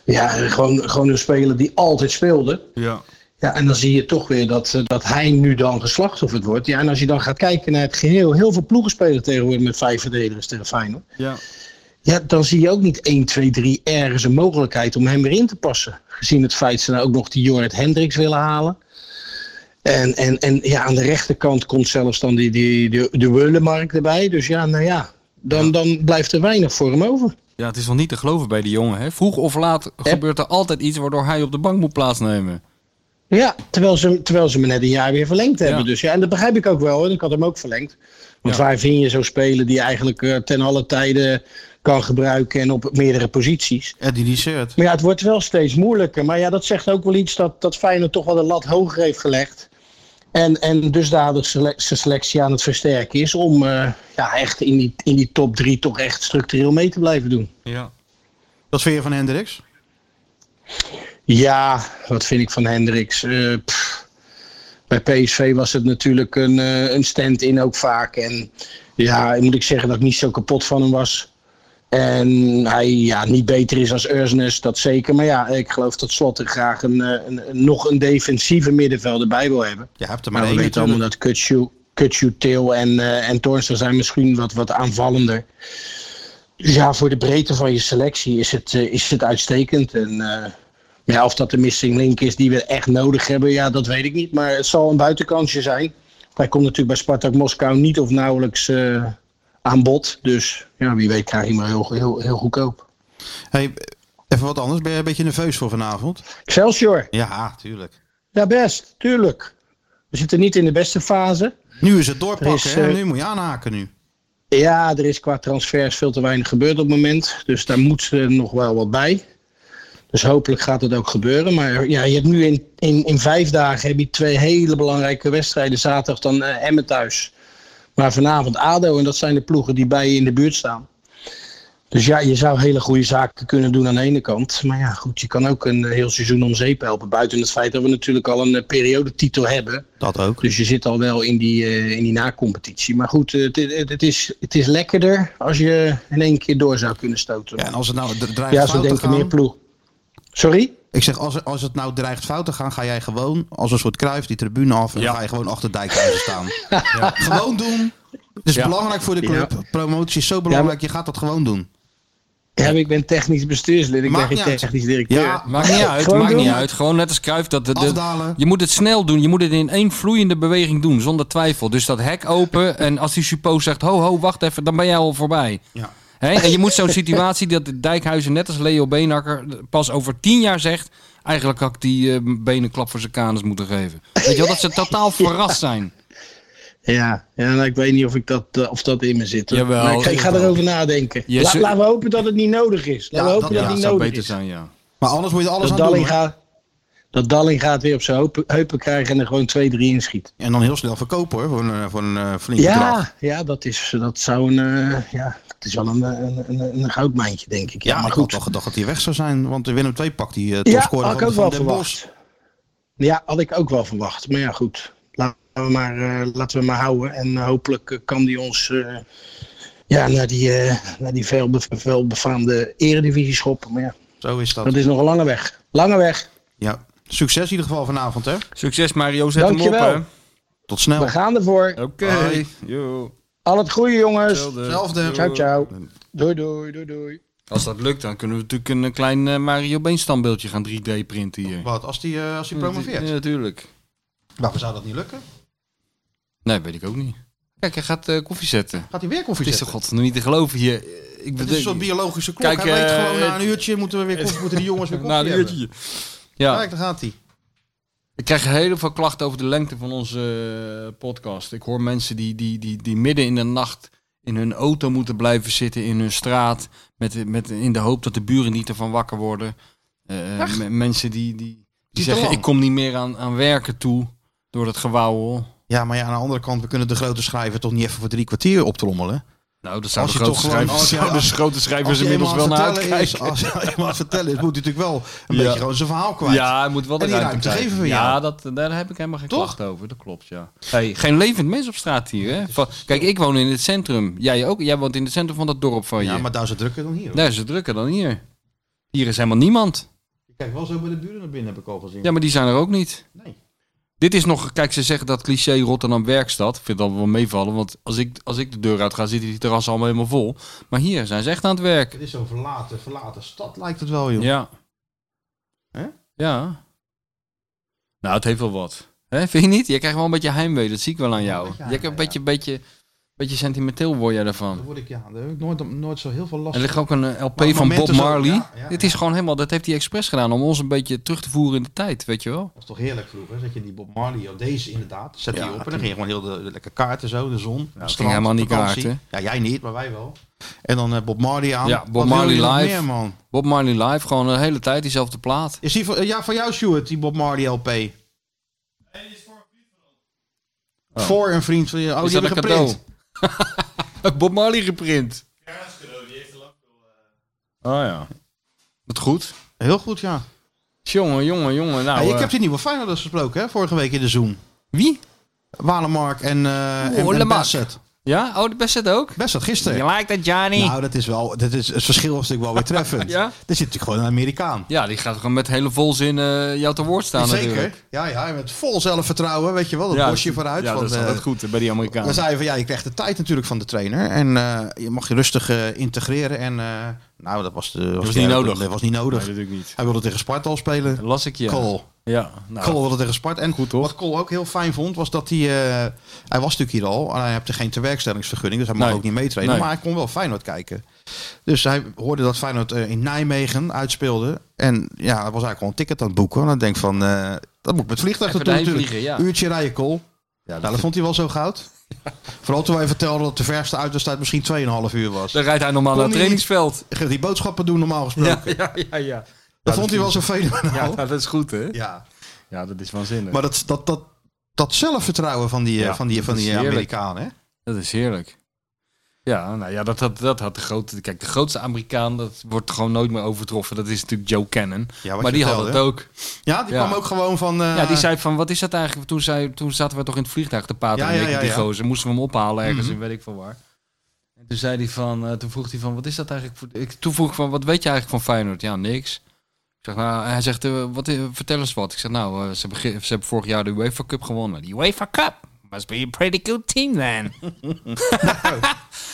S7: ja, gewoon, gewoon een speler die altijd speelde.
S3: ja.
S7: Ja, en dan zie je toch weer dat, eh, dat hij nu dan geslachtofferd wordt. Ja, en als je dan gaat kijken naar het geheel, heel veel ploegen spelen tegenwoordig met vijf verdedigers tegen Feyenoord.
S3: Ja.
S7: Ja, dan zie je ook niet 1, 2, 3 ergens een mogelijkheid om hem erin te passen. Gezien het feit dat ze nou ook nog die Jorrit Hendricks willen halen. En, en, en ja, aan de rechterkant komt zelfs dan die, die, die, de Weulemark erbij. Dus ja, nou ja, dan, dan blijft er weinig voor hem over.
S3: Ja, het is wel niet te geloven bij die jongen. Hè? Vroeg of laat
S7: Eh.
S3: gebeurt er altijd iets waardoor hij op de bank moet plaatsnemen.
S7: Ja, terwijl ze, terwijl ze me net een jaar weer verlengd hebben.
S3: Ja.
S7: Dus ja, en dat begrijp ik ook wel. Hoor. Ik had hem ook verlengd. Want
S3: Ja.
S7: waar vind je zo'n speler die je eigenlijk eh, ten alle tijde kan gebruiken en op meerdere posities?
S2: Eddie die shirt.
S7: Maar ja, het wordt wel steeds moeilijker. Maar ja, dat zegt ook wel iets dat, dat Feyenoord toch wel de lat hoger heeft gelegd. En, en dusdanig sele- zijn selectie aan het versterken is om eh, ja, echt in die, in die top drie toch echt structureel mee te blijven doen.
S3: Ja.
S2: Wat vind je van Hendricks?
S7: Ja, wat vind ik van Hendricks? Eh, pff. bij PSV was het natuurlijk een, eh, een stand-in ook vaak. En ja, moet ik zeggen dat ik niet zo kapot van hem was. En hij ja, niet beter is als Ursnes, dat zeker. Maar ja, ik geloof dat Slot er graag een, eh, een, een- nog een defensieve middenvelder bij wil hebben.
S2: Ja, hebt er
S7: Maar
S2: maar één
S7: we weten allemaal
S2: natuurlijk.
S7: dat Kutsu, Kutsu Til en, eh en Toornstra zijn misschien wat, wat aanvallender. Dus ja, voor de breedte van je selectie is het, eh, is het uitstekend. En eh, maar ja, of dat de missing link is die we echt nodig hebben, ja, dat weet ik niet. Maar het zal een buitenkansje zijn. Hij komt natuurlijk bij Spartak Moskou niet of nauwelijks eh, aan bod. Dus ja, wie weet krijg je hem wel heel, heel, heel goedkoop.
S2: Hey, even wat anders. Ben je een beetje nerveus voor vanavond?
S7: Excelsior,
S2: Ja, tuurlijk.
S7: ja best, tuurlijk. We zitten niet in de beste fase.
S2: Nu is het
S7: Er
S2: doorpakken.
S7: is,
S2: hè?
S7: eh,
S2: Nu moet je aanhaken nu.
S7: Ja, er is qua transfers veel te weinig gebeurd op het moment. Dus daar moet ze nog wel wat bij. Dus hopelijk gaat dat ook gebeuren. Maar ja, je hebt nu in, in, in vijf dagen heb je twee hele belangrijke wedstrijden. Zaterdag dan eh, Emmen thuis. Maar vanavond ADO. En dat zijn de ploegen die bij je in de buurt staan. Dus ja, je zou hele goede zaken kunnen doen aan de ene kant. Maar ja, goed, je kan ook een eh, heel seizoen om zeep helpen. Buiten het feit dat we natuurlijk al een eh, periodetitel hebben.
S2: Dat ook.
S7: Dus je zit al wel in die, eh, in die nacompetitie. Maar goed, eh, het, het, het is, het is lekkerder als je in één keer door zou kunnen stoten.
S2: Ja, en
S7: Ja,
S2: als het nou d- dreigt
S7: zo
S2: fout te
S7: denken
S2: gaan...
S7: meer ploeg. Sorry?
S2: Ik zeg, als, als het nou dreigt fout te gaan, ga jij gewoon als een soort kruif die tribune af. En ga je gewoon achter Dijkhuizen staan. Gewoon doen. Het is
S3: Ja.
S2: belangrijk voor de club. Promotie is zo belangrijk. Je gaat dat gewoon doen.
S7: Ja, maar ik ben technisch bestuurslid. Ik
S2: Maakt
S7: ben
S2: niet
S7: geen
S2: uit.
S7: technisch directeur.
S2: Ja,
S3: Maakt niet uit,
S7: Gewoon
S3: maakt
S7: doen.
S3: niet uit. Gewoon net als Kruif. Dat, dat- dat-
S2: Afdalen.
S3: je moet het snel doen. Je moet het in één vloeiende beweging doen, zonder twijfel. Dus dat hek open en als die suppo zegt, ho ho, wacht even, dan ben jij al voorbij.
S2: Ja.
S3: Hè? En je moet zo'n situatie dat Dijkhuizen, net als Leo Beenhakker, pas over tien jaar zegt... Eigenlijk had ik die eh, benen een klap voor zijn kanus moeten geven. Weet je wel, dat ze totaal verrast zijn.
S7: Ja, ja nou, ik weet niet of, ik dat, eh, of dat in me zit. hoor.
S3: Jawel,
S7: Maar ik, ga- ik ga
S3: jawel.
S7: erover nadenken.
S3: Je
S7: La-
S3: zult-
S7: laten we hopen dat het niet nodig is. Laten
S2: Ja,
S7: we hopen
S2: dat-
S7: dat,
S2: ja,
S7: het
S3: dat
S7: niet
S3: zou
S7: nodig
S3: beter
S7: is.
S3: zijn, ja.
S2: Maar anders moet je alles
S7: Dat
S2: aan doen.
S7: Dalling,
S2: hoor.
S7: gaat, dat Dalling gaat weer op zijn heupen, heupen krijgen en er gewoon 2-3 inschiet.
S2: En dan heel snel verkopen hoor. Voor een, voor een eh, flink bedrag.
S7: Ja, ja, dat, is, dat zou een, eh, ja, het is wel een, eh, een, een, een goudmijntje, denk ik. Ja,
S2: Ja,
S7: maar
S2: ik had
S7: goed.
S2: toch gedacht dat hij weg zou zijn. Want de Willem 2 pakt die uh,
S7: ja,
S2: topscorer
S7: had ik
S2: van,
S7: ook
S2: van
S7: wel
S2: Den Bosch.
S7: verwacht. Ja, had ik ook wel verwacht. Maar ja, goed. Laten we maar, eh, laten we maar houden. En hopelijk eh, kan die ons eh, ja, naar die, eh, naar die velbe- welbefaamde eredivisie schoppen. Maar ja,
S2: Zo is dat.
S7: dat is nog een lange weg. Lange weg.
S2: Ja. Succes in ieder geval vanavond hè.
S3: Succes Mario, zet
S7: Dankjewel.
S3: hem op
S2: Tot snel.
S7: We gaan ervoor.
S3: hè. Oké.
S2: Hoi. Dus
S3: Yo.
S7: Al het goede, jongens.
S2: Zelfde.
S7: Ciao, ciao. Doei, doei, doei, doei.
S3: Als dat lukt, dan kunnen we natuurlijk een klein eh, Mario Been standbeeldje gaan 3D printen hier.
S2: Wat, als die, eh als die promoveert?
S3: Ja, natuurlijk.
S2: Waarom zou dat niet lukken?
S3: Nee, weet ik ook niet. Kijk, hij gaat eh, koffie zetten.
S2: Gaat hij weer koffie
S3: Het is
S2: zetten?
S3: toch god nog niet te geloven hier. Eh, Ik
S2: Het is een soort
S3: bedoel-
S2: biologische klok.
S3: Kijk,
S2: hij weet
S3: eh,
S2: gewoon, na
S3: het-
S2: een uurtje moeten we weer koffie, moeten die jongens weer koffie
S3: Na een
S2: hebben. Ah,
S3: uurtje. Ja,
S2: Kijk, daar gaat hij.
S3: ik krijg heel veel klachten over de lengte van onze eh, podcast. Ik hoor mensen die, die, die, die midden in de nacht in hun auto moeten blijven zitten in hun straat. Met, met, in de hoop dat de buren niet ervan wakker worden. Eh, me- mensen die, die,
S2: te
S3: die zeggen,
S2: lang.
S3: ik kom niet meer aan, aan werken toe door dat gewauwel.
S2: Ja, maar ja, aan de andere kant, we kunnen de grote schrijver toch niet even voor drie kwartier optrommelen.
S3: Nou, dat zouden
S2: Als je
S3: grote
S2: toch gewoon-
S3: schrijvers,
S2: als je-
S3: zouden
S2: als-
S3: grote schrijvers
S2: hij
S3: inmiddels wel
S2: eenmaal aan
S3: naar
S2: het vertellen
S3: uitkijken.
S2: is, als hij eenmaal aan het vertellen is, moet hij natuurlijk wel een
S3: Ja.
S2: beetje gewoon zijn verhaal kwijt.
S3: Ja, hij moet
S2: En
S3: wel de
S2: die
S3: ruimte
S2: ruimte
S3: krijgen.
S2: geven we
S3: Ja,
S2: jou.
S3: dat, daar heb ik helemaal geen
S2: Toch?
S3: klacht over. Dat klopt, ja. Hey, geen levend mens op straat hier, hè? Va- Kijk, ik woon in het centrum. Jij ook? Jij woont in het centrum van dat dorp van je.
S2: Ja, maar daar is het drukker dan hier. hoor.
S3: Daar is het drukker dan hier. Hier is helemaal niemand.
S2: Ik kijk wel zo bij de buren naar binnen, heb ik al gezien.
S3: Ja, maar die zijn er ook niet.
S2: Nee.
S3: Dit is nog... Kijk, ze zeggen dat cliché Rotterdam werkstad. Ik vind dat wel meevallen, want als ik, als ik de deur uit ga, zitten die terrassen allemaal helemaal vol. Maar hier zijn ze echt aan het werk.
S2: Het is zo'n verlaten, verlaten stad, lijkt het wel, joh.
S3: Ja.
S2: Hè?
S3: Ja. Nou, het heeft wel wat. Hè? Vind je niet? Je krijgt wel een beetje heimwee. Dat zie ik wel aan jou.
S2: beetje
S3: je hebt een
S2: heimwee,
S3: beetje, beetje Beetje sentimenteel word jij daarvan.
S2: Daar word ik, ja, daar heb ik nooit, nooit zo heel veel last
S3: Er ligt ook een eh, LP
S2: Maar
S3: van Bob
S2: momenten zo,
S3: Marley.
S2: ja, ja.
S3: Dit is gewoon helemaal, dat heeft hij expres gedaan om ons een beetje terug te voeren in de tijd, weet je wel.
S2: Dat was toch heerlijk vroeger, dat je die Bob Marley of deze inderdaad, zet
S3: Ja,
S2: die op en dan ging je gewoon heel de, de lekker kaarten zo, de zon, ja,
S3: ging helemaal niet kaarten.
S2: Ja, jij niet, maar wij wel. En dan eh, Bob Marley aan.
S3: Ja, Bob
S2: Wat wil
S3: Marley
S2: je nog
S3: live.
S2: Meer, man?
S3: Bob Marley live, gewoon de hele tijd diezelfde plaat.
S2: Is die van, ja, van jou, Stuart, die Bob Marley LP? Nee, is voor een vriend van je. Oh,
S3: is
S2: die
S3: dat een
S2: hebben geprint.
S3: cadeau? Bob Marley geprint. Oh ja. Wat goed.
S2: Heel goed, ja.
S3: Jongen, jongen, jongen. Nou,
S2: Hey,
S3: eh,
S2: ik heb die nieuwe Feyenoorders gesproken, hè, vorige week in de Zoom.
S3: Wie?
S2: Walemark en, eh en- en,
S3: Walemark.
S2: Bassett.
S3: Ja? Oh, de beste ook?
S2: Bassett, gisteren.
S5: like that, Johnny?
S2: Nou, dat is wel, dat is, het verschil is natuurlijk wel weer treffend.
S3: Ja?
S2: Er zit natuurlijk gewoon een Amerikaan.
S3: Ja, die gaat gewoon met hele volzin eh jou te woord staan natuurlijk.
S2: Zeker. Ja, ja, en met vol zelfvertrouwen, weet je wel, dat
S3: Ja,
S2: bosje vooruit.
S3: Ja,
S2: want,
S3: dat is altijd
S2: eh,
S3: goed eh, bij die Amerikanen.
S2: we zeiden van ja, je krijgt de tijd natuurlijk van de trainer en eh, je mag je rustig eh, integreren. En eh, nou, dat was, de, was,
S3: was
S2: de-
S3: niet nodig.
S2: Dat was niet nodig.
S3: Nee, natuurlijk niet.
S2: Hij wilde tegen Sparta al spelen.
S3: Las ik je.
S2: Kool.
S3: Ja. Nou,
S2: Kool wilde tegen Sparta. En
S3: Goed, hoor.
S2: wat Kool ook heel fijn vond, was dat hij. eh, hij was natuurlijk hier al. En hij heeft geen tewerkstellingsvergunning, dus hij mag
S3: Nee.
S2: ook niet meetrainen.
S3: Nee.
S2: Maar hij kon wel Feyenoord kijken. Dus hij hoorde dat Feyenoord eh, in Nijmegen uitspeelde. En ja, hij was eigenlijk gewoon een ticket aan het boeken. En hij denkt van, eh, dat moet ik met vliegtuig
S3: Even
S2: naartoe
S3: erheen
S2: natuurlijk.
S3: vliegen, ja.
S2: Uurtje rijden, Kool. Ja, nou, dat vond hij wel zo goud. Vooral toen wij vertelden dat de verste uiterstijd misschien 2,5 uur was.
S3: Dan rijdt hij normaal naar het
S2: Kon hij niet.
S3: trainingsveld.
S2: Die boodschappen doen normaal gesproken.
S3: Ja, ja, ja, ja.
S2: Dat vond hij wel zo fenomenaal.
S3: Ja, nou, dat is goed, hè?
S2: ja.
S3: Ja, dat is waanzinnig.
S2: Nou. Maar dat, dat, dat, dat zelfvertrouwen van die, eh,
S3: Ja,
S2: van die, van
S3: dat is
S2: die
S3: heerlijk.
S2: Amerikanen. Hè?
S3: Dat is heerlijk. Ja, nou ja, dat had, dat had de grote... Kijk, de grootste Amerikaan, dat wordt gewoon nooit meer overtroffen. Dat is natuurlijk Joe Cannon.
S2: Ja, wat
S3: maar
S2: je
S3: die had
S2: vertelde,
S3: het
S2: hè?
S3: ook.
S2: Ja, die
S3: Ja.
S2: kwam ook gewoon van. eh,
S3: ja, die zei van, wat is dat eigenlijk? Toen, zei, toen zaten we toch in het vliegtuig te praten
S2: Ja,
S3: en
S2: ja,
S3: ik en
S2: ja,
S3: die
S2: ja. Mhm.
S3: gozer. Moesten we hem ophalen ergens in weet ik veel waar. En toen zei hij van, eh, toen vroeg hij van, wat is dat eigenlijk? Voor, ik, toen vroeg ik van, wat weet je eigenlijk van Feyenoord? Ja, niks. Ik zeg, nou, hij zegt, eh, wat, i- vertel eens wat. Ik zeg, nou, eh, ze, hebben, ge- ze hebben vorig jaar de UEFA Cup gewonnen. Die
S5: UEFA Cup. Must be a pretty good team then.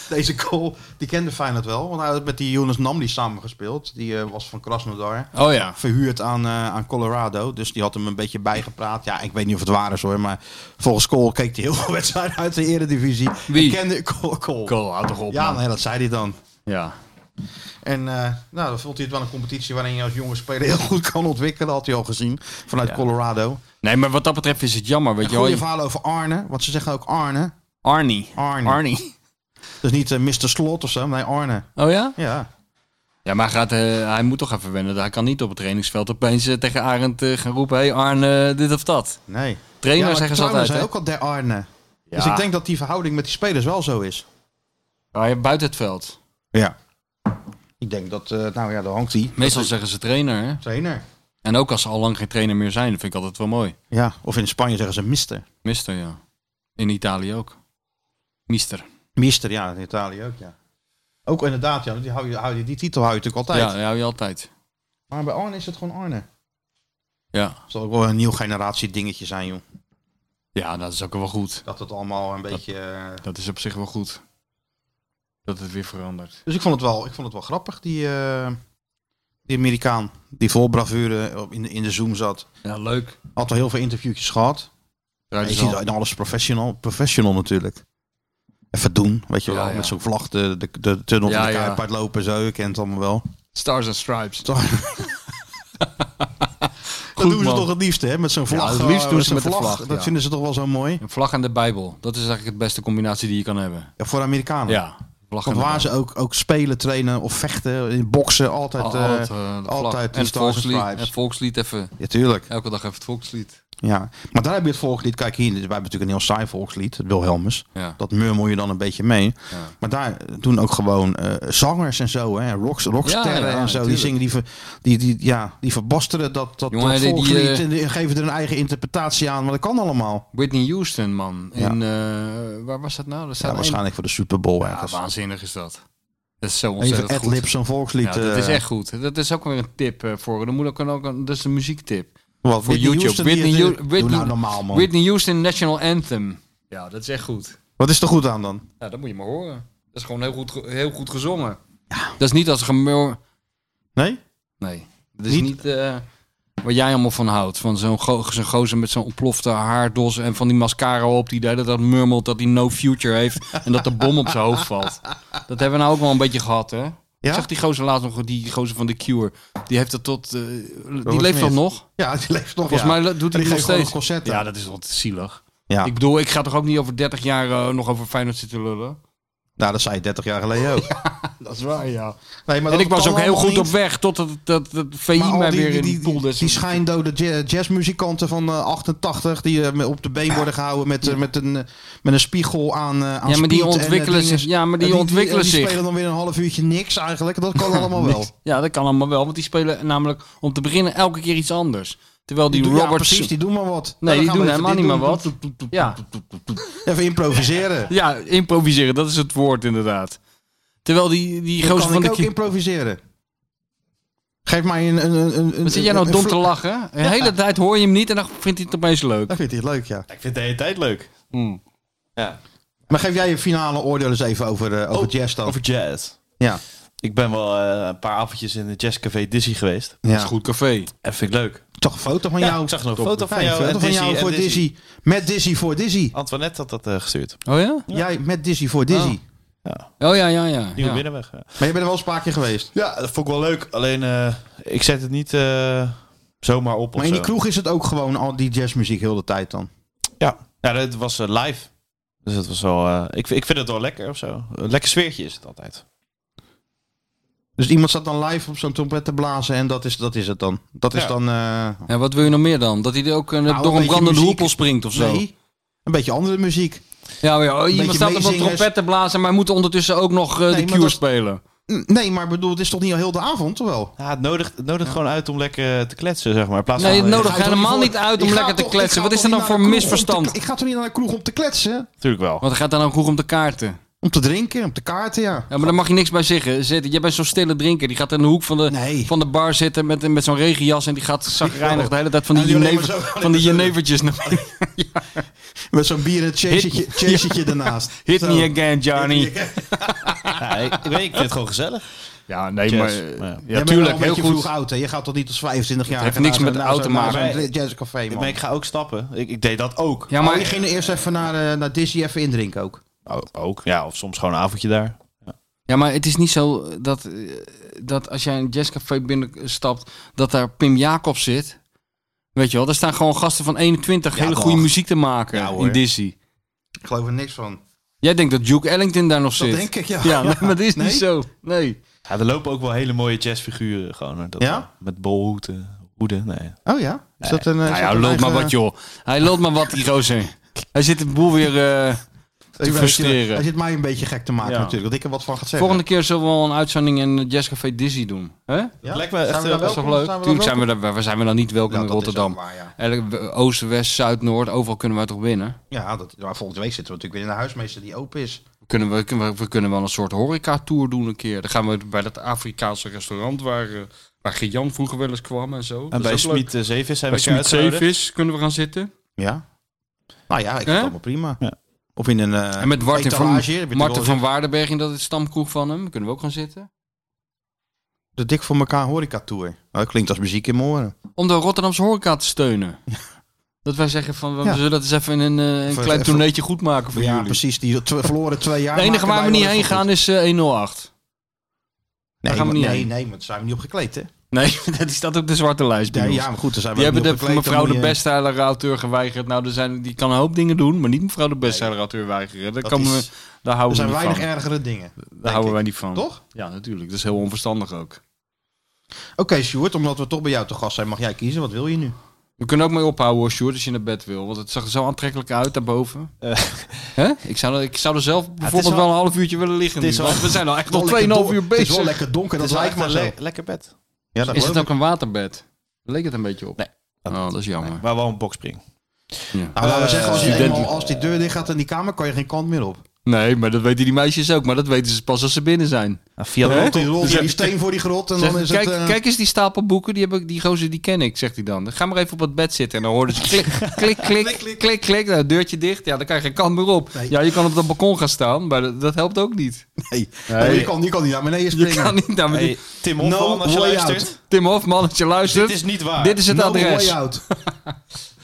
S2: Deze goal, die kende Feyenoord wel. Want hij had met die Younes Namli samengespeeld. Die eh, was van Krasnodar.
S3: Oh ja.
S2: Verhuurd aan, eh, aan Colorado. Dus die had hem een beetje bijgepraat. Ja, ik weet niet of het waar is hoor. Maar volgens Cole keek hij heel veel wedstrijden uit de Eredivisie.
S3: Wie?
S2: En kende Cole. Cole.
S3: Goal, houd toch op,
S2: Ja,
S3: man.
S2: nee, dat zei hij dan.
S3: Ja.
S2: En eh, nou, dan vond hij het wel een competitie waarin je als jonge speler heel goed kan ontwikkelen. Dat had hij al gezien vanuit Colorado.
S3: Nee, maar wat dat betreft is het jammer, weet je wel.
S2: Goede verhalen over Arne. Want ze zeggen ook Arne.
S5: Arnie.
S2: Arne.
S5: Arnie.
S2: Dus niet eh, Mr. Slot of zo. Nee, Arne.
S3: Oh ja?
S2: Ja.
S3: Ja, maar hij gaat, eh, hij moet toch even wennen. Hij kan niet op het trainingsveld opeens eh, tegen Arend eh, gaan roepen... hey Arne, eh, dit of dat.
S2: Nee.
S3: Trainer
S2: maar
S3: zeggen ze
S2: Trouwen zei
S3: altijd, hè?
S2: ook al der Arne. Dus
S3: Ja.
S2: ik denk dat die verhouding met die spelers wel zo is.
S3: Ah, ja, buiten het veld.
S2: Ja. Ik denk dat, eh, nou ja, daar hangt hij.
S3: Meestal zeggen ze trainer, hè?
S2: Trainer.
S3: En ook als ze al lang geen trainer meer zijn, dat vind ik altijd wel mooi.
S2: Ja. Of in Spanje zeggen ze mister.
S3: Mister, ja. In Italië ook. Mister.
S2: Mister, ja, in Italië ook, ja. Ook inderdaad, ja, die, hou je, hou je, die titel hou je natuurlijk altijd.
S3: Ja, hou je altijd.
S2: Maar bij Arne is het gewoon Arne.
S3: Ja.
S2: zal ook wel een nieuw generatie dingetje zijn, joh.
S3: ja, dat is ook wel goed.
S2: Dat het allemaal een beetje... eh,
S3: Dat is op zich wel goed. Dat het weer verandert.
S2: Dus ik vond het wel, ik vond het wel grappig, die, eh, die Amerikaan. Die vol bravure op- in de, in de Zoom zat.
S3: Ja, leuk.
S2: Had al heel veel interviewtjes gehad.
S3: Eruit
S2: je
S3: is
S2: ziet
S3: dus al.
S2: in alles professional, professional natuurlijk. Even doen, weet je
S3: Ja,
S2: wel.
S3: ja.
S2: Met zo'n vlag de, de, de tunnel
S3: Ja,
S2: van de
S3: ja.
S2: Kuip uitlopen zo. Je kent het allemaal wel.
S3: Stars and Stripes.
S2: Toch? dat
S3: Goed,
S2: doen ze
S3: man.
S2: toch het liefst, hè? Met zo'n vlag.
S3: het liefst
S2: eh,
S3: doen
S2: met
S3: ze
S2: zo'n
S3: met de vlag,
S2: Dat
S3: ja.
S2: vinden ze toch wel zo mooi.
S3: Een vlag en de Bijbel. Dat is eigenlijk de beste combinatie die je kan hebben.
S2: Ja, voor de Amerikanen.
S3: Ja. Vlag en
S2: Want
S3: de
S2: waar ze
S3: Bijbel.
S2: ook, ook spelen, trainen of vechten, in boksen, altijd...
S3: Al-
S2: eh,
S3: altijd, eh, de vlag.
S2: altijd die
S3: en het
S2: Stars and
S3: volkslied.
S2: Stripes.
S3: Het volkslied even.
S2: ja, tuurlijk.
S3: Elke dag even het volkslied.
S2: Ja. Maar daar heb je het volkslied. Kijk hier, wij hebben natuurlijk een heel saai volkslied. Het Wilhelmus.
S3: Ja.
S2: Dat murmel je dan een beetje mee.
S3: Ja.
S2: Maar daar doen ook gewoon eh, zangers en zo, hè, rocks, rocksterren
S3: Ja, ja,
S2: en zo. Die
S3: natuurlijk.
S2: zingen, die, ver- die, die, ja, die verbasteren dat, dat,
S3: Jongen,
S2: dat
S3: die- die,
S2: volkslied
S3: eh,
S2: en die geven er een eigen interpretatie aan. Maar dat kan allemaal.
S3: Whitney Houston, man.
S2: Ja.
S3: In, eh, waar was dat nou? Dat
S2: Ja,
S3: staat een
S2: waarschijnlijk voor de Super Bowl
S3: Ja,
S2: ergens.
S3: waanzinnig is dat. Dat is zo
S2: Even
S3: ontzettend
S2: ad-lib
S3: goed.
S2: zo'n volkslied.
S3: Ja, dat is
S2: eh,
S3: echt goed. Dat is ook weer een tip eh, voor. Dan moet ook, een- ook een, dat is een muziektip.
S2: wat,
S3: voor YouTube.
S2: die
S3: Whitney
S2: het-
S3: Hu-
S2: Doe
S3: Whitney-
S2: nou normaal, man.
S3: Whitney Houston National Anthem. Ja, dat is echt goed.
S2: Wat is er goed aan dan?
S3: Ja, dat moet je maar horen. Dat is gewoon heel goed, ge- heel goed gezongen. Dat is niet als gemur...
S2: Nee?
S3: Nee. Dat is
S2: Niet-
S3: niet... eh, Waar jij allemaal van houdt. Van zo'n go zo'n gozer met zo'n ontplofte haardos. En van die mascara op die dat dat murmelt dat hij no future heeft. En dat de bom op zijn hoofd valt. Dat hebben we nou ook wel een beetje gehad, hè? Ik zag die gozer laatst nog, die gozer van The Cure. Die heeft dat tot... eh, die leeft dat
S2: Smith.
S3: nog?
S2: Ja, die leeft nog.
S3: Volgens
S2: ja.
S3: mij doet
S2: En
S3: hij
S2: die geeft
S3: het nog
S2: gewoon
S3: steeds.
S2: nog concerten.
S3: Ja, dat is wel te zielig.
S2: Ja.
S3: Ik bedoel, ik ga toch ook niet over 30 jaar eh, nog over Feyenoord zitten lullen?
S2: Nou, dat zei je 30 jaar geleden ook.
S3: Dat is waar, ja.
S2: Nee, maar
S3: En
S2: dat
S3: ik was
S2: kan
S3: ook heel
S2: allemaal
S3: goed
S2: niet.
S3: op weg totdat dat, dat VI
S2: Maar al
S3: mij
S2: die-
S3: weer
S2: die-
S3: in die,
S2: die-
S3: pool des-
S2: Die schijndode ja- jazzmuzikanten van eh, 88 die eh, op de been worden gehouden met, eh, met, een, eh, met een spiegel aan. eh, aan
S3: Ja, maar die
S2: speed en, eh,
S3: ontwikkelen
S2: dingen.
S3: zich. Ja, maar
S2: En
S3: die ontwikkelen
S2: die, die
S3: zich.
S2: spelen dan weer een half uurtje niks eigenlijk. Dat kan allemaal wel.
S3: Ja, dat kan allemaal wel. Want die spelen namelijk om te beginnen elke keer iets anders. Terwijl die,
S2: doen- ja,
S3: Roberts.
S2: precies, die doen maar wat.
S3: Nee,
S2: Ja,
S3: die
S2: dan gaan
S3: doen
S2: we even
S3: helemaal niet
S2: dit
S3: meer
S2: doen.
S3: wat. Ja.
S2: Even improviseren.
S3: ja, improviseren, dat is het woord inderdaad. Terwijl die, die
S2: Dan
S3: gozer
S2: kan
S3: van
S2: ik
S3: de.
S2: ook
S3: ki-
S2: improviseren. Geef mij een... een, een, een
S3: Wat zit jij nou
S2: een-
S3: dom
S2: een
S3: te
S2: vlo-
S3: lachen? De hele tijd hoor je hem niet en dan vindt hij het opeens leuk.
S2: Dat vind ik leuk, ja.
S4: Ik vind het de hele tijd leuk.
S3: Hmm.
S4: Ja.
S2: Maar geef jij je finale oordeel eens even over, eh,
S3: Oh,
S2: over jazz dan.
S4: Over jazz.
S2: Ja.
S4: Ik ben wel eh, een paar avondjes in de jazzcafé Dizzy geweest.
S2: ja.
S3: Dat is goed café.
S4: En vind ik leuk.
S2: Toch een foto van
S4: Ja,
S2: jou.
S4: ik zag nog een
S2: Top.
S4: foto van
S2: Ja,
S4: jou
S2: een foto
S4: en
S2: van
S4: Dizzy
S2: jou
S4: en
S2: voor
S4: Dizzy.
S2: Dizzy. Met Dizzy voor Dizzy.
S4: Antoinette had dat eh, gestuurd.
S3: Oh
S2: Jij met Dizzy voor Dizzy.
S3: ja? Oh ja, ja, ja.
S4: Nieuwe
S3: ja.
S4: binnenweg. Ja.
S2: Maar je bent er wel eens een paar keer geweest.
S4: Ja, dat vond ik wel leuk. Alleen, eh, ik zet het niet eh, zomaar op
S2: Maar
S4: of
S2: in
S4: zo.
S2: die kroeg is het ook gewoon al die jazzmuziek heel de tijd dan.
S4: Ja, ja dat was eh, live. Dus het was wel... eh, ik, vind- ik vind het wel lekker of zo. Een lekker sfeertje is het altijd.
S2: Dus iemand staat dan live op zo'n trompet te blazen en dat is, dat is het dan. Dat is
S4: Ja.
S2: dan... eh,
S3: Ja, wat wil je nog meer dan? Dat hij er ook eh,
S2: Nou, een
S3: door een
S2: beetje
S3: brandende
S2: muziek.
S3: hoepel springt of zo?
S2: nee, een beetje andere muziek.
S3: Ja, maar ja, iemand
S2: beetje
S3: staat op een
S2: meezingers.
S3: trompet te blazen, maar moet ondertussen ook nog eh,
S2: maar
S3: de cure
S2: dat-
S3: spelen.
S2: N- Nee, maar bedoel, het is toch niet al heel de avond, toch
S3: Oh,
S2: wel?
S4: Ja, het nodigt, het nodigt gewoon uit om lekker eh, te kletsen, zeg maar. In plaats
S3: Nee,
S4: van,
S3: het
S4: eh,
S3: nodigt-
S2: Ik ga
S3: helemaal
S2: toch
S3: niet
S2: voor-
S3: uit om
S2: ik ga
S3: lekker te
S2: toch-
S3: kletsen.
S2: ik ga
S3: Wat is
S2: toch
S3: er
S2: niet
S3: dan
S2: naar
S3: voor
S2: de kroeg om te-
S3: misverstand?
S2: ik ga toch niet naar de kroeg om te kletsen?
S4: Natuurlijk wel.
S3: Want het gaat dan ook goed om de kaarten.
S2: Om te drinken, om te kaarten, ja.
S3: Ja, maar daar mag je niks bij zeggen. Zitten. Jij bent zo'n stille drinker. Die gaat in de hoek van de,
S2: Nee.
S3: van de bar zitten met, met zo'n regenjas. En die gaat zagrijnig de hele tijd van die,
S2: En die alleen maar
S3: jenever-
S2: zo-
S3: van die jenevertjes. naar-
S2: Met zo'n bier en een chasetje, chasetje ernaast.
S3: Hit
S2: Zo.
S3: me again, Johnny.
S4: Ja, ik, ik weet, ik vind het gewoon gezellig.
S3: Ja, nee,
S4: Jazz.
S3: maar...
S4: Ja.
S3: eh,
S2: Jij
S3: Ja,
S2: bent wel
S3: tuurlijk,
S2: een
S3: heel
S2: beetje
S3: goed.
S2: vroeg oud, hè? Je gaat toch niet als 25 jaar.
S3: heeft niks met oud te
S4: maken.
S2: jazzcafé,
S4: Ik,
S2: man.
S4: maar ik ga ook stappen. Ik, ik deed dat ook.
S3: Ja,
S2: maar Oh, je
S3: maar,
S2: ging eerst even naar, eh, naar Disney even indrinken ook.
S4: O- ook. Ja, of soms gewoon een avondje daar.
S3: ja, maar het is niet zo dat, eh, dat als jij een jazzcafé binnenstapt... dat daar Pim Jacobs zit. Weet je wel, daar staan gewoon gasten van 21... hele
S2: toch.
S3: goede muziek te maken in Dizzy.
S2: Ik geloof er niks van.
S3: Jij denkt dat Duke Ellington daar nog
S2: Dat
S3: zit.
S2: denk ik, ja.
S3: Ja, maar dat is niet zo. Nee.
S4: Ja, er lopen ook wel hele mooie jazzfiguren gewoon. hoor. Dat
S2: Ja?
S4: wel. Met bolhoeden. Hoeden, nee.
S2: Oh ja? Is dat een, eh, is
S3: Nou ja,
S2: dat een
S3: lult
S2: eigen-
S3: maar wat, joh. Hij lult maar wat, die gozer. Hij zit de boel weer... eh,
S2: Ik weet-
S3: frustreren.
S2: Hij zit mij een beetje gek te maken
S4: Ja.
S2: natuurlijk, dat ik er wat van ga zeggen.
S3: Volgende keer zullen we wel een uitzending in het Jazzcafé Dizzy doen. hè?
S2: Ja?
S4: Lijkt me echt,
S2: Zijn we
S4: eh,
S2: daar
S3: Dat is toch
S2: welkom? Zijn we
S3: leuk?
S2: daar
S3: Tuurlijk zijn
S2: welkom?
S3: we, daar, waar zijn we dan niet welkom
S2: Ja,
S3: in
S2: dat is ook
S3: Rotterdam.
S2: waar, ja.
S3: Elk- eh, Oost, West, Zuid, Noord, overal kunnen we toch winnen?
S2: Ja, dat, maar volgende week zitten we natuurlijk weer in de huismeester die open is.
S3: Kunnen we, kunnen we, we kunnen wel een soort horeca-tour doen een keer. Dan gaan we bij dat Afrikaanse restaurant waar, eh, waar Gian vroeger wel eens kwam en zo. Dat
S4: En
S3: is
S4: bij
S3: ook leuk.
S4: Smit Zeevis zijn
S3: Bij
S4: we elkaar
S3: Smit
S4: uitgenodigd.
S3: Zeevis kunnen we gaan zitten.
S2: Ja. Nou ja, ik vind
S3: Hè?
S2: het allemaal prima.
S4: Ja.
S2: Of in een eh
S3: en met Martin van,
S2: etalage, heb je
S3: Martin
S2: toch
S3: van Waardenberg in dat is stamkroeg van hem. Kunnen we ook gaan zitten.
S2: wel De dik voor elkaar horeca tour. Nou, dat klinkt als muziek in mijn oren.
S3: om de Rotterdamse horeca te steunen. Dat wij zeggen van, we
S2: Ja.
S3: zullen dat eens even in een, eh, een
S2: Even-
S3: klein
S2: even-
S3: toerneetje goed maken voor
S2: Ja,
S3: jullie.
S2: precies. Die tw- verloren twee jaar.
S3: Het enige
S2: maken
S3: waar
S2: wij
S3: we niet
S2: wel
S3: heen
S2: even goed.
S3: gaan is eh, 108.
S2: Nee,
S3: gaan we
S2: maar-
S3: niet
S2: nee,
S3: heen.
S2: nee, want daar zijn we niet op gekleed, hè?
S3: Nee, dat is dat op de zwarte lijst. bij
S2: Nee,
S3: ons.
S2: ja, maar goed, daar zijn we
S3: die
S2: ook
S3: hebben
S2: niet
S3: de,
S2: op gekleed,
S3: mevrouw
S2: dan
S3: de
S2: moet je-
S3: bestseller-auteur geweigerd. Nou, er zijn, die kan een hoop dingen doen, maar niet mevrouw de bestseller-auteur weigeren. Daar,
S2: Dat
S3: komen
S2: is-
S3: we, daar
S2: Er
S3: houden, we
S2: zijn
S3: niet
S2: weinig
S3: van.
S2: ergere dingen.
S3: daar houden wij niet van.
S2: Toch?
S3: Ja, natuurlijk. Dat is heel onverstandig ook.
S2: Oké, Sjoerd, omdat we toch bij jou te gast zijn, mag jij kiezen. Wat wil je nu?
S3: We kunnen ook mee ophouden hoor, Sjoerd, als je naar bed wil. Want het zag er zo aantrekkelijk uit daarboven.
S4: Eh.
S3: Hè? Ik, zou, er- ik zou er zelf bijvoorbeeld
S4: wel-
S3: wel een half uurtje willen liggen.
S4: het is
S3: nu,
S4: wel-
S3: want we zijn al echt nog
S2: Wel lekker
S3: 2,5
S2: don-
S3: uur
S2: Het is wel
S3: bezig.
S2: lekker donker,
S4: Het
S2: dat
S4: is wel
S2: lijkt
S4: echt
S2: maar
S4: een
S2: zo.
S3: eh,
S4: le- lekker bed.
S2: Ja, dat
S3: Is het
S2: geloof ik.
S3: ook een waterbed? Leek het een beetje op?
S4: Nee.
S3: Oh, dat is jammer.
S4: Maar wel een boxspring.
S2: Nou, laten we
S4: Eh,
S2: zeggen, als, je
S3: studenten-
S2: eenmaal- als die deur dicht gaat in die kamer, kan je geen kant meer op.
S3: Nee, maar dat weten die meisjes ook. Maar dat weten ze pas als ze binnen zijn.
S4: Nou, via de
S3: Hè?
S4: rotte rol.
S2: Rolt die steen voor die grot en
S3: Dus, eh, Zeg,
S2: dan is
S3: kijk,
S2: het... eh,
S3: kijk eens die stapel boeken, die, heb ik, die gozer die ken ik, zegt hij dan. Ga maar even op het bed zitten. En dan hoorden ze klik, klik, klik, klik, klik, Nou, deurtje dicht. Ja, dan kan je geen kant meer op. Ja, je kan op dat balkon gaan staan, maar dat, dat helpt ook niet.
S2: Nee. Nee, Je, kan, je kan niet naar beneden
S3: Je
S2: springen.
S3: kan niet naar beneden.
S4: Hey, Tim Hofman, als je
S2: way
S4: luistert.
S2: out.
S3: Tim Hofman, als je luistert,
S4: Dit is niet waar.
S3: dit is het
S2: No
S3: adres.
S2: way out.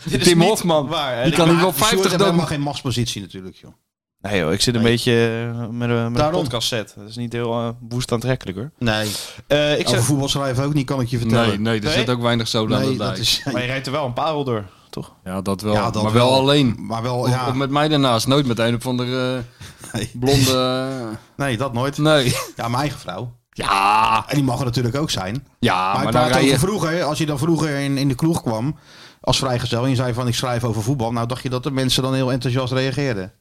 S4: Dit is
S3: Tim
S4: niet
S3: Hofman,
S4: Waar, hè?
S3: die kan hier wel
S2: Die Sjoerd
S3: 50
S2: heeft helemaal
S3: dood.
S2: geen machtspositie natuurlijk, joh.
S4: Nee joh, ik zit een beetje eh, met een, met een
S2: Daarom.
S4: podcast set. Dat is niet heel eh, woest aantrekkelijk hoor.
S2: Nee.
S4: Eh, ik
S2: Over
S4: zeg,
S2: voetbal schrijven ook niet, kan ik je
S3: Nee,
S2: vertellen.
S3: nee, er
S4: Nee?
S3: zit ook weinig zo aan
S2: Nee,
S3: de
S2: dat is...
S4: maar je rijdt er wel een parel door, toch?
S3: Ja, dat wel.
S2: Ja, dat
S3: maar wel, alleen.
S2: Maar wel, Oh,
S3: Of,
S2: ja.
S3: of met mij daarnaast. Nooit met een of andere
S2: Nee.
S3: blonde...
S2: Nee, dat nooit.
S3: Nee.
S2: Ja, mijn eigen vrouw.
S3: Ja,
S2: En die mag er natuurlijk ook zijn.
S3: ja
S2: Maar,
S3: Ah, maar,
S2: ik
S3: dan
S2: praat
S3: rij
S2: over
S3: je...
S2: vroeger, als je dan vroeger in, in de kroeg kwam als vrijgezel en je zei van ik schrijf over voetbal, nou dacht je dat de mensen dan heel enthousiast reageerden.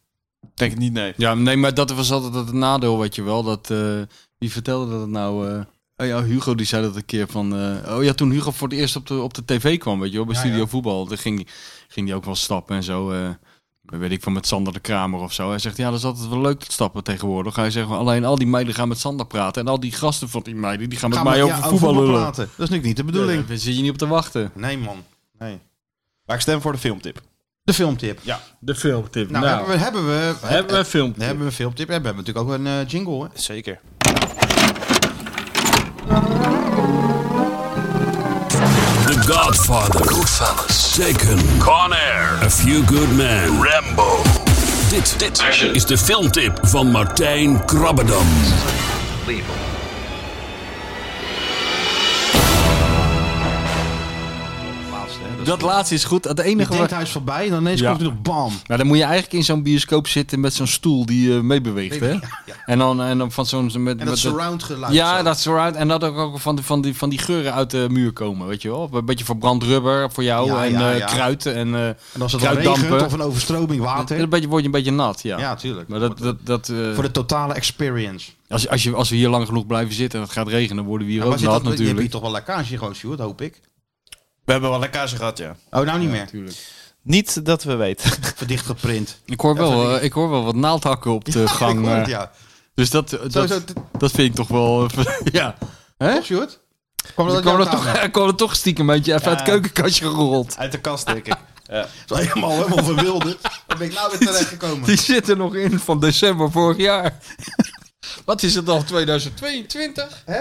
S4: Denk ik niet, nee.
S3: Ja, nee, maar dat was altijd het nadeel, weet je wel. Dat, eh, wie vertelde dat nou? eh, oh ja, Hugo die zei dat een keer van... eh, oh ja, toen Hugo voor het eerst op de, op de tv kwam, weet je wel, bij Studio Voetbal. Daar ging, ging die ook wel stappen en zo. eh, weet ik van met Sander de Kramer of zo. Hij zegt, ja, dat is altijd wel leuk dat stappen tegenwoordig. Hij zegt, alleen al die meiden gaan met Sander praten. En al die gasten van die meiden, die gaan met
S2: Ga
S3: mij
S2: maar-
S3: over
S2: ja,
S3: voetbal lullen.
S2: praten. Dat is natuurlijk niet de
S3: Ja,
S2: bedoeling.
S3: Daar zit je niet op te wachten.
S2: Nee man. Nee.
S4: Maar ik stem voor de filmtip.
S2: De filmtip.
S3: De filmtip.
S2: Nou, hebben we hebben we hebben
S3: we een filmpje.
S2: we hebben we een filmtip. En we hebben natuurlijk ook een eh, jingle. Hè?
S4: Zeker.
S8: The Godfather. Goodfellas. Taken. Con Air. A Few Good Men. Rambo. Dit, dit is de filmtip van Martijn Krabbedam.
S2: Laatste, hè? Dat,
S3: Dat laatste is goed. Het
S2: je
S3: enige
S2: denkt
S3: wat...
S2: hij is voorbij en dan ineens
S3: Ja.
S2: komt hij nog bam.
S3: Nou, dan moet je eigenlijk in zo'n bioscoop zitten met zo'n stoel die eh, meebeweegt, hè?
S2: ja.
S3: En dan, en dan van zo'n... zo Met,
S2: En
S3: met
S2: dat surround geluid.
S3: Ja,
S2: zo.
S3: dat surround. En dat ook, ook van, die, van, die, van die geuren uit de muur komen, weet je wel? Een beetje verbrand rubber voor jou
S2: Ja,
S3: en
S2: ja,
S3: eh,
S2: ja.
S3: kruiden en, eh,
S2: en als het dan
S3: kruiddampen.
S2: regent of een overstroming
S3: En
S2: water.
S3: dan ben je- word je een beetje nat, ja.
S2: Ja, tuurlijk.
S3: Maar dat, dat, dat, eh,
S2: Voor de totale experience. Nou,
S3: als, je- als, je, als we hier lang genoeg blijven zitten en het gaat regenen, worden we hier
S2: Maar
S3: ook
S2: zit dat,
S3: nat
S2: je hebt hier
S3: natuurlijk.
S2: toch wel lekkage gewoon, Sjoerd, hoop ik.
S4: We hebben wel lekkage gehad, ja.
S2: Oh, nou niet
S3: Ja,
S2: meer.
S3: natuurlijk.
S4: Niet dat we weten.
S2: Verdicht geprint.
S3: Ik hoor, wel, eh, ik hoor wel wat naaldhakken op de gang.
S2: Ja,
S3: eh.
S2: ja.
S3: Dus dat, dat,
S2: zo, t-
S3: dat vind ik toch wel... eh, ja. Hè?
S2: Toch, Sjoerd? Kwam
S3: Dan
S2: dat
S3: kwam
S2: uit
S3: er,
S2: jouw
S3: toch,
S2: kamer?
S3: er kwam er toch stiekem een beetje even uit het keukenkastje gerold.
S4: Uit de kast, denk ik. Ja.
S2: Zo helemaal, helemaal verwilderd. Waar ben ik nou weer terechtgekomen?
S3: Die zit er nog in van december vorig jaar. Wat is het al, 2022?
S2: Hè?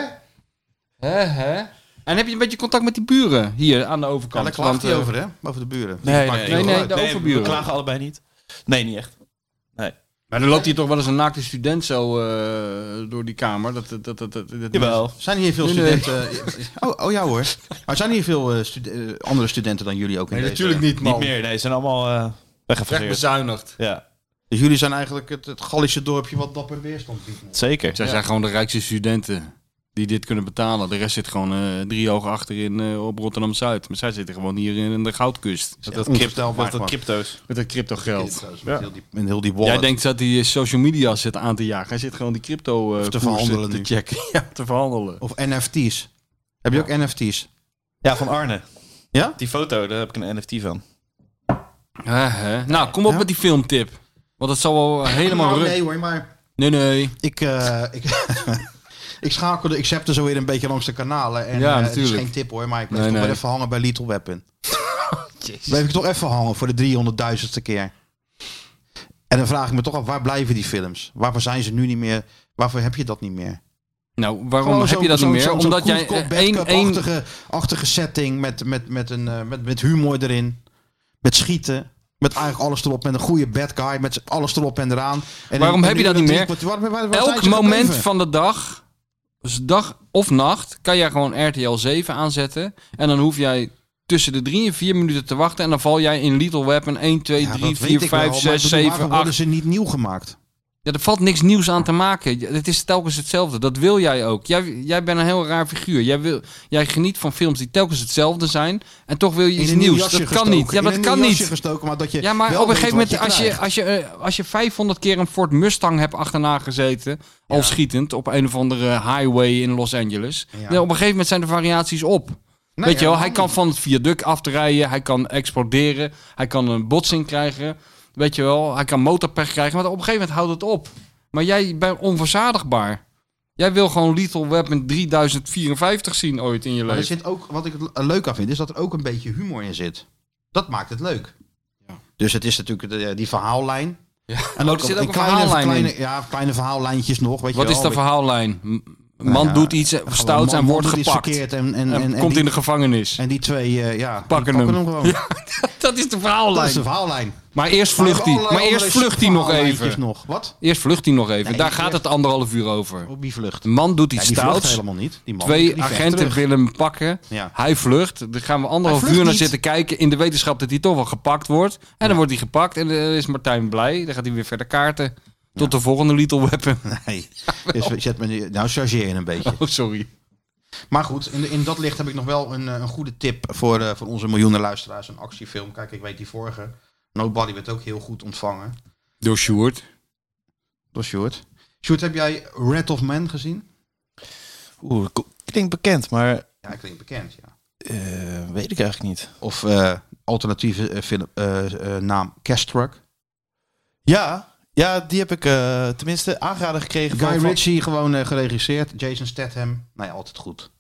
S3: Hè, hè? En heb je een beetje contact met die buren hier aan de
S2: Ja,
S3: overkant?
S2: daar klaagt hij
S3: eh,
S2: over, hè? Over de buren.
S4: Nee,
S2: Maakt
S4: nee,
S2: niet
S3: nee,
S2: uit.
S3: nee, de
S4: we
S3: overburen.
S4: klagen allebei niet. Nee, niet echt.
S3: Maar dan loopt hier toch wel eens een naakte student zo eh, door die kamer. Dat, dat, dat, dat, dat, dat-
S4: Jawel.
S2: Zijn hier veel
S3: Nee, nee.
S2: studenten... Oh, oh ja hoor. Maar zijn hier veel eh, stu- eh, andere studenten dan jullie ook in
S3: Nee,
S2: deze-
S3: natuurlijk niet, man.
S4: Niet meer, nee. Ze zijn allemaal eh
S3: Recht
S4: weggefaseerd.
S3: bezuinigd.
S4: Ja,
S2: Dus jullie zijn eigenlijk het, het Gallische dorpje wat dapper weerstand biedt.
S4: zeker.
S3: Zij zijn gewoon de rijkste studenten die dit kunnen betalen. De rest zit gewoon eh, drie ogen achterin eh, op Rotterdam-Zuid. Maar zij zitten gewoon hier in de Goudkust.
S2: Dat,
S4: Dat,
S2: dat
S4: crypto,
S2: maar
S4: dat, dat crypto's.
S3: Met dat crypto geld.
S2: Met heel die, met heel die
S3: Jij
S2: wallet.
S3: denkt dat hij social media zit aan te jagen. Hij zit gewoon die crypto eh,
S2: te
S3: koersen
S2: verhandelen
S3: te
S2: nu.
S3: checken. Ja, te verhandelen.
S2: Of NFT's. Heb je ook NFT's?
S4: Ja, van Arne.
S2: Ja?
S4: Die foto, daar heb ik een NFT van.
S3: Nou, kom op
S2: Ja?
S3: met die filmtip. Want het zal wel helemaal...
S2: Nou,
S3: ru-
S2: nee hoor, maar...
S3: nee, nee.
S2: Ik, eh, ik, ik schakelde, ik zepte zo weer een beetje langs de kanalen. En,
S3: Ja,
S2: ja, Het
S3: natuurlijk.
S2: is geen tip hoor, maar ik bleef
S3: Nee,
S2: toch
S3: nee.
S2: wel even hangen bij Little Weapon. bleef ik toch even hangen voor de 300.000ste keer. En dan vraag ik me toch af, waar blijven die films? Waarvoor zijn ze nu niet meer? Waarvoor heb je dat niet meer?
S3: Nou, waarom
S2: Gewoon
S3: heb
S2: zo'n-
S3: je dat niet
S2: zo'n-
S3: meer?
S2: zo'n-
S3: Omdat
S2: zo'n
S3: jij
S2: Koep- Koep-
S3: eh, één... één
S2: Badcup-achtige- achtige setting met, met, met, een, eh, met, met humor erin. Met schieten. Met eigenlijk alles erop. Met een goede bad guy. Met alles erop en eraan. En
S3: Waarom heb je dat niet meer? elk moment
S2: van
S3: van de dag, dus dag of nacht, kan jij gewoon RTL 7 aanzetten. En dan hoef jij tussen de drie en vier minuten te wachten. En dan val jij in Little Weapon 1, 2,
S2: Ja,
S3: 3,
S2: dat
S3: 4,
S2: weet ik
S3: 5,
S2: wel, maar ik
S3: 6,
S2: bedoel,
S3: 7,
S2: waarom
S3: 8.
S2: worden ze niet nieuw gemaakt?
S3: Ja, er valt niks nieuws aan te maken. Ja, Het is telkens hetzelfde. Dat wil jij ook. Jij, jij bent een heel raar figuur. Jij, wil, jij geniet van films die telkens hetzelfde zijn. En toch wil je iets
S2: een nieuw
S3: nieuws. Dat
S2: jasje
S3: kan
S2: gestoken.
S3: niet. Ja,
S2: In
S3: dat
S2: een
S3: kan
S2: nieuw jasje
S3: niet.
S2: gestoken, maar dat je
S3: Ja, maar
S2: wel
S3: op een
S2: weet
S3: gegeven
S2: wat
S3: moment, als je,
S2: krijgt.
S3: als, je, eh, als je 500 keer een Ford Mustang hebt achterna gezeten, al schietend, op een of andere highway in Los Angeles.
S2: Ja.
S3: ja, Op een gegeven moment zijn de variaties op.
S2: Nee,
S3: Weet je wel,
S2: helemaal
S3: hij kan
S2: niet.
S3: van het viaduct afrijden, hij kan exploderen, hij kan een botsing krijgen. Weet je wel, hij kan motorpech krijgen, maar op een gegeven moment houdt het op. Maar jij bent onverzadigbaar. Jij wil gewoon Lethal Weapon 3054 zien ooit in je
S2: Maar er
S3: leven.
S2: zit ook, wat ik het le- leuk aan vind, is dat er ook een beetje humor in zit. Dat maakt het leuk. Dus het is natuurlijk de- die verhaallijn. En
S3: er zit ook een verhaallijn
S2: kleine,
S3: in.
S2: Ja, kleine verhaallijntjes nog. Weet
S3: Wat
S2: je
S3: is de
S2: wel.
S3: verhaallijn? M- Man
S2: ja,
S3: doet iets
S2: Gewoon,
S3: stouts
S2: man-
S3: en
S2: man
S3: wordt
S2: doet iets
S3: gepakt.
S2: verkeerd En, en,
S3: En,
S2: en, en
S3: komt
S2: die,
S3: in de gevangenis.
S2: en die twee, eh, ja, die
S3: Pakken hem.
S2: gewoon.
S3: dat is de
S2: Dat
S3: verhaallijn.
S2: is de verhaallijn.
S3: Maar eerst
S2: Maar we
S3: vlucht hij.
S2: hebben
S3: Maar
S2: allerlei
S3: eerst vlucht hij nog
S2: verhaallijntjes
S3: even.
S2: nog. Wat?
S3: Eerst vlucht hij nog even.
S2: Nee,
S3: Daar
S2: die
S3: gaat
S2: vlucht-
S3: het anderhalf uur over.
S2: Op die vlucht.
S3: De man doet iets
S2: die vlucht
S3: stouts.
S2: helemaal niet. Die man, die
S3: Twee
S2: vecht
S3: agenten
S2: terug.
S3: willen hem pakken.
S2: Ja.
S3: Hij vlucht. Daar gaan we anderhalf
S2: Hij vlucht
S3: uur naar
S2: niet.
S3: zitten kijken. In de wetenschap dat hij toch wel gepakt wordt. En dan wordt hij gepakt. En dan is Martijn blij. Dan gaat hij weer verder kaarten. Tot de volgende Little Weapon.
S2: Nee. Dus we- zet me nu, nou, chargeer je een beetje.
S3: Oh, sorry.
S2: Maar goed, in, de- in dat licht heb ik nog wel een, eh, een goede tip voor, eh, voor onze miljoenen luisteraars. Een actiefilm. Kijk, ik weet die vorige. Nobody werd ook heel goed ontvangen.
S3: Door Sjoerd.
S2: Door Sjoerd. Sjoerd, heb jij Red of Man gezien?
S4: Oeh, dat ko- klinkt bekend, maar
S2: Ja, klinkt bekend, ja.
S4: eh, weet ik eigenlijk niet.
S2: Of eh, alternatieve eh, film, eh, eh, naam Castruck.
S4: Ja, ja die heb ik eh, tenminste aangeraden gekregen. van-
S2: Guy
S4: van-
S2: Ritchie gewoon eh, geregisseerd. Jason Statham. Nou ja, altijd goed.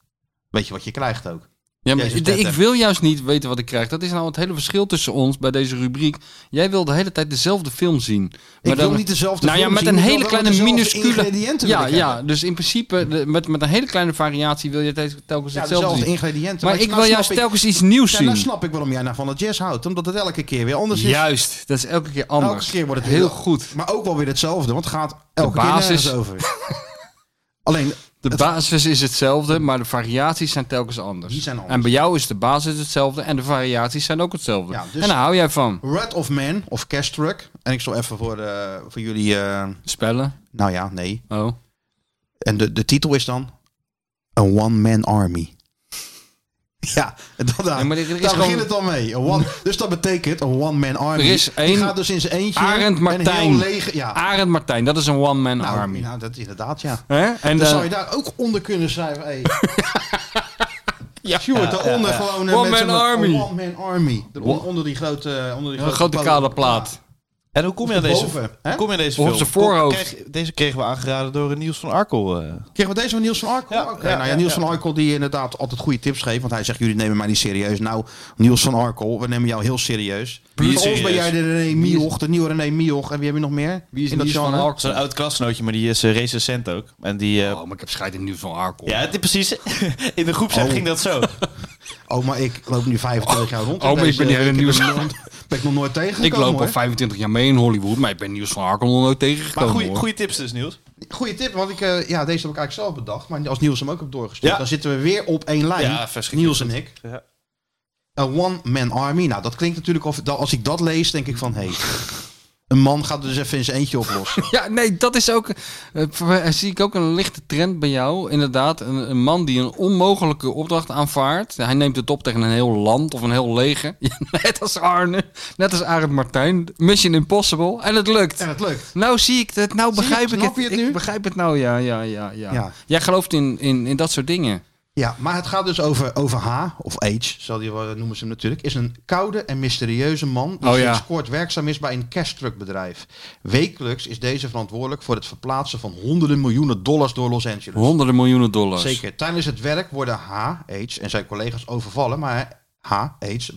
S2: Weet je wat je krijgt ook.
S3: Ja, maar
S2: Jezus,
S3: ik-
S2: vet,
S3: ik
S2: hè?
S3: wil juist niet weten wat ik krijg. Dat is nou het hele verschil tussen ons bij deze rubriek. Jij wil de hele tijd dezelfde film zien. Maar
S2: ik wil
S3: dan-
S2: niet dezelfde
S3: Nou ja,
S2: film
S3: met
S2: zien,
S3: een
S2: ik wil
S3: hele
S2: wel
S3: kleine
S2: dezelfde
S3: minuscule.
S2: ingrediënten
S3: Ja,
S2: wil ik
S3: ja,
S2: hebben.
S3: dus in principe de- met, met een hele kleine variatie wil je telkens, telkens
S2: Ja,
S3: hetzelfde
S2: dezelfde
S3: zien.
S2: ingrediënten.
S3: Maar ik
S2: nou
S3: wil
S2: snap
S3: juist
S2: ik-
S3: telkens iets nieuws
S2: Ja, nou
S3: zien.
S2: snap ik waarom jij nou van het jazz houdt. Omdat het elke keer weer anders is.
S3: Juist, dat is elke keer anders.
S2: Elke keer wordt het
S3: heel
S2: heel-
S3: goed.
S2: Maar ook wel weer hetzelfde. Want het gaat elke
S3: basis.
S2: keer nergens over. Alleen,
S3: De basis is hetzelfde, maar de variaties zijn telkens anders.
S2: Die zijn anders.
S3: En bij jou is de basis hetzelfde en de variaties zijn ook hetzelfde.
S2: Ja, dus-
S3: En daar hou jij van.
S2: Red of Man of Cash Truck. En ik zal even voor, eh, voor jullie... eh,
S3: Spellen.
S2: nou ja, nee.
S3: Oh.
S2: En de, de titel is dan... Een one-man army. Ja, dat, daar,
S3: Ja, maar er is
S2: daar
S3: gewoon-
S2: begint het al mee. Een one, dus dat betekent een one-man army.
S3: Er is
S2: Die
S3: één-
S2: gaat dus in zijn eentje...
S3: Arend
S2: Een
S3: Martijn.
S2: heel lege, ja,
S3: Arend Martijn, dat is een one-man
S2: nou,
S3: army.
S2: nou, dat is inderdaad, ja.
S3: Hè? En
S2: Dan
S3: eh,
S2: zou je daar ook onder kunnen schrijven. Hey. ja, Sjoerd, daaronder gewoon... eh,
S3: One
S2: met
S3: man
S2: zo'n-
S3: army.
S2: een one-man army. Er- Onder die grote... eh, Onder die
S3: een grote kale plaat.
S4: En hoe kom je aan
S2: Boven,
S4: deze,
S2: hè?
S4: hoe kom je aan deze
S3: Of op
S4: film?
S3: zijn voorhoofd.
S4: Kreeg- deze kregen we aangeraden door Niels van Arkel. eh.
S2: Kregen we deze van Niels van Arkel?
S4: Ja,
S2: Ja,
S4: ja,
S2: nou ja,
S4: ja,
S2: Niels
S4: ja.
S2: van Arkel die inderdaad altijd goede tips geeft. Want hij zegt, jullie nemen mij niet serieus. Nou, Niels van Arkel, we nemen jou heel serieus.
S4: Wie is
S2: Voor ons ben
S4: serieus?
S2: jij de René Mioch, de nieuwe René Mioch. En wie heb je nog meer?
S3: Wie is
S2: In dat
S3: Niels van
S2: genre?
S3: Arkel?
S4: Zo'n oud klasgenootje, maar die is eh, recensent ook. En die... eh,
S3: Oh, maar ik heb scheid in nieuws van Arkel.
S4: ja, het is precies. In de groep
S2: Oh.
S4: ging dat zo.
S2: Oh, maar ik loop nu 25 jaar rond. in
S3: oh, maar ik
S2: deze-
S3: ben die hele
S2: heb
S3: Niels-
S2: hem nog- Ben ik nog nooit tegengekomen,
S3: ik loop al
S2: hoor.
S3: 25 jaar mee in Hollywood, maar ik ben nieuws van Arkel nog nooit
S4: Maar
S3: tegengekomen. hoor.
S4: goede tips dus, Niels.
S2: Goeie tip, want ik, eh, ja, deze heb ik eigenlijk zelf bedacht. Maar als Niels hem ook hebt doorgestuurd,
S4: Ja.
S2: dan zitten we weer op één lijn.
S4: Ja, verschrikkelijk.
S2: Niels en ik.
S4: Ja.
S2: Een one-man army. Nou, dat klinkt natuurlijk... Of, als ik dat lees, denk ik van... Hé, hey, een man gaat er dus even in zijn eentje oplossen.
S3: Ja, nee, dat is ook. eh, voor mij zie ik ook een lichte trend bij jou. Inderdaad, een, een man die een onmogelijke opdracht aanvaardt. Hij neemt het op tegen een heel land of een heel leger. Ja, Net als Arne, net als Arend Martijn. Mission Impossible. En het lukt.
S2: En het lukt.
S3: Nou zie ik het, nou
S2: Zie je,
S3: begrijp ik
S2: snap
S3: het.
S2: je het
S3: Ik
S2: nu?
S3: begrijp het nou, ja, ja, ja, ja.
S2: Ja.
S3: Jij gelooft in, in, in dat soort dingen.
S2: Ja, maar het gaat dus over, over H, of H, zal die, wel- noemen ze hem natuurlijk. Is een koude en mysterieuze man die
S3: Oh, ja.
S2: sinds kort werkzaam is bij een cashtruckbedrijf. Wekelijks is deze verantwoordelijk voor het verplaatsen van honderden miljoenen dollars door Los Angeles.
S3: Honderden miljoenen dollars.
S2: Zeker. Tijdens het werk worden H, H en zijn collega's overvallen, maar H, H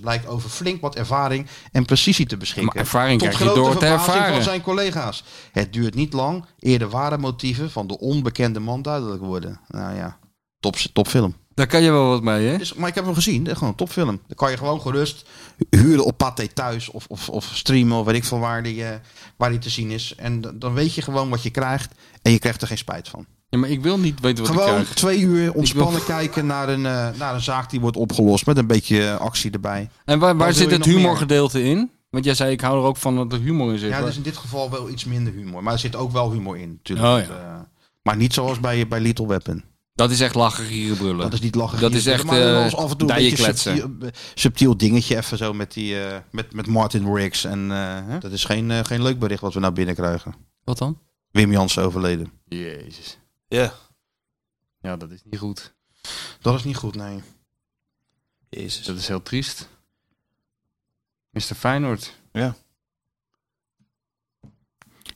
S2: blijkt over flink wat ervaring en precisie te beschikken.
S3: Maar ervaring
S2: Tot
S3: krijg je
S2: grote
S3: door te
S2: verbazing
S3: ervaren.
S2: van zijn collega's. Het duurt niet lang eer de ware motieven van de onbekende man duidelijk worden. Nou ja, top, topfilm.
S3: Daar kan je wel wat mee, hè?
S2: Is, maar ik heb hem gezien. Dat is gewoon een topfilm. Dan kan je gewoon gerust huren op Pathé thuis of, of, of streamen of weet ik veel waar die, eh, waar die te zien is. En d- dan weet je gewoon wat je krijgt en je krijgt er geen spijt van.
S3: Ja, maar ik wil niet weten wat ik
S2: gewoon
S3: krijg.
S2: twee uur ontspannen kijken naar een, eh, naar een zaak die wordt opgelost met een beetje eh, actie erbij.
S3: En waar, waar
S2: wil
S3: zit
S2: je
S3: het
S2: nog meer?
S3: humorgedeelte in? Want jij zei, ik hou er ook van dat er humor in zit.
S2: Ja,
S3: Maar-
S2: dus in dit geval wel iets minder humor. Maar er zit ook wel humor in natuurlijk.
S3: Oh ja.
S2: Want, eh, maar niet zoals bij, bij Little Weapon.
S3: Dat is echt lachen, gieren, brullen.
S2: Dat is niet lachen.
S3: Dat is
S2: gieren,
S3: echt,
S2: maar wel
S3: eh,
S2: eens af en toe een
S3: dijen
S2: beetje
S3: kletsen.
S2: subtiel, eh, subtiel dingetje even zo met, die, eh, met, met Martin Riggs. En eh, hè? dat is geen, eh, geen leuk bericht wat we nou binnenkrijgen.
S3: Wat dan?
S2: Wim Jansen overleden.
S3: Jezus.
S4: Ja.
S3: Ja, dat is niet goed.
S2: Dat is niet goed, nee.
S4: Jezus.
S3: Dat is heel triest. Mr. Feyenoord.
S4: Ja.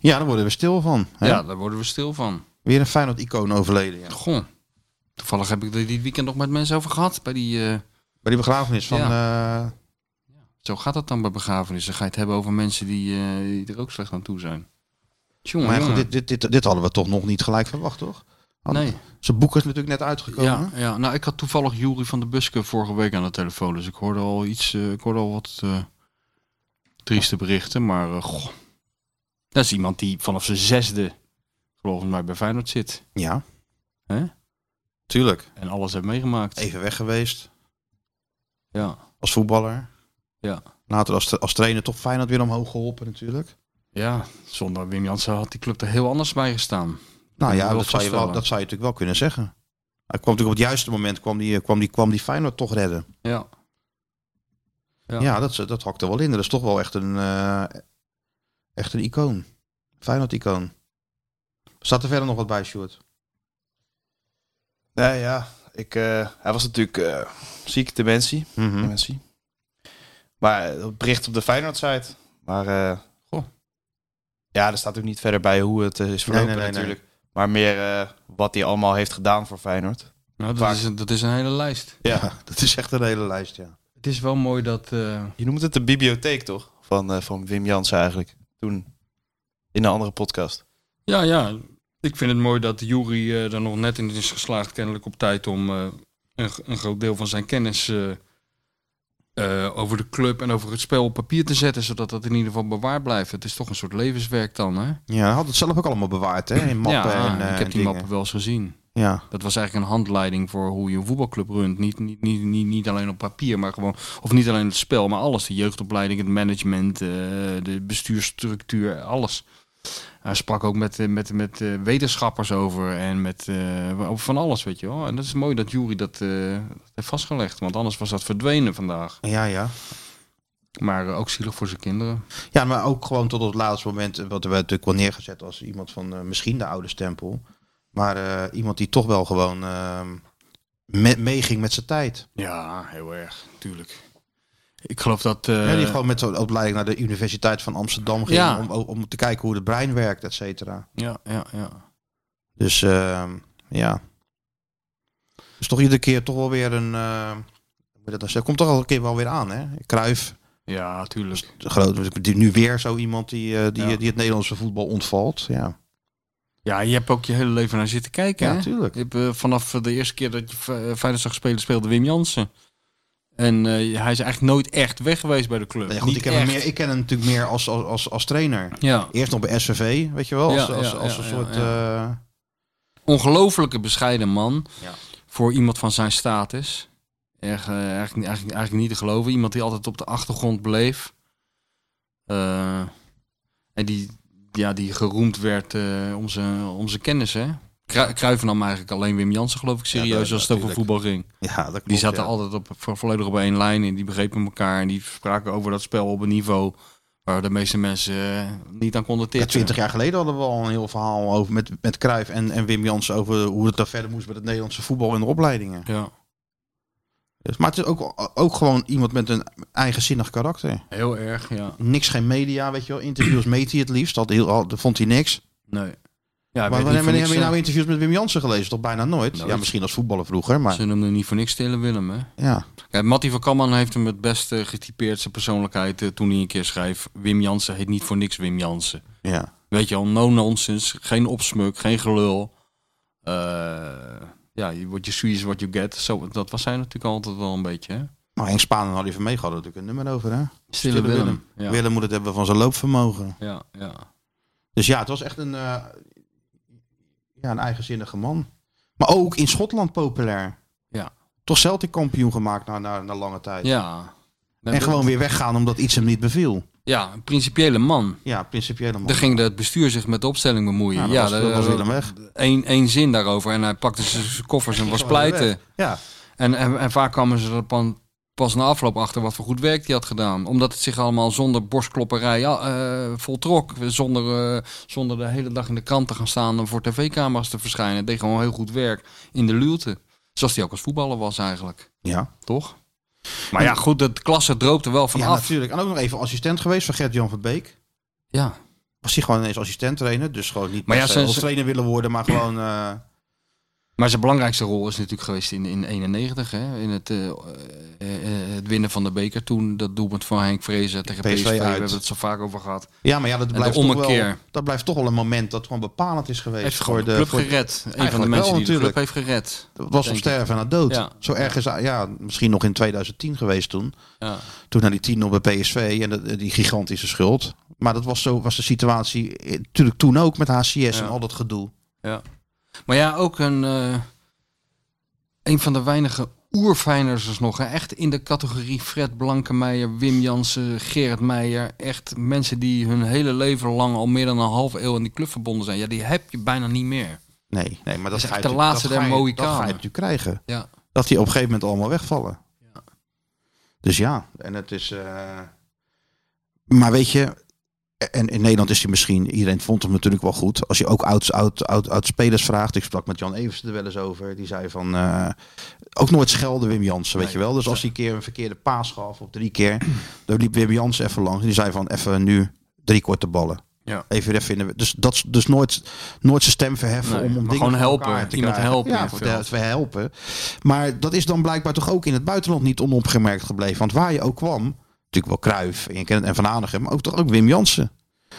S2: Ja, daar worden we stil van. Hè?
S3: Ja, daar worden we stil van.
S2: Weer een Feyenoord-icoon overleden. Ja.
S3: Goh. Toevallig heb ik er dit weekend nog met mensen over gehad. Bij die, eh,
S2: Bij die begrafenis van... eh,
S3: zo gaat dat dan bij begrafenissen. Dan ga je het hebben over mensen die, eh, die er ook slecht aan toe zijn. Tjonge,
S2: maar goed,
S3: jonge.
S2: dit, dit, dit, dit hadden we toch nog niet gelijk verwacht, toch? Hadden-
S3: Nee.
S2: Zijn boek is natuurlijk net uitgekomen.
S3: Ja, ja, nou ik had toevallig Jury van de Buske vorige week aan de telefoon. Dus ik hoorde al iets, eh, ik hoorde al wat eh, trieste berichten. Maar eh, goh. dat is iemand die vanaf zijn zesde, geloof ik, maar bij Feyenoord zit.
S2: Ja.
S3: Hè?
S2: Tuurlijk.
S3: En alles heeft meegemaakt.
S2: Even weg geweest.
S3: Ja.
S2: Als voetballer.
S3: Ja.
S2: Later als, als trainer toch Feyenoord weer omhoog geholpen natuurlijk.
S3: ja, zonder Wim Jansen had die club er heel anders bij gestaan.
S2: Nou
S3: kan
S2: ja,
S3: je wel
S2: dat zou, je wel,
S3: vaststellen.
S2: dat zou je natuurlijk wel kunnen zeggen. Hij kwam natuurlijk op het juiste moment, kwam die, kwam die, kwam die Feyenoord toch redden.
S3: Ja,
S2: Ja,
S3: Ja.
S2: dat, dat hakt er wel in. Dat is toch wel echt een, eh, echt een icoon. Feyenoord-icoon. Staat er verder nog wat bij, Sjoerd?
S4: Nee, ja. Ik, eh, hij was natuurlijk eh, ziek, dementie.
S2: Mhm.
S4: dementie. Maar eh, dat bericht op de Feyenoord-site. Maar eh,
S2: Goh.
S4: ja, er staat ook niet verder bij hoe het eh, is verlopen
S2: nee, nee, nee.
S4: natuurlijk. Maar meer eh, wat hij allemaal heeft gedaan voor Feyenoord.
S3: nou, dat,
S4: Vaak.
S3: is, een- dat is een hele lijst.
S2: Ja, dat is echt een hele lijst, ja.
S3: Het is wel mooi dat... eh,
S4: Je noemt het de bibliotheek toch? Van, eh, van Wim Jansen eigenlijk. Toen in een andere podcast.
S3: Ja, ja. Ik vind het mooi dat Jury eh er nog net in is geslaagd, kennelijk op tijd, om eh, een, g- een groot deel van zijn kennis eh, eh, over de club en over het spel op papier te zetten, zodat dat in ieder geval bewaard blijft. Het is toch een soort levenswerk dan, hè?
S2: Ja, hij had het zelf ook allemaal bewaard, hè? In mappen
S3: ja,
S2: en eh,
S3: ik heb die
S2: dingen.
S3: mappen wel eens gezien.
S2: Ja,
S3: Dat was eigenlijk een handleiding voor hoe je een voetbalclub runt. Niet, niet, niet, niet, niet alleen op papier, maar gewoon. Of niet alleen het spel, maar alles. De jeugdopleiding, het management, eh, de bestuursstructuur, alles. Hij sprak ook met, eh, met, met eh, wetenschappers over en met eh, over van alles, weet je wel. En dat is mooi dat Jury dat eh, heeft vastgelegd, want anders was dat verdwenen vandaag.
S2: ja, ja.
S3: Maar eh, ook zielig voor zijn kinderen.
S2: Ja, maar ook gewoon tot op het laatste moment, eh, wat er werd natuurlijk wel neergezet als iemand van eh, misschien de oude stempel. Maar eh, iemand die toch wel gewoon eh, me- meeging met zijn tijd.
S3: Ja, heel erg, tuurlijk. Ik geloof dat. eh,
S2: Ja, die gewoon met zo'n opleiding naar de Universiteit van Amsterdam ging
S3: Ja.
S2: om, om te kijken hoe het brein werkt, et cetera.
S3: ja, ja, ja.
S2: Dus eh, ja. Dus toch iedere keer toch wel weer een... eh, hoe moet je dat nou zeggen? komt toch al een keer wel weer aan, hè? Kruif,
S3: Ja, tuurlijk.
S2: groot, die- dus nu weer zo iemand die, eh, die,
S3: Ja.
S2: die het Nederlandse voetbal ontvalt. Ja,
S3: Ja, je hebt ook je hele leven naar zitten kijken.
S2: ja
S3: hè?
S2: natuurlijk.
S3: Ik heb, eh, vanaf de eerste keer dat je Fe- eh, Feyenoord zag spelen, speelde Wim Jansen. En eh, hij is eigenlijk nooit echt weg geweest bij de club.
S2: Nou ja, goed,
S3: Niet
S2: ik, ken hem
S3: echt.
S2: meer, ik ken hem natuurlijk meer als, als, als, als trainer.
S3: Ja,
S2: Eerst nog bij SVV, weet je wel. Als,
S3: Ja,
S2: als,
S3: ja,
S2: als
S3: ja,
S2: een
S3: ja,
S2: soort... eh,
S3: ongelofelijke bescheiden man.
S2: Ja.
S3: Voor iemand van zijn status. Echt, eh, eigenlijk, niet- eigenlijk, eigenlijk niet te geloven. Iemand die altijd op de achtergrond bleef. Eh, en die, ja, die geroemd werd eh, om, zijn, om zijn kennis. Hè? Kru- Cruijff nam eigenlijk alleen Wim Jansen, geloof ik, serieus
S2: dat-
S3: als het over
S2: natuurlijk.
S3: voetbal ging.
S2: ja, dat klopt,
S3: Die zaten
S2: ja.
S3: altijd op, vo- volledig op één lijn en die begrepen elkaar. En die spraken over dat spel op een niveau waar de meeste mensen eh, niet aan konden
S2: Ja,
S3: tippen.
S2: 20 jaar geleden hadden we al een heel verhaal over met, met Cruijff en, en Wim Jansen over hoe het daar verder moest met het Nederlandse voetbal en de opleidingen.
S3: Ja,
S2: Dus, maar het is ook, ook gewoon iemand met een eigenzinnig karakter.
S3: heel erg, ja.
S2: Niks, geen media, weet je wel. Interviews meet hij het liefst. Dat heel, al- vond hij niks.
S3: Nee. Ja,
S2: maar wanneer, wanneer
S3: eh,
S2: heb je nou interviews met Wim Jansen gelezen? Toch bijna nooit.
S3: Nooit.
S2: Ja, misschien als voetballer vroeger, maar
S3: Nou, Ze noemden niet voor niks Stille Willem, hè?
S2: ja.
S3: Kijk, Matty van Kamman heeft hem het beste getypeerd, zijn persoonlijkheid, eh, toen hij een keer schreef... Wim Jansen heet niet voor niks Wim Jansen.
S2: ja.
S3: Weet je al, no nonsense, geen opsmuk, geen gelul. Eh, ja, je- what you see is what you get. Zo, dat was hij natuurlijk altijd wel een beetje, hè?
S2: Nou, Henk Spaan had hij van mee gehad natuurlijk een nummer over, hè?
S3: Stille,
S2: Willem.
S3: Ja.
S2: Willem moet het hebben van zijn loopvermogen.
S3: Ja, ja.
S2: Dus ja, het was echt een, eh, ja, een eigenzinnige man. Maar ook in Schotland populair.
S3: Ja.
S2: Toch Celtic kampioen gemaakt na, na, na lange tijd.
S3: ja.
S2: en gewoon weer weggaan omdat iets hem niet beviel.
S3: Ja, een principiële man.
S2: Ja, principiële man.
S3: Daar ging het bestuur zich met de opstelling bemoeien.
S2: Ja,
S3: Ja,
S2: dat was- dat was
S3: daar- eh,
S2: Willem weg.
S3: één- één zin daarover en hij pakte zijn koffers en was
S2: gewoon weer
S3: pleiten.
S2: Ja,
S3: En, en, en vaak kwamen ze er pan- pas na afloop achter wat voor goed werk hij had gedaan. Omdat het zich allemaal zonder borstklopperij ja, eh, voltrok. Zonder, eh, zonder de hele dag in de krant te gaan staan en voor tv-camera's te verschijnen. Het deed gewoon heel goed werk in de luwte. Zoals hij ook als voetballer was eigenlijk.
S2: ja.
S3: Toch? Maar ja, goed, de klasse droopte wel
S2: ja
S3: vanaf.
S2: natuurlijk. En ook nog even assistent geweest van Gert-Jan van Beek.
S3: Ja,
S2: was hij gewoon ineens assistent trainer. Dus gewoon niet maar
S3: Maar ja,
S2: ja,
S3: zijn-
S2: als trainer willen worden, maar gewoon... eh,
S3: Maar zijn belangrijkste rol is natuurlijk geweest in, in 91, hè? in het, eh, eh, eh, het winnen van de beker toen. Dat doelpunt van Henk Vrezen tegen PSV,
S2: PSV
S3: we
S2: uit.
S3: hebben het zo vaak over gehad.
S2: ja, maar ja, dat
S3: de
S2: blijft, toch wel,
S3: ommekeer.
S2: dat blijft toch wel een moment dat gewoon bepalend is geweest.
S3: heeft gewoon
S2: voor
S3: de
S2: de,
S3: club
S2: voor,
S3: gered. Een van de
S2: Eigenlijk
S3: mensen
S2: wel,
S3: die de club
S2: natuurlijk.
S3: heeft gered.
S2: het was op
S3: denk
S2: sterven na dood.
S3: Ja.
S2: Zo erg is ja, misschien nog in 2010 geweest toen.
S3: Ja.
S2: Toen naar die 10-0 bij PSV en dat- die gigantische schuld. Maar dat was, zo, was de situatie eh, natuurlijk toen ook met HCS en al dat gedoe.
S3: Maar ja, ook een, eh, een van de weinige oerfijners nog. Hè? Echt in de categorie Fred Blankenmeijer, Wim Jansen, Gerrit Meijer. Echt mensen die hun hele leven lang al meer dan een half eeuw aan die club verbonden zijn. Ja, die heb je bijna niet meer.
S2: Nee, nee maar dat,
S3: is
S2: ga
S3: echt
S2: je
S3: de
S2: natuurlijk-
S3: laatste
S2: dat
S3: der
S2: ga je-
S3: Mohikanen.
S2: Dat ga je natuurlijk krijgen.
S3: Ja.
S2: Dat die op een gegeven moment allemaal wegvallen.
S3: Ja.
S2: Dus ja, en het is... eh, Maar weet je, en in Nederland is hij misschien... Iedereen vond hem natuurlijk wel goed. Als je ook oud, oud, oud, oud spelers vraagt... Ik sprak met Jan Evers er wel eens over. Die zei van... eh, ook nooit schelden Wim Jansen, weet je wel. Dus als hij een keer een verkeerde paas gaf of drie keer... dan liep Wim Jansen even langs. Die zei van, even nu drie korte ballen.
S3: Ja.
S2: Even weer even in de- Dus, dat, is- dus nooit, nooit zijn stem verheffen
S3: Nee,
S2: om, om
S3: maar
S2: dingen
S3: gewoon
S2: voor
S3: helpen.
S2: elkaar te
S3: Iemand
S2: krijgen.
S3: helpen in
S2: Ja,
S3: het
S2: voor
S3: veld.
S2: dat we helpen. Maar dat is dan blijkbaar toch ook in het buitenland niet onopgemerkt gebleven. Want waar je ook kwam, natuurlijk wel Kruif en, je kent- en Van Aanigem, maar ook toch ook Wim Jansen.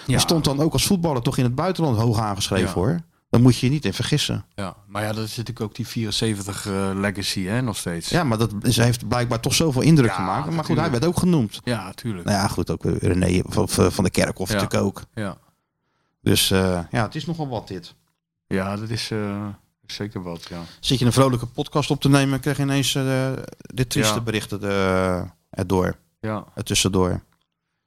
S2: Die stond dan ook als voetballer toch in het buitenland hoog aangeschreven
S3: Ja.
S2: hoor. Dan moet je je niet in vergissen.
S3: Ja, maar ja, dat is natuurlijk ook die 74 eh, legacy hè, nog steeds.
S2: Ja, maar dat is, heeft blijkbaar toch zoveel indruk
S3: Ja,
S2: gemaakt. Maar goed, hij
S3: natuurlijk.
S2: werd ook genoemd.
S3: ja tuurlijk.
S2: Nou ja, goed, ook eh, René van, van van de Kerkhof
S3: Ja.
S2: natuurlijk ook.
S3: Ja.
S2: Dus eh, ja, het is nogal wat dit.
S3: ja, dat is eh, zeker wat, ja.
S2: Zit je een vrolijke podcast op te nemen, krijg je ineens eh, dit trieste
S3: Ja.
S2: berichten eh, erdoor,
S3: ja.
S2: er tussendoor.